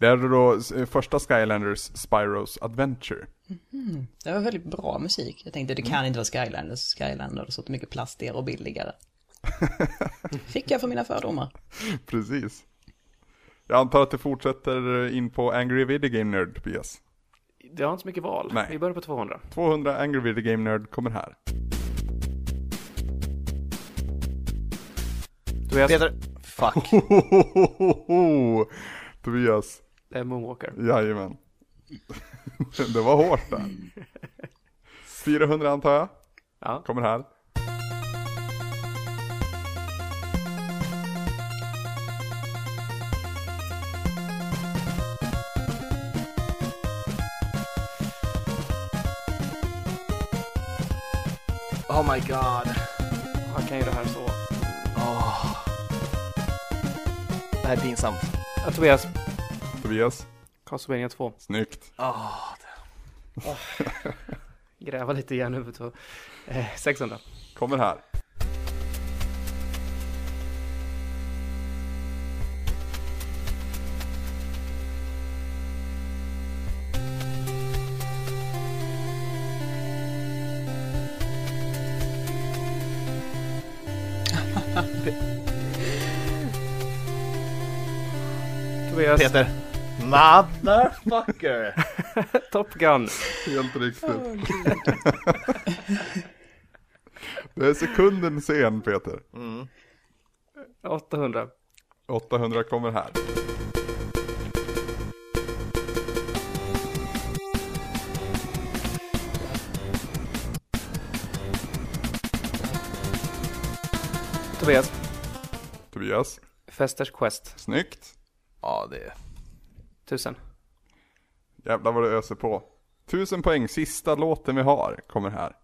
Speaker 1: Det är då eh, första Skylanders Spyros Adventure.
Speaker 9: Mm. Det var väldigt bra musik. Jag tänkte det kan inte vara Skylanders. Skylanders är så mycket plastigare och billigare. Fick jag för mina fördomar.
Speaker 1: Precis. Jag antar att det fortsätter in på Angry Video Game Nerd, Tobias.
Speaker 11: Det har inte så mycket val.
Speaker 1: Nej.
Speaker 11: Vi börjar på 200.
Speaker 1: 200 Angry Video Game Nerd kommer här.
Speaker 11: Tobias.
Speaker 10: Peter. Fuck.
Speaker 1: Tobias.
Speaker 11: Det är Moonwalker.
Speaker 1: Jajamän. Det var hårt där. 400 antar jag.
Speaker 11: Ja.
Speaker 1: Kommer här.
Speaker 10: Oh my god.
Speaker 11: Han kan ju det här så.
Speaker 10: Ah. Det här är pinsamt.
Speaker 11: Ja, Tobias.
Speaker 1: Tobias.
Speaker 11: Castlevania 2.
Speaker 1: Snyggt.
Speaker 10: Oh,
Speaker 11: Gräva lite igen huvudet. och- Eh, 600.
Speaker 1: Kommer här.
Speaker 11: Tobias.
Speaker 10: Peter. Motherfucker.
Speaker 11: Top Gun.
Speaker 1: Helt riktigt. Det är sekunden sen Peter.
Speaker 10: Mm.
Speaker 11: 800.
Speaker 1: 800 kommer här.
Speaker 11: Tobias.
Speaker 1: Tobias.
Speaker 11: Festers Quest.
Speaker 1: Snyggt.
Speaker 10: Ja, det...
Speaker 11: Tusen.
Speaker 1: Jävlar vad du öser på. Tusen poäng, sista låten vi har kommer här.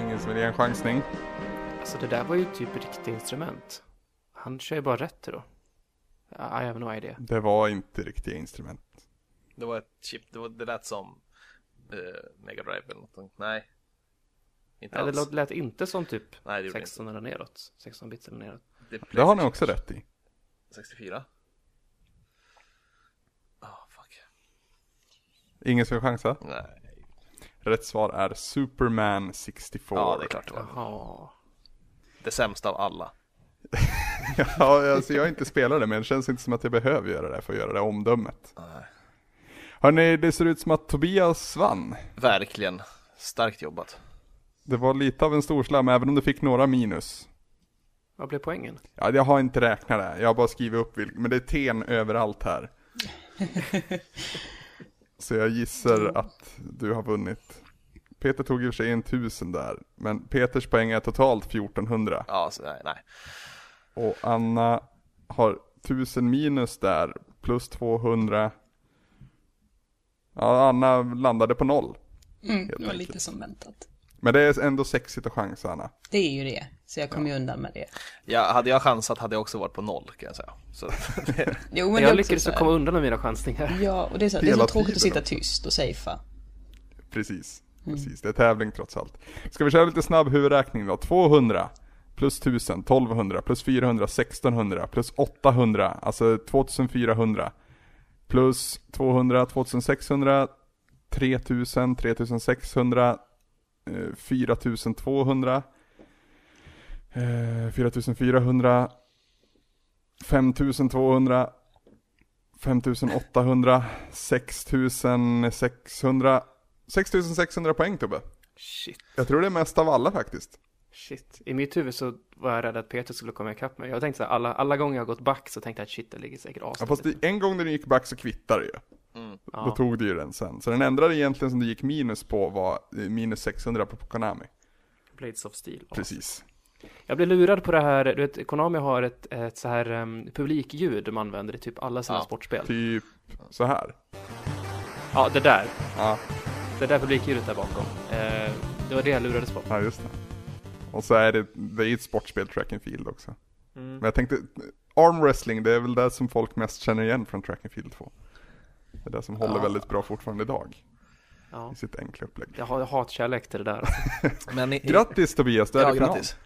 Speaker 1: Ingen som vill ge en chansning.
Speaker 11: Alltså det där var ju typ ett riktigt instrument. Han kör ju bara rätt då. I have no idea.
Speaker 1: Det var inte riktiga instrument.
Speaker 10: Det var ett chip, det, var, det lät som eh, Mega Drive eller någonting. Nej. Inte
Speaker 11: Nej, det
Speaker 10: alls.
Speaker 11: låt- lät inte som typ
Speaker 10: Nej, det gjorde det
Speaker 11: 16 eller neråt. 16 bits eller neråt.
Speaker 10: Det är
Speaker 1: Det har ni också rätt i.
Speaker 10: 64.
Speaker 1: Ingen som vill chansa?
Speaker 10: Nej.
Speaker 1: Rätt svar är Superman 64.
Speaker 10: Ja, det är klart det var. Det sämsta av alla.
Speaker 1: ja, alltså jag har inte spelat det men det känns inte som att jag behöver göra det för att göra det omdömet. Hörni, det ser ut som att Tobias vann.
Speaker 10: Verkligen. Starkt jobbat.
Speaker 1: Det var lite av en storslam även om du fick några minus.
Speaker 11: Vad blev poängen?
Speaker 1: Ja, jag har inte räknat det, jag har bara skrivit upp vilka, men det är ten överallt här. Så jag gissar att du har vunnit. Peter tog i och för sig en tusen där, men Peters poäng är totalt 1400.
Speaker 10: Ja, så, nej, nej.
Speaker 1: Och Anna har 1000 minus där, plus 200. Ja, Anna landade på noll.
Speaker 9: Mm,
Speaker 1: Helt
Speaker 9: det var
Speaker 1: enkelt.
Speaker 9: lite som väntat.
Speaker 1: Men det är ändå sexigt att chansa Anna.
Speaker 9: Det är ju det, så jag kom ju undan med det.
Speaker 10: Ja, hade jag chansat hade jag också varit på noll kan jag säga. Så, det,
Speaker 9: Jo, men det är
Speaker 11: jag
Speaker 9: också
Speaker 11: lyckades
Speaker 9: så här-
Speaker 11: komma undan med mina chansningar.
Speaker 9: Ja, och det är så, det är så
Speaker 1: Hela
Speaker 9: tråkigt att
Speaker 1: tiden
Speaker 9: sitta tyst och safea.
Speaker 1: Precis, precis. Det är tävling trots allt. Ska vi köra lite snabb huvudräkning då? 200 plus 1000, 1200 plus 400, 1600 plus 800, alltså 2400. Plus 200, 2600, 3000, 3600, eh, 4200, eh, 4400, 5200, 5800, 6600, 6600 poäng Tobbe.
Speaker 11: Shit.
Speaker 1: Jag tror det är mest av alla faktiskt.
Speaker 11: Shit. I mitt huvud så var jag rädd att Peter skulle komma ikapp mig. Jag tänkte så här, alla, alla gånger jag har gått back så tänkte jag att shit, det ligger säkert
Speaker 1: Ja,
Speaker 11: as.
Speaker 1: fast det, en gång när du gick back så kvittade det ju.
Speaker 11: Mm.
Speaker 1: Då
Speaker 11: Ja.
Speaker 1: tog du ju den sen. Så den enda egentligen som du gick minus på var eh, minus 600 på Konami.
Speaker 11: Blades of Steel. as.
Speaker 1: Precis.
Speaker 11: Jag blev lurad på det här, du vet, Konami har ett, ett så här um, publikljud de använder i typ alla sina sportspel.
Speaker 1: Typ så här.
Speaker 11: Ja, det där.
Speaker 1: Ja.
Speaker 11: Det där publikljudet där bakom. Eh, det var det jag lurades på.
Speaker 1: Ja, just det. Och så är det, det är ju ett sportspel track and field också.
Speaker 11: Mm.
Speaker 1: Men jag tänkte, arm wrestling det är väl det som folk mest känner igen från track and field 2. Det är det som håller
Speaker 11: Ja.
Speaker 1: väldigt bra fortfarande idag.
Speaker 11: Ja.
Speaker 1: I sitt enkla upplägg.
Speaker 11: Jag har jag har hatkärlek till det där.
Speaker 10: Men i-
Speaker 1: Grattis Tobias, du är
Speaker 10: ja,
Speaker 1: i final.
Speaker 10: grattis.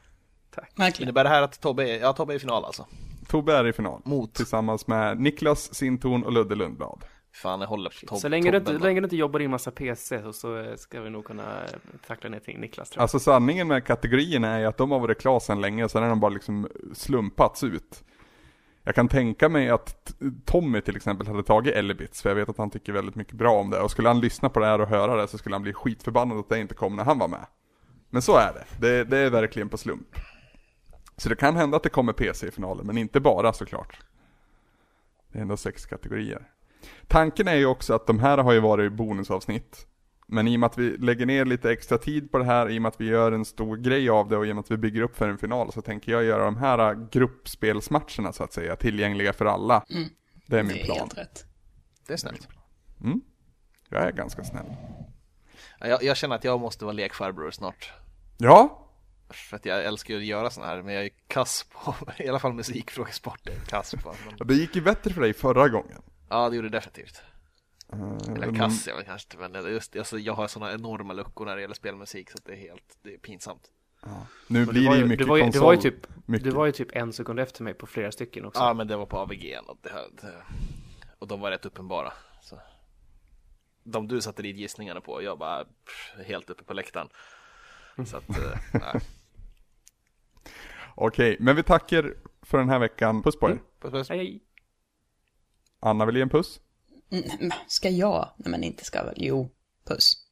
Speaker 11: Tack.
Speaker 10: Innebär det här att Tobbe är, ja, Tobbe är i final alltså?
Speaker 1: Tobbe är i final. Tillsammans med Niklas Sintorn och Ludde Lundblad.
Speaker 10: Fan, jag håller på Tobbe.
Speaker 11: så länge du, inte,
Speaker 10: Tobben.
Speaker 11: länge du inte jobbar in massa PC så, så eh, ska vi nog kunna eh, tackla ner till Niklas. Tror jag.
Speaker 1: Alltså sanningen med kategorierna är ju att de har varit klara sedan länge och sen har de bara liksom slumpats ut. Jag kan tänka mig att t- Tommy till exempel hade tagit Elbits för jag vet att han tycker väldigt mycket bra om det och skulle han lyssna på det här och höra det så skulle han bli skitförbannad att det inte kom när han var med. Men så är det, det, det är verkligen på slump. Så det kan hända att det kommer PC i finalen men inte bara såklart. Det är ändå sex kategorier. Tanken är ju också att de här har ju varit bonusavsnitt. Men i och med att vi lägger ner lite extra tid på det här, i och med att vi gör en stor grej av det och i och med att vi bygger upp för en final så tänker jag göra de här gruppspelsmatcherna så att säga tillgängliga för alla.
Speaker 9: Mm.
Speaker 1: Det är min
Speaker 9: Det är
Speaker 1: plan.
Speaker 9: helt rätt.
Speaker 10: Det är snällt.
Speaker 1: Mm. Jag är ganska snäll.
Speaker 10: Ja, Jag, jag känner att jag måste vara lekfarbror snart.
Speaker 1: Ja,
Speaker 10: För att jag älskar ju att göra sådana här, men jag är kass på, i alla fall musikfrågesport är jag kass på. Men...
Speaker 1: det gick ju bättre för dig förra gången. Eh,
Speaker 3: Ja, det gjorde det definitivt. Eller
Speaker 1: men-
Speaker 3: Cassia kanske inte, men just alltså, jag har sådana enorma luckor när det gäller spelmusik så att det är helt, det är pinsamt.
Speaker 1: Nu
Speaker 11: Men
Speaker 1: blir
Speaker 11: du var
Speaker 1: det ju mycket
Speaker 11: du var ju, du var ju
Speaker 1: konsol.
Speaker 11: typ,
Speaker 1: Mycket.
Speaker 11: Du var ju typ en sekund efter mig på flera stycken också.
Speaker 3: Ja, men det var på AVG och, det, här- det, och de var rätt uppenbara. Så. De du satte dit gissningarna på, jag bara pff, helt uppe på läktaren. Så att, eh, nej.
Speaker 1: Okej, men vi tackar för den här veckan. Puss på er.
Speaker 3: Puss, puss.
Speaker 1: Anna vill ge en puss.
Speaker 9: Mm, men ska jag? Nej men inte ska väl. Jo, puss.